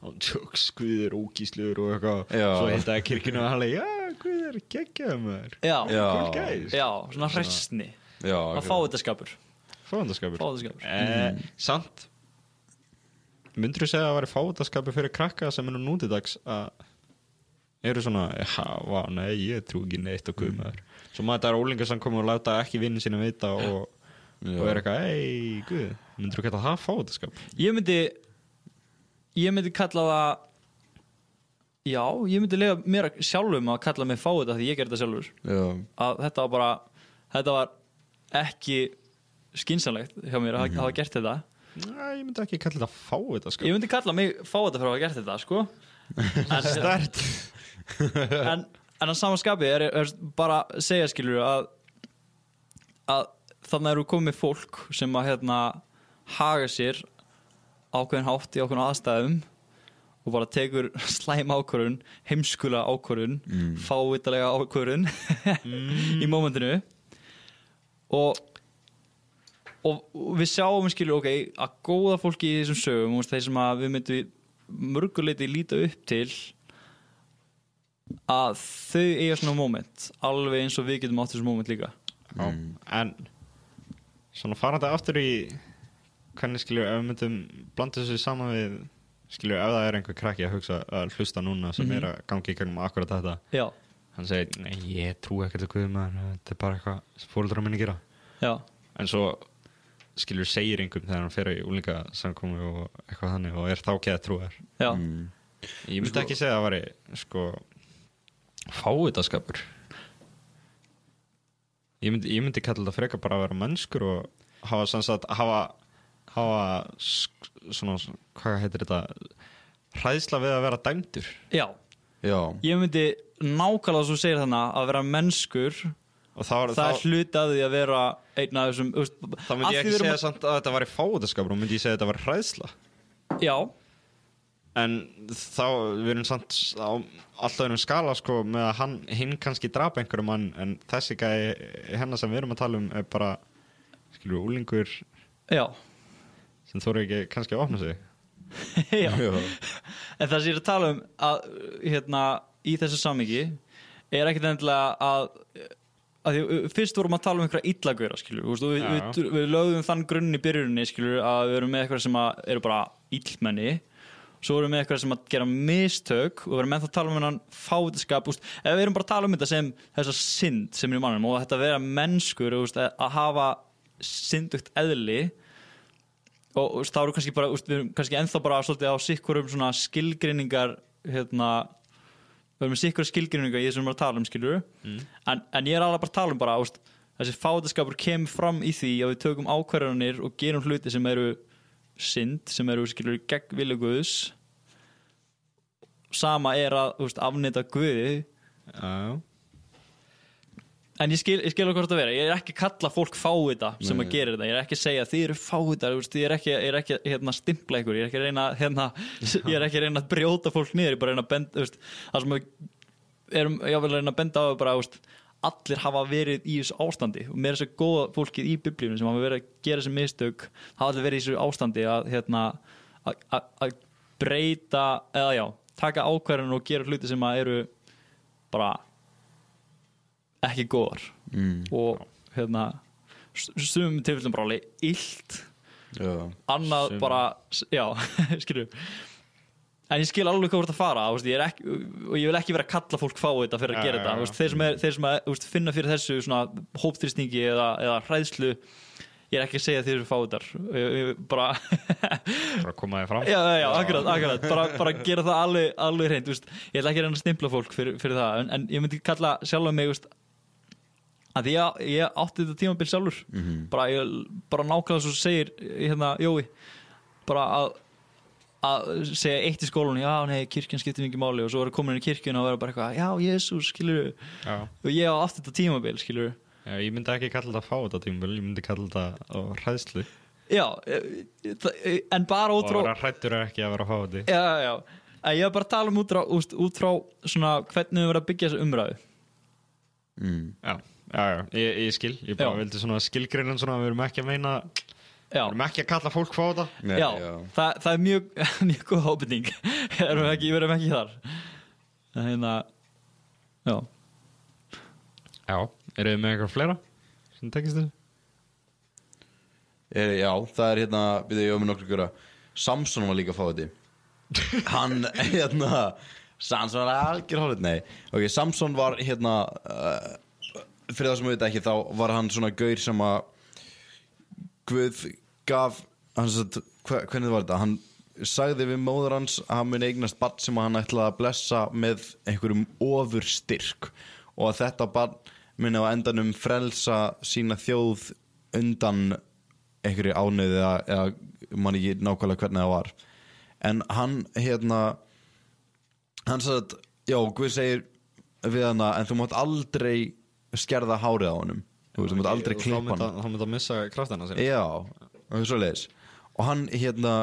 Speaker 5: án tjóks guðir ógísluður og eitthvað
Speaker 4: Já.
Speaker 5: svo heita að kirkina og hann leik, já, guðir geggjaðu maður,
Speaker 7: já,
Speaker 4: Já.
Speaker 5: cool guys
Speaker 7: já, svona hressni
Speaker 4: já,
Speaker 7: að fá þetta skapur
Speaker 5: fáðandaskapur
Speaker 7: Fávitaskapur.
Speaker 5: eh, samt myndur þú segja að það væri fáðandaskapur fyrir krakka sem eru nútidags að eru svona, já, vá, nei, ég trú ekki neitt á guð maður svo maður þetta er ólingar sem komur að láta ekki vinnið sínum vita og, og er eitthvað, ei, guð myndur þú geta það fáðandaskapur
Speaker 7: Ég myndi Ég myndi kalla það Já, ég myndi lega mér að- sjálfum að kalla mig fá þetta því ég gerði þetta sjálfur
Speaker 4: já,
Speaker 7: að þetta var bara þetta var ekki skynsanlegt hjá mér að
Speaker 4: Mhm.
Speaker 7: mm hafa gert þetta
Speaker 5: Næ, ég myndi ekki kalla þetta sko. fáðandaskapur
Speaker 7: Ég myndi kalla mig fá þetta fyrir að hafa gert þetta sko en,
Speaker 5: stert
Speaker 7: en, en að sama skapi er, er bara að segja skilur að, að þannig eru komið fólk sem að hérna haga sér ákveðin hátt í ákveðin aðstæðum og bara tekur slæm ákvörun heimskula ákvörun mm. fávitalega ákvörun í mómentinu og og og við sjáum skilur ok að góða fólki í þessum sögum þú veist, þeir sem að við myndum mörguleiti líta upp til að þau eiga svona moment alveg eins og við getum átt þessu moment líka
Speaker 5: en svona farandi aftur í hvernig skilju ef við myndum blanda þessu saman við skilju ef það er einhver krakki að hugsa að hlusta núna sem er að gangi í gangum akkurat þetta
Speaker 7: já,
Speaker 5: hann segir, nei ég trú ekkert að guðum maður þetta er bara eitthvað sem fóruldra minni gera
Speaker 7: já,
Speaker 5: en svo skilju segir einhver þegar hann fer í úlinga samkomi og eitthvað þannig og er þá geða trúar
Speaker 7: já
Speaker 5: Mm. ég myndi ekki segja að það væri sko fávitaskapur ég myndi, ég myndi kalla þetta frekar bara að vera mennskur og hafa sem sagt hafa, hafa sk- svona, svona hvað heitir þetta hræðsla við að vera dæmdur
Speaker 7: já,
Speaker 4: já,
Speaker 7: ég myndi nákvæmlega svo segir þannig að vera mennskur
Speaker 5: og þá,
Speaker 7: það,
Speaker 5: þá,
Speaker 7: er hluti að því að vera einn af þessum þú veist,
Speaker 5: þá
Speaker 7: að
Speaker 5: myndi ég
Speaker 7: því
Speaker 5: ekki
Speaker 7: við erum
Speaker 5: segja samt að þetta væri fávitaskapur og myndi ég segja að þetta væri hræðsla
Speaker 7: að- já,
Speaker 5: en þá við erum samt á alltaf erum skala sko með að hann, hinn kannski drapa einhverjum mann en þessi gæi hennar sem við erum að tala um er bara skilur úlingur
Speaker 7: já,
Speaker 5: sem þóru ekki kannski að opna sig
Speaker 7: já
Speaker 4: já,
Speaker 7: en það sem ég er að tala um að, hérna, í þessu samingi er ekkert endilega að að því, uh, fyrst vorum að tala um einhverja illagöra skilur, þú veist, og við,
Speaker 5: Já.
Speaker 7: við, við lögðum þann grunn í byrjuninni skilur að við erum með eitthvað sem að eru bara illmenni svo erum við með eitthvað sem að gera mistök og við erum með það að tala um hennan fátaskap úst, ef við erum bara að tala um þetta sem þessa synd sem er í mannum og þetta að vera mennskur úst, að, að hafa syndugt eðli og þú veist, þá eru kannski bara, þú veist, við erum kannski ennþá bara svolítið á sikkurum svona skilgreiningar hérna við erum með sikkur skilgreiningar í þessum við erum að tala um skilur en, en ég er alveg bara að tala um bara þú veist, þessi fátaskapur kemur fram í því að við tökum ákvarðanir og gerum hluti sem eru synd sem eru skilur gegn vilja guðs sama er að þú veist, afnita guði
Speaker 5: já,
Speaker 7: En ég skil, ég skil okkur þetta vera, ég er ekki að kalla fólk fávita sem að gera þetta, ég er ekki að segja þið eru fávitar, þú veist, ég er ekki, ég er ekki að, hérna, stimpla ykkur, ég er ekki að reyna, hérna, ég er ekki að reyna að brjóta fólk niður, ég er bara að reyna að benda, þú veist, það sem við erum, ég vil reyna að benda á er bara, þú veist, allir hafa verið í þessu ástandi og mér er þessu góða fólkið í biblíunum sem hafa verið að gera þessi mistök, hafa allir verið í þessu ástandi að, hérna, að- að að breyta, eða já, taka ákvarðan og gera hluti sem að eru bara ekki góðar og hérna sumum tilfellum bara alveg illt
Speaker 4: já.
Speaker 7: annað
Speaker 5: Sumum.
Speaker 7: bara, s- já, skilju En ég skil alveg hvað þú ert að fara þú veist, ég er ekki, og ég vil ekki vera að kalla fólk fá þetta fyrir að
Speaker 5: Já,
Speaker 7: gera
Speaker 5: já,
Speaker 7: þetta
Speaker 5: já.
Speaker 7: þú veist, þeir sem, er, þeir sem er, þú veist, finna fyrir þessu svona hópþrýstingi eða, eða hræðslu ég er ekki að segja að þeir eru að fá þetta Ég- ég- bara
Speaker 5: bara koma þér fram
Speaker 7: já, já, já, akkurat, akkurat bara, bara gera það alveg, alveg hreint þú veist, ég ætla ekki að reyna að stimpla fólk fyrir, fyrir það en, en ég myndi kalla sjálfum mig þú veist, að ég, ég átti þetta tímabil sjálfur bara, ég, bara nákvæmlega svo segir hérna, Jói bara að að segja eitt í skólanum, já, nei, kirkjan skiptir mikið máli og svo eru komin inn í kirkjun og vera bara eitthvað já, Jésús, skilur
Speaker 5: Já.
Speaker 7: og ég á aftur þetta tímabil, skilur
Speaker 5: Já, ég myndi ekki kalla þetta fáta tímul ég myndi kalla þetta á hræðslu
Speaker 7: já, eh, eh, það- eh, en bara út
Speaker 5: og
Speaker 7: frá
Speaker 5: vera hrættur er ekki að vera fáti
Speaker 7: já, já, já. En ég var bara að tala um út frá, úst, út frá svona, hvernig við verðum að byggja þessu umræðu
Speaker 4: Mm.
Speaker 5: já, já, já, ég, ég skil ég bara
Speaker 7: Já.
Speaker 5: vildi svona skilgreinin svona við erum ekki að meina við
Speaker 7: Já,
Speaker 5: erum ekki að kalla fólk fáta
Speaker 4: Nei,
Speaker 7: já, Það, það er mjög, mjög góð hópning erum við ekki, við erum ekki þar En hérna Já,
Speaker 5: já, eru þið með eitthvað fleira sem tekist þessu
Speaker 4: Er, já, það er hérna, við ég öfum nokkur gera Samson var líka að fá þetta Hann, hérna Samson var algjör hálfut, nei Ok, Samson var hérna uh, Fyrir það sem við veit ekki, þá var hann svona gaur sem að Guð gaf hann, satt, hva, Hvernig var þetta? Hann sagði við móður hans að hann muni eignast barn sem hann ætlaði að blessa með einhverjum ofur styrk og að þetta barn muni á endanum frelsa sína þjóð undan einhverju ánöðu eða, eða mann ekki nákvæmlega hvernig það var en hann hérna hann sagði að já, Guð segir við hana en þú mátt aldrei skerða hárið á honum þú veist, þú mátt aldrei klippa hann
Speaker 5: hann þá myndi að missa kraftana sér
Speaker 4: Já, það er svo leiðis Og hann hérna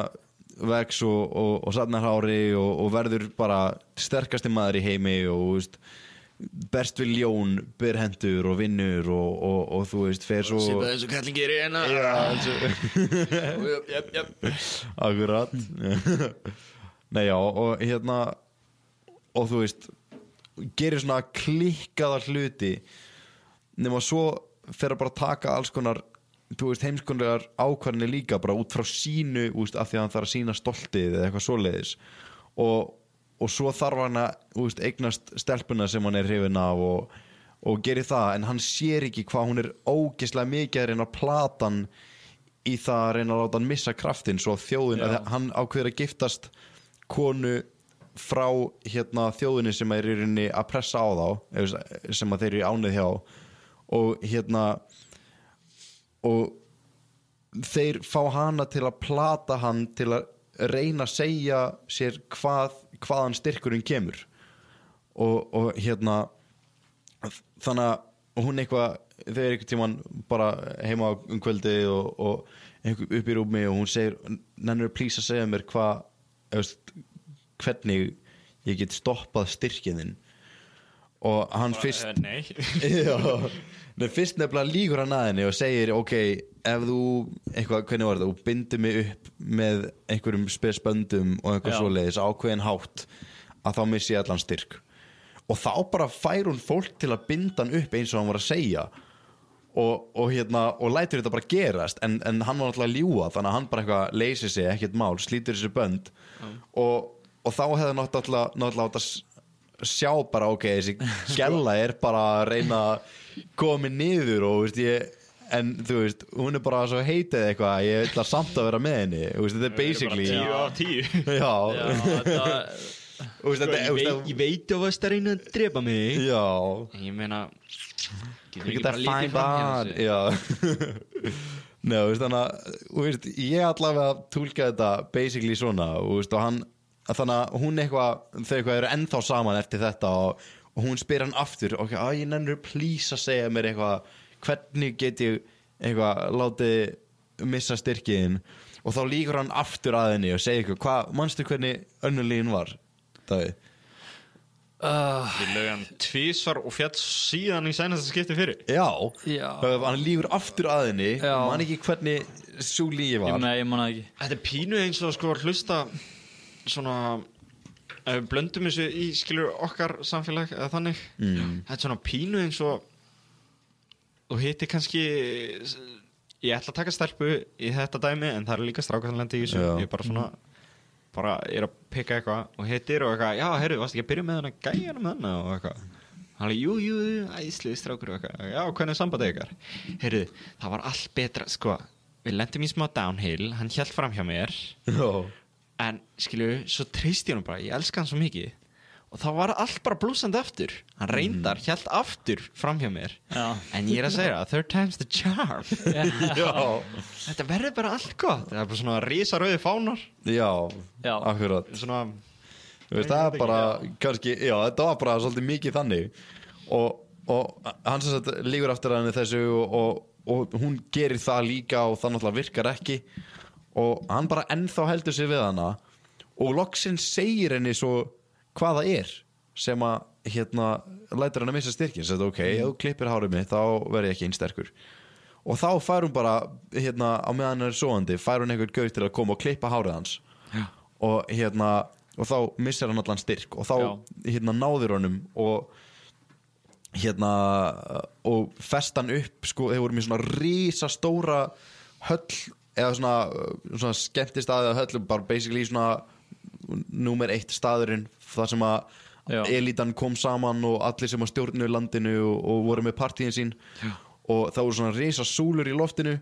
Speaker 4: vex og, og, og safnar hári og, og verður bara sterkasti maður í heimi og þú veist, berst við ljón, byrhendur og vinnur og, og, og þú veist, fer svo
Speaker 5: eins og kallingir í hérna
Speaker 4: Akkurat Nei já, og hérna Og þú veist Gerir svona klikkaða hluti Nefn að svo Fer að bara taka alls konar Þú veist, heimskonlegar ákvarðinni líka Bara út frá sínu, þú veist, af því að hann þarf að sína stoltið Eða eitthvað svoleiðis Og, og svo þarf hann að þú veist, Eignast stelpuna sem hann er hrifin af Og, og gerir það En hann sér ekki hvað hún er ógislega mikið að reyna að platan í það að reyna að láta hann missa kraftin svo að þjóðin, að hann ákveður að giftast konu frá hérna þjóðinni sem er í rauninni að pressa á þá eða s- sem að þeir eru í ánið hjá og hérna og þeir fá hana til að plata hann til að reyna að segja sér hvað, hvaðan styrkurinn kemur og, og hérna þannig að hún eitthvað þau er eitthvað tíman bara heima um kvöldi og, og einhver upp í rúmi og hún segir nennur please að segja mér hvað eða veist, hvernig ég get stoppað styrkiðin og hann fyrst
Speaker 5: nei
Speaker 4: já, Nei, fyrst nefnilega líkur hann að henni og segir ok, ef þú eitthvað, hvernig var þetta, þú bindur mig upp með einhverjum spesböndum og eitthvað
Speaker 7: Já.
Speaker 4: svoleiðis ákveðin hátt að þá missi ég allan styrk og þá bara fær hún fólk til að binda hann upp eins og hann var að segja og, og hérna, og lætur þetta bara gerast en, en hann var náttúrulega að ljúga þannig að hann bara eitthvað leysir sig, ekkert mál, slítur þessu bönd og, og þá hefði hann náttúrulega, náttúrulega átt að s- sjá bara, ok, þessi gella er bara að reyna að koma mér niður og, veist, ég en þú veist, hún er bara svo heitið eitthvað ég ætla samt að vera með henni þú veist, þetta er basically
Speaker 5: tíu af tíu Sko,
Speaker 7: já,
Speaker 4: já,
Speaker 7: þetta,
Speaker 4: þú veist, þetta þú veist,
Speaker 5: veit að varst að reyna að drepa mig
Speaker 4: já
Speaker 5: Ég meina Getur
Speaker 4: Look at that fine bad Já Nei, þú veist þannig að þú veist, Ég allavega tólka þetta basically svona þú veist, og hann, að þannig að hún eitthvað þau eitthvað eru ennþá saman eftir þetta og, og hún spyr hann aftur ok, að ég nennur please að segja mér eitthvað hvernig get ég eitthvað látið missa styrkiðin og þá líkur hann aftur að henni og segir eitthvað, hvað, manstu hvernig önnulín var? Davíð
Speaker 5: Ég lög hann tvísvar og fjall síðan í sænasta skipti fyrir
Speaker 4: Já,
Speaker 7: Já.
Speaker 4: hann lífur aftur að henni
Speaker 7: Já.
Speaker 4: og man ekki hvernig svo lífi
Speaker 7: ég
Speaker 4: var
Speaker 7: meina, ég manna ekki
Speaker 5: Þetta er pínu eins og sko að hlusta svona ef við blöndum þessu í skilur okkar samfélag eða þannig mm. Þetta er svona pínu eins og og hitti kannski ég ætla að taka stelpu í þetta dæmi en það eru líka strákar sem lendi í þessu
Speaker 4: Já.
Speaker 5: ég er bara svona bara er að pikka eitthvað og hittir og eitthvað, já, heyrðu, varstu ekki að byrja með hennar gæjanum með hennar og eitthvað hann er, jú, jú, æsliði strákur og eitthvað já, hvernig er sambandið ykkar? heyrðu, það var allt betra, sko við lendum í smá downhill, hann hjælt fram hjá mér
Speaker 4: Jó.
Speaker 5: en, skilju, svo treysti ég hann bara ég elska hann svo mikið og þá var allt bara blúsandi aftur hann reyndar, mm. hjælt aftur fram hjá mér
Speaker 7: Já.
Speaker 5: en ég er að segja, það, third time's the charm
Speaker 4: Já.
Speaker 5: þetta verður bara allt gott það er bara svona rísa rauði fánar
Speaker 4: Já,
Speaker 7: Já.
Speaker 4: akkurat
Speaker 5: svona,
Speaker 4: Þú veist, það er bara, kannski, já, þetta var bara svolítið mikið þannig og, og hann sem sagt líkur aftur að henni þessu og, og, og hún gerir það líka og það náttúrulega virkar ekki og hann bara ennþá heldur sig við hana og loksinn segir henni svo hvað það er sem að hérna lætur hann að missa styrkinn sem þetta ok, ef þú klippir hárið mitt þá verð ég ekki einsterkur og þá fær hún bara, hérna, á meðan hann er svoandi fær hún einhvern gaur til að koma og klippa hárið hans og hérna og þá missir hann allan styrk og þá hérna náður honum og hérna og fest hann upp sko, þeir vorum í svona risastóra höll eða svona, svona skemmtist aðeða höll bara basically svona númer eitt staðurinn þar sem að
Speaker 7: Já.
Speaker 4: elitan kom saman og allir sem að stjórnu landinu og, og voru með partíin sín Já. og það voru svona risasúlur í loftinu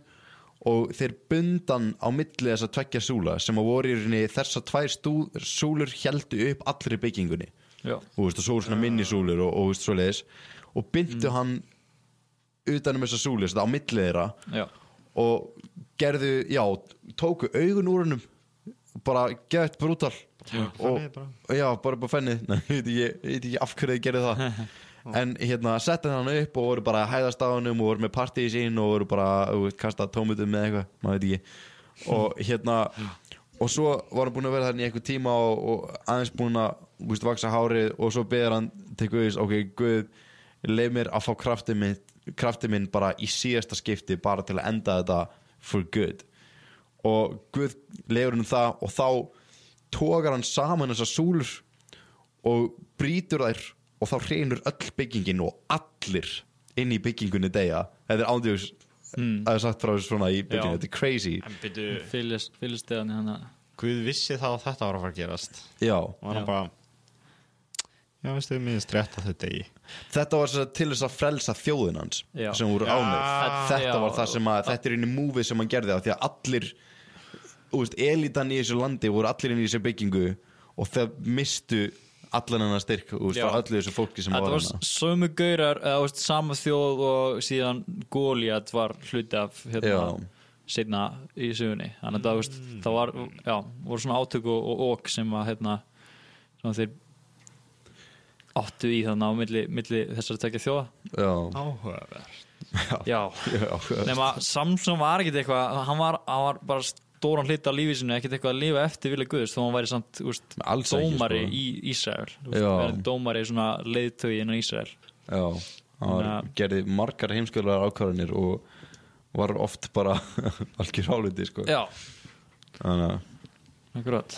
Speaker 4: og þeir bundan á milli þess að tveggja súla sem að voru í rauninni þess að tvær stú, súlur heldu upp allri byggingunni
Speaker 7: Já.
Speaker 4: og veist, og svo voru svona minnisúlur og, og veist, svoleiðis og byndu hann utan um þessa súli, þetta á milli þeirra
Speaker 7: Já.
Speaker 4: og gerðu, já, tóku augun úr hennum bara gett brútal og
Speaker 5: fennið bara.
Speaker 4: já, bara bara fennið Nei, ég veit ekki, ég veit ekki af hverju þið gerðu það en hérna, settu hann upp og voru bara að hæðast á hennum og voru með partíi sín og voru bara, þú veist, kasta tómutum með eitthvað maður veit ekki og hérna, og svo var hann búin að vera þarna í einhver tíma og, og aðeins búin að, þú veist, vaksa hárið og svo beður hann til Guðis, ok, Guð leið mér að fá kraftið minn, kraftið minn bara í síðasta skipti bara til að enda þetta for good og Guð leiður hann það og þá tókar hann saman þessar súlur og brýtur þær og þá reynur öll byggingin og allir inn í byggingunni deyja þetta er ándjóðs mm. að það er sagt frá þessu svona í byggingunni,
Speaker 5: Já.
Speaker 4: þetta er crazy
Speaker 5: en byrju,
Speaker 7: Fylisteðan hann að
Speaker 5: Guð vissi það að þetta var að fara að gerast
Speaker 4: Já,
Speaker 5: og hann
Speaker 7: Já.
Speaker 5: bara já, veistu, mér er strætt að þetta í
Speaker 4: þetta var sem sagt til þess að frelsa þjóðin hans
Speaker 7: Já.
Speaker 4: sem voru
Speaker 5: Já.
Speaker 4: ánöð þetta
Speaker 7: Já.
Speaker 4: var það sem að, þetta er einu múfið sem hann gerði á því að allir þú veist, elitan í þessu landi voru allir inn í þessu byggingu og það mistu allan hennar styrk úst,
Speaker 7: Já.
Speaker 4: frá öllu þessu fólki sem
Speaker 7: Þetta
Speaker 4: var
Speaker 7: var
Speaker 4: hennar
Speaker 7: sömu gaurar eða þú veist, sama þjóð og síðan Goliath var hluti af
Speaker 4: Já.
Speaker 7: hérna, setna í sögunni þannig að það, veist, það var, já, voru svona átök og, og ok sem að hérna, svona þeir áttu í þannig á milli, milli þessar tekja þjóða
Speaker 4: Já,
Speaker 5: áhugaverð
Speaker 7: Já,
Speaker 4: Já.
Speaker 7: nema Samson var ekkit eitthvað hann var, hann var bara stóran hluti af lífi sinu ekkit eitthvað að lifa eftir vilja Guðs þó hann væri samt úst,
Speaker 4: Alls ekki,
Speaker 7: dómari
Speaker 4: sko.
Speaker 7: í Ísrael þú veist,
Speaker 4: Já.
Speaker 7: verið dómari í svona leiðtögi innan Ísrael
Speaker 4: já hann var,
Speaker 7: Þannig að-
Speaker 4: gerði margar heimskjölar ákvarðanir og var oft bara algjör áliti sko.
Speaker 7: Já,
Speaker 4: þannig
Speaker 7: akkurat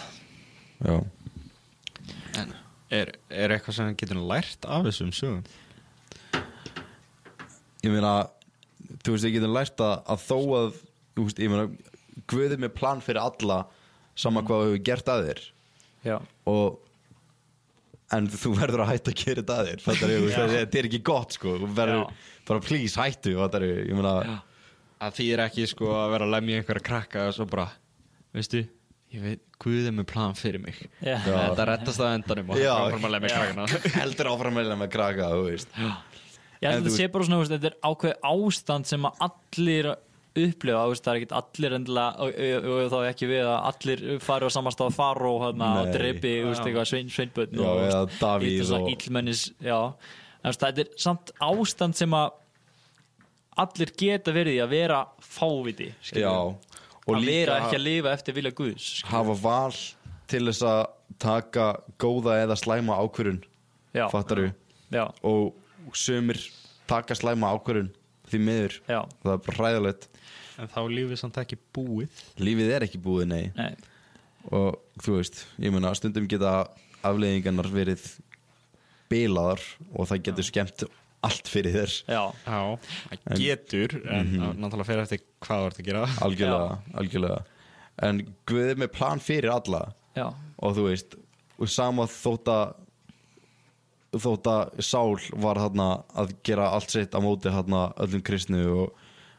Speaker 4: að já.
Speaker 5: er, er eitthvað sem hann getur lært af þessum sögum
Speaker 4: ég meina þú veist, ég getur lært að, að þó að þú veist, ég meina, guðið með plan fyrir alla sama hvað þú hefur gert að þér
Speaker 7: Já,
Speaker 4: og en þú verður að hætta að gera þetta að þér fattar ég, þú veist, þetta er ekki gott sko þú verður
Speaker 7: Já.
Speaker 4: bara please hættu fattar ég, ég meina,
Speaker 5: að því er ekki sko að vera að lemja einhverja krakka og svo bara, veistu ég veit, Guð er með plan fyrir mig
Speaker 7: Já.
Speaker 5: En þetta rettast að endanum og
Speaker 4: Já.
Speaker 5: það er bara að lemja krakkana
Speaker 4: heldur áfram meðlega með kraka þú veist,
Speaker 7: ég
Speaker 4: En
Speaker 7: held að
Speaker 4: þú
Speaker 7: þetta sé bara svona þú veist, þetta er ákveð ástand sem að allir upplifa, þú veist, það er ekkit allir endilega, og, og, og, þá ekki við að allir fari á samast á faró hérna, og
Speaker 4: Nei.
Speaker 7: drepi, þú veist, eitthvað svein, sveinbötn
Speaker 4: Já,
Speaker 7: og, þú
Speaker 4: eða
Speaker 7: veist,
Speaker 4: Davíð
Speaker 7: eitthvað svona
Speaker 4: og-
Speaker 7: illmennis, já, en þú veist, þetta er samt ástand sem að allir geta verið í að vera fáviti,
Speaker 4: já
Speaker 7: skiljum
Speaker 4: og
Speaker 7: að vera ekki
Speaker 4: líka
Speaker 7: að lifa eftir vilja Guðs skilur.
Speaker 4: hafa val til þess að taka góða eða slæma ákvörun
Speaker 7: Já.
Speaker 4: fattar við
Speaker 7: já,
Speaker 4: og sömur taka slæma ákvörun því miður
Speaker 7: Já.
Speaker 4: það er bara hræðilegt
Speaker 5: en þá er lífið samt ekki búið
Speaker 4: lífið er ekki búið nei
Speaker 7: nei,
Speaker 4: og þú veist, ég meina stundum geta afleiðingarnar verið bilaðar og það getur skemmt allt fyrir þér
Speaker 7: já
Speaker 5: já, það getur en
Speaker 4: Mhm.
Speaker 5: mm náttúrulega fer eftir hvað þú ert að gera
Speaker 4: algjörlega, algjörlega en Guð er með plan fyrir alla
Speaker 7: já
Speaker 4: og þú veist og sama þótt að þótt að Sál var þarna að gera allt sitt á móti þarna öllum kristnu og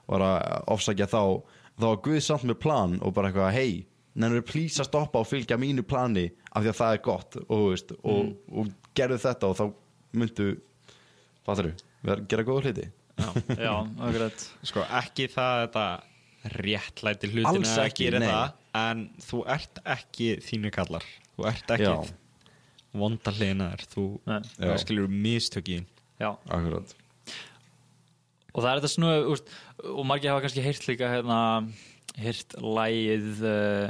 Speaker 4: var að ofsækja þá þá var Guð samt með plan og bara eitthvað hei, nennir please að stoppa og fylgja mínu plani af því að það er gott og, þú veist, og, og gerðu þetta og þá myndu fattur við gera góða hluti
Speaker 7: já, já, akkurat
Speaker 5: sko, ekki það að þetta réttlæti hlutina
Speaker 4: Alls
Speaker 5: að
Speaker 4: ekki,
Speaker 5: gera
Speaker 4: nei.
Speaker 5: það en þú ert ekki þínu kallar þú ert ekki
Speaker 4: Já.
Speaker 5: vonda hlinar þú
Speaker 7: Nei.
Speaker 4: Já.
Speaker 5: skilur mistökin
Speaker 7: já.
Speaker 4: Akkurat
Speaker 7: og það er þetta snúið úst, og margir hafa kannski heyrt líka hérna, heyrt lægið uh,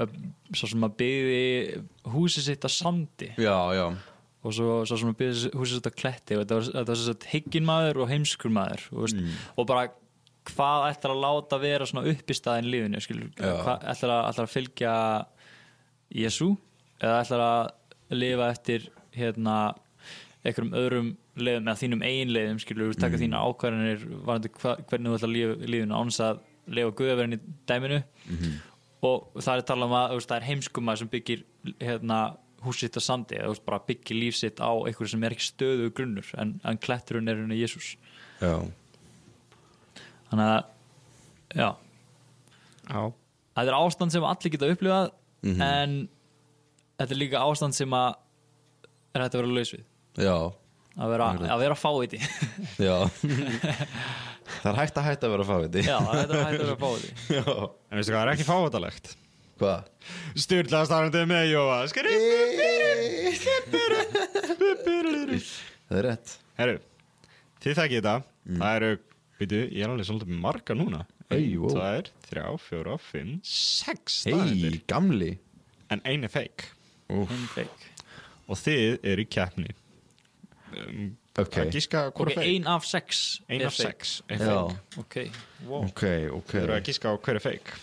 Speaker 7: uh, svo sem að byggði húsið sitt að sandi
Speaker 4: Já, já,
Speaker 7: og svo, svo sem að byggði húsið sitt að kletti og þetta var, þetta var svo sagt higgin maður og heimskur maður og, veist, og bara hvað ætlar að láta vera svona upp í staðin lífinu skilur,
Speaker 4: Já.
Speaker 7: hvað ætlar að, ætlar að fylgja Jésu eða ætlar að lifa eftir hérna einhverjum öðrum leiðum eða þínum eigin leiðum skilur, taka mm. þína ákvarðanir varandi hva, hvernig þú ætlar að lifa lífinu ánins að lifa guðaverðin í dæminu og það er talað um að þú veist, það er heimskuma sem byggir hérna hús sitt á sandi eða þú veist, bara byggir líf sitt á einhverju sem er ekki stöðu grunnur en, en kletturinn er henni Jésús
Speaker 4: já
Speaker 7: þannig að já,
Speaker 5: já,
Speaker 7: þetta er ástand sem allir geta upplifað
Speaker 4: Mhm.
Speaker 7: en þetta er líka ástand sem að er hægt að vera laus við
Speaker 4: Já,
Speaker 7: að vera, að vera fáviti
Speaker 4: já Það er hægt að hægt að vera fáviti
Speaker 7: já, þetta er hægt að vera fáviti
Speaker 5: en veistu hvað það er ekki fávatalegt
Speaker 4: Hvað?
Speaker 5: styrla starfandi með Jóa
Speaker 4: Eh. Það er rétt
Speaker 5: herru, þið þekkið þetta það eru, veitu, ég er alveg svolítið með marga núna
Speaker 4: Ey, wow.
Speaker 5: það er þrjá, fjóra, fimm, sex
Speaker 4: Hei,
Speaker 5: staðir
Speaker 4: gamli
Speaker 5: en einu fake
Speaker 7: Hinn fake.
Speaker 5: og þið eru í keppni um,
Speaker 4: Ok,
Speaker 5: að gíska hvora
Speaker 7: ok,
Speaker 5: okay,
Speaker 7: ein af sex
Speaker 5: ein
Speaker 7: er
Speaker 5: af
Speaker 7: fake.
Speaker 5: sex er
Speaker 4: já
Speaker 5: fake
Speaker 7: ok,
Speaker 4: Ok, ok,
Speaker 5: Þú eru að gíska á hver er fake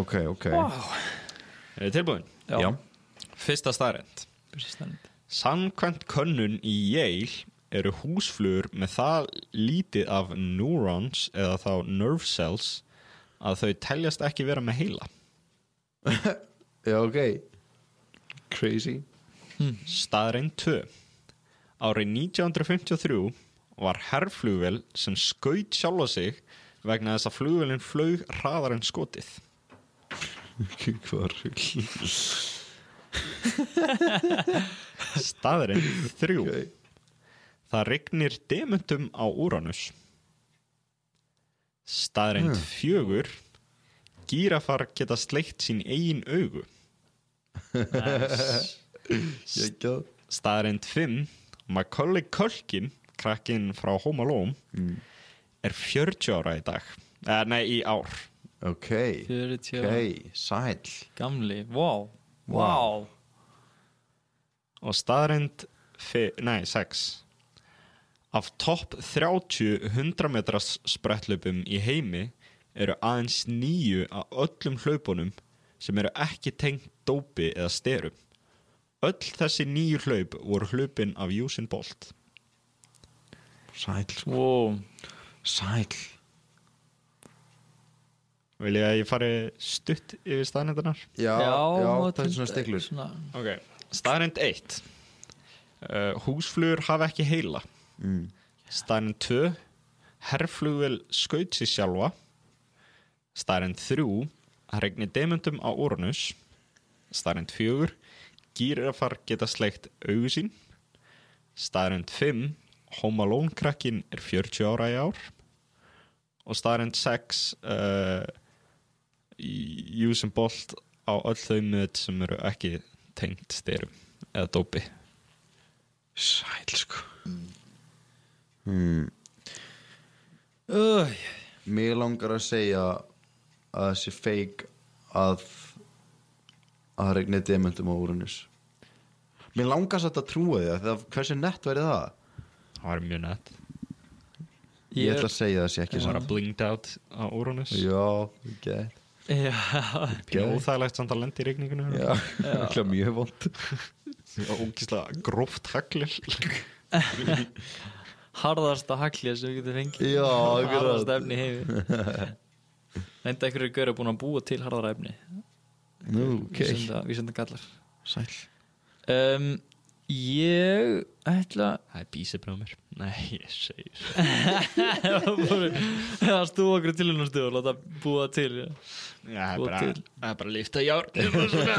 Speaker 4: ok, ok
Speaker 5: Er þið tilbúin?
Speaker 7: já,
Speaker 4: Já,
Speaker 5: Fyrsta staðrænt
Speaker 7: Precis, það er þetta.
Speaker 5: Samkvæmt könnun í Yale eru húsflugur með það lítið af neurons eða þá nerve cells að þau teljast ekki vera með heila
Speaker 4: já, ok Crazy
Speaker 5: Staðrænt 2 Árið 1953 var herrflugvel sem skaut sjálfa sig vegna þess að flugvelin flög hraðar en skotið
Speaker 4: Hvað rugl?
Speaker 5: Staðrænt 3
Speaker 4: Ok,
Speaker 5: Það rignir dementum á Úranus. Staðreind fjögur. Gírafar geta sleikt sín eigin augu.
Speaker 4: ég gæð
Speaker 5: Staðreind fimm. Macaulay Culkin, krakkin frá Home Alone, er 40 ára í dag. Eh, nei, í ár.
Speaker 4: Ok,
Speaker 7: 40
Speaker 4: ok, sæl
Speaker 7: gamli, wow
Speaker 4: Wow.
Speaker 7: wow,
Speaker 5: Og staðreind, fi- nei, sex. Af topp 30 100 metras sprettlöpum í heimi eru aðeins nýju af öllum hlaupunum sem eru ekki tengt dópi eða styrum. Öll þessi nýju hlaup voru hlaupin af Usain Bolt.
Speaker 4: Sæl,
Speaker 7: wow, wow.
Speaker 4: sæl
Speaker 5: Vil ég að ég fari stutt yfir staðnindarnar?
Speaker 4: Já, já, það er
Speaker 7: til-
Speaker 4: svona stiklur
Speaker 7: svona-
Speaker 5: Ok, staðrind 1 uh, Húsflugur hafa ekki heila mm. Staðrind 2 Herflugvel skaut sér sjálfa Staðrind 3 Það regnir demundum á Uranus Staðrind 4 Gírafar geta sleikt augu sín Staðrind 5 Home Alone krakkin er 40 ára í ár og staðrind 6 uh, Usain Bolt á öll þau miðut sem eru ekki tengt styrum eða dópi
Speaker 4: Sæl, sko Hmm.
Speaker 7: Öj.
Speaker 4: Mér langar að segja að þessi feik að að það regnir dementum á Úranus Mér langar satt að trúa því að það, hversu nett væri það?
Speaker 5: það var mjög nett
Speaker 4: Ég,
Speaker 7: Ég er-
Speaker 4: ætla að segja það sé ekki
Speaker 5: það var
Speaker 4: svona
Speaker 5: að blingd out á Uranus
Speaker 4: Já, ok
Speaker 7: Já,
Speaker 5: pínu óþægilegt samt að lenda í regninginu
Speaker 4: Já, ekki mjög vond
Speaker 5: og ógislega gróft haglir
Speaker 7: harðasta haglja sem við getum fengið
Speaker 4: Já, akkurat.
Speaker 7: harðasta efni í heimi Enda einhverju gaur að búin að búa til harðara efni
Speaker 4: Nú, ok,
Speaker 7: vísinda, vísinda gallar
Speaker 4: sæl
Speaker 7: um, Ég ætla
Speaker 5: Það er bísið brá mér Nei, ég segir
Speaker 7: að stúa okkur tilhjóðnastu og láta búa til já.
Speaker 5: Já,
Speaker 7: Búa
Speaker 5: bara,
Speaker 7: til.
Speaker 5: það er bara að lifta járn og svona,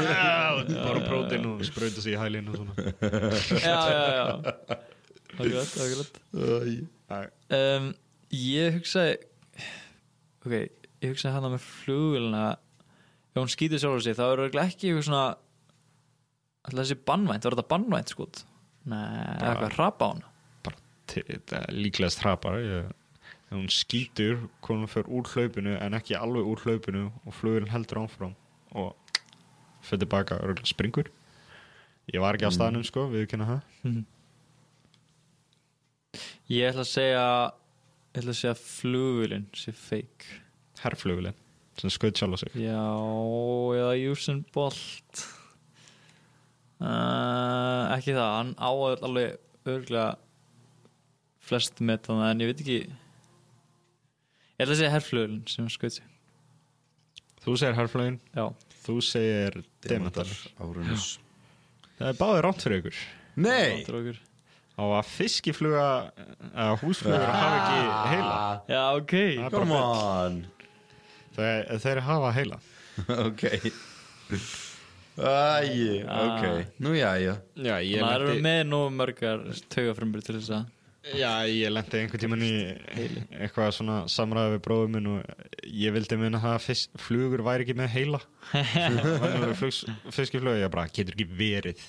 Speaker 5: og bara prótein og sprauta sig í hælinn og svona
Speaker 7: Já, já, já Akkurat, akkurat um, Ég hugsaði Ok, ég hugsaði hana með flugvélina Ef hún skýtur sjálfur sig þá er örugglega ekki eitthvað svona Alltaf þessi bannvænt, var þetta bannvænt skot? Nei, eða eitthvað rapa á hana
Speaker 5: bara til- þetta er líklega strapar þegar hún skýtur konum fyrir úr hlaupinu en ekki alveg úr hlaupinu og flugurinn heldur ánfram og fyrir tilbaka og örugglega springur ég var ekki á staðnum sko, við kynna það
Speaker 7: Ég ætla að segja Ég ætla að segja flugvélin sé fake
Speaker 5: herrflugulinn sem skauð sjálf á sig
Speaker 7: Já, eða Usain Bolt uh, Ekki það, hann á alveg örglega flest með þannig en ég veit ekki Ég ætla að segja herflöðlun sem skaut sig
Speaker 5: þú segir herrflugin,
Speaker 7: Já,
Speaker 5: þú segir demantar
Speaker 4: Árunus
Speaker 5: það er báðið rátt fyrir ykkur
Speaker 4: Nei
Speaker 7: áttur okkur
Speaker 5: á að fiskifluga að húsflugur hafa ekki heila
Speaker 7: Já, ok
Speaker 5: Það er bara
Speaker 4: Come on
Speaker 5: Þeir, þeir hafa heila
Speaker 4: Ok Ah. Æi, ok Nú já, já
Speaker 5: Já, ég
Speaker 7: Það eru með nógu mörgar taugafrömbur til þess að
Speaker 5: Já, ég lendi einhvern tímann í eitthvað svona samræði við bróðum minn og ég vildi minna það að fisk, flugur væri ekki með heila Vannulega flugs, fiskiflug ég bara, getur ekki verið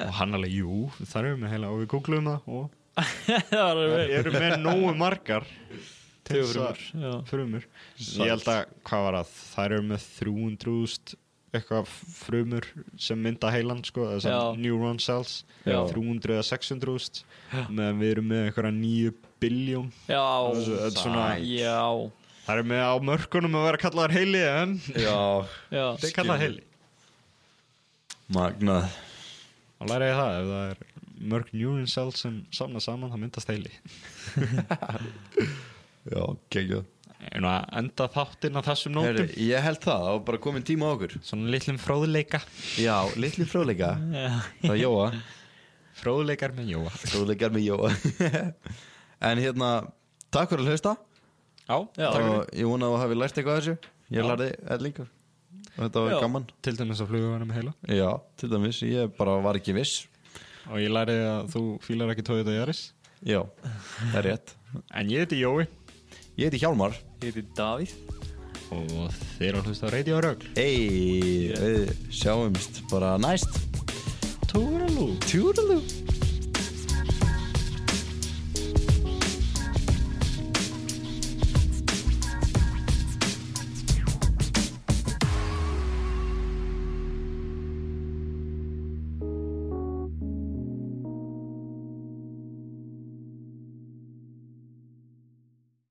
Speaker 5: og hann alveg, jú, það eru með heila og við googluðum það og
Speaker 7: Það eru með
Speaker 5: eru með nógu margar til þess að-
Speaker 7: Taugafrumur, já.
Speaker 5: frumur ég held að, hvað var það, þær eru með 300.000 eitthvað frumur sem mynda heilan sko, þessar
Speaker 7: Já.
Speaker 5: neuron cells
Speaker 7: Já.
Speaker 5: 300 eða 600.000 meðan við erum með einhverja 9 biljón
Speaker 7: Já,
Speaker 5: Þessu- þetta er svona-
Speaker 7: já,
Speaker 5: þær eru með á mörkunum að vera kallaðar heili en
Speaker 4: Já
Speaker 7: já
Speaker 5: þeir kallaðar heili
Speaker 4: Magnað
Speaker 5: þá læra ég það, ef það er mörg neuron cells sem samna saman, það myndast heili
Speaker 4: Já, geggjað
Speaker 5: en að enda þáttinn á þessum
Speaker 4: Herri,
Speaker 5: nótum
Speaker 4: ég held það, það var bara komin tíma á okkur
Speaker 5: svona litlum fróðleika
Speaker 4: Já, litli fróðleika Það er Jóa
Speaker 5: fróðleikar með Jóa
Speaker 4: Fróðleikar með Jóa En hérna, takk fyrir að hlusta
Speaker 5: já,
Speaker 7: Já.
Speaker 5: takk fyrir
Speaker 4: Og ég vona að þú hafi lært eitthvað af þessu Ég
Speaker 5: Já.
Speaker 4: lærði ellingar Og þetta var
Speaker 7: Já.
Speaker 4: gaman
Speaker 5: til dæmis að flugur varum heila
Speaker 4: Já, til dæmis, ég bara var ekki viss
Speaker 5: Og ég læri að þú fílar ekki Toyota Yaris
Speaker 4: Já, það er rétt
Speaker 5: En ég heiti Jói
Speaker 4: Ég heiti Hjálmar
Speaker 7: Ég heiti Davíð
Speaker 5: Og þeir eru að hlusta á Radio Rögl
Speaker 4: Ey, við sjáumst bara næst
Speaker 5: Túralú
Speaker 4: Tjúralú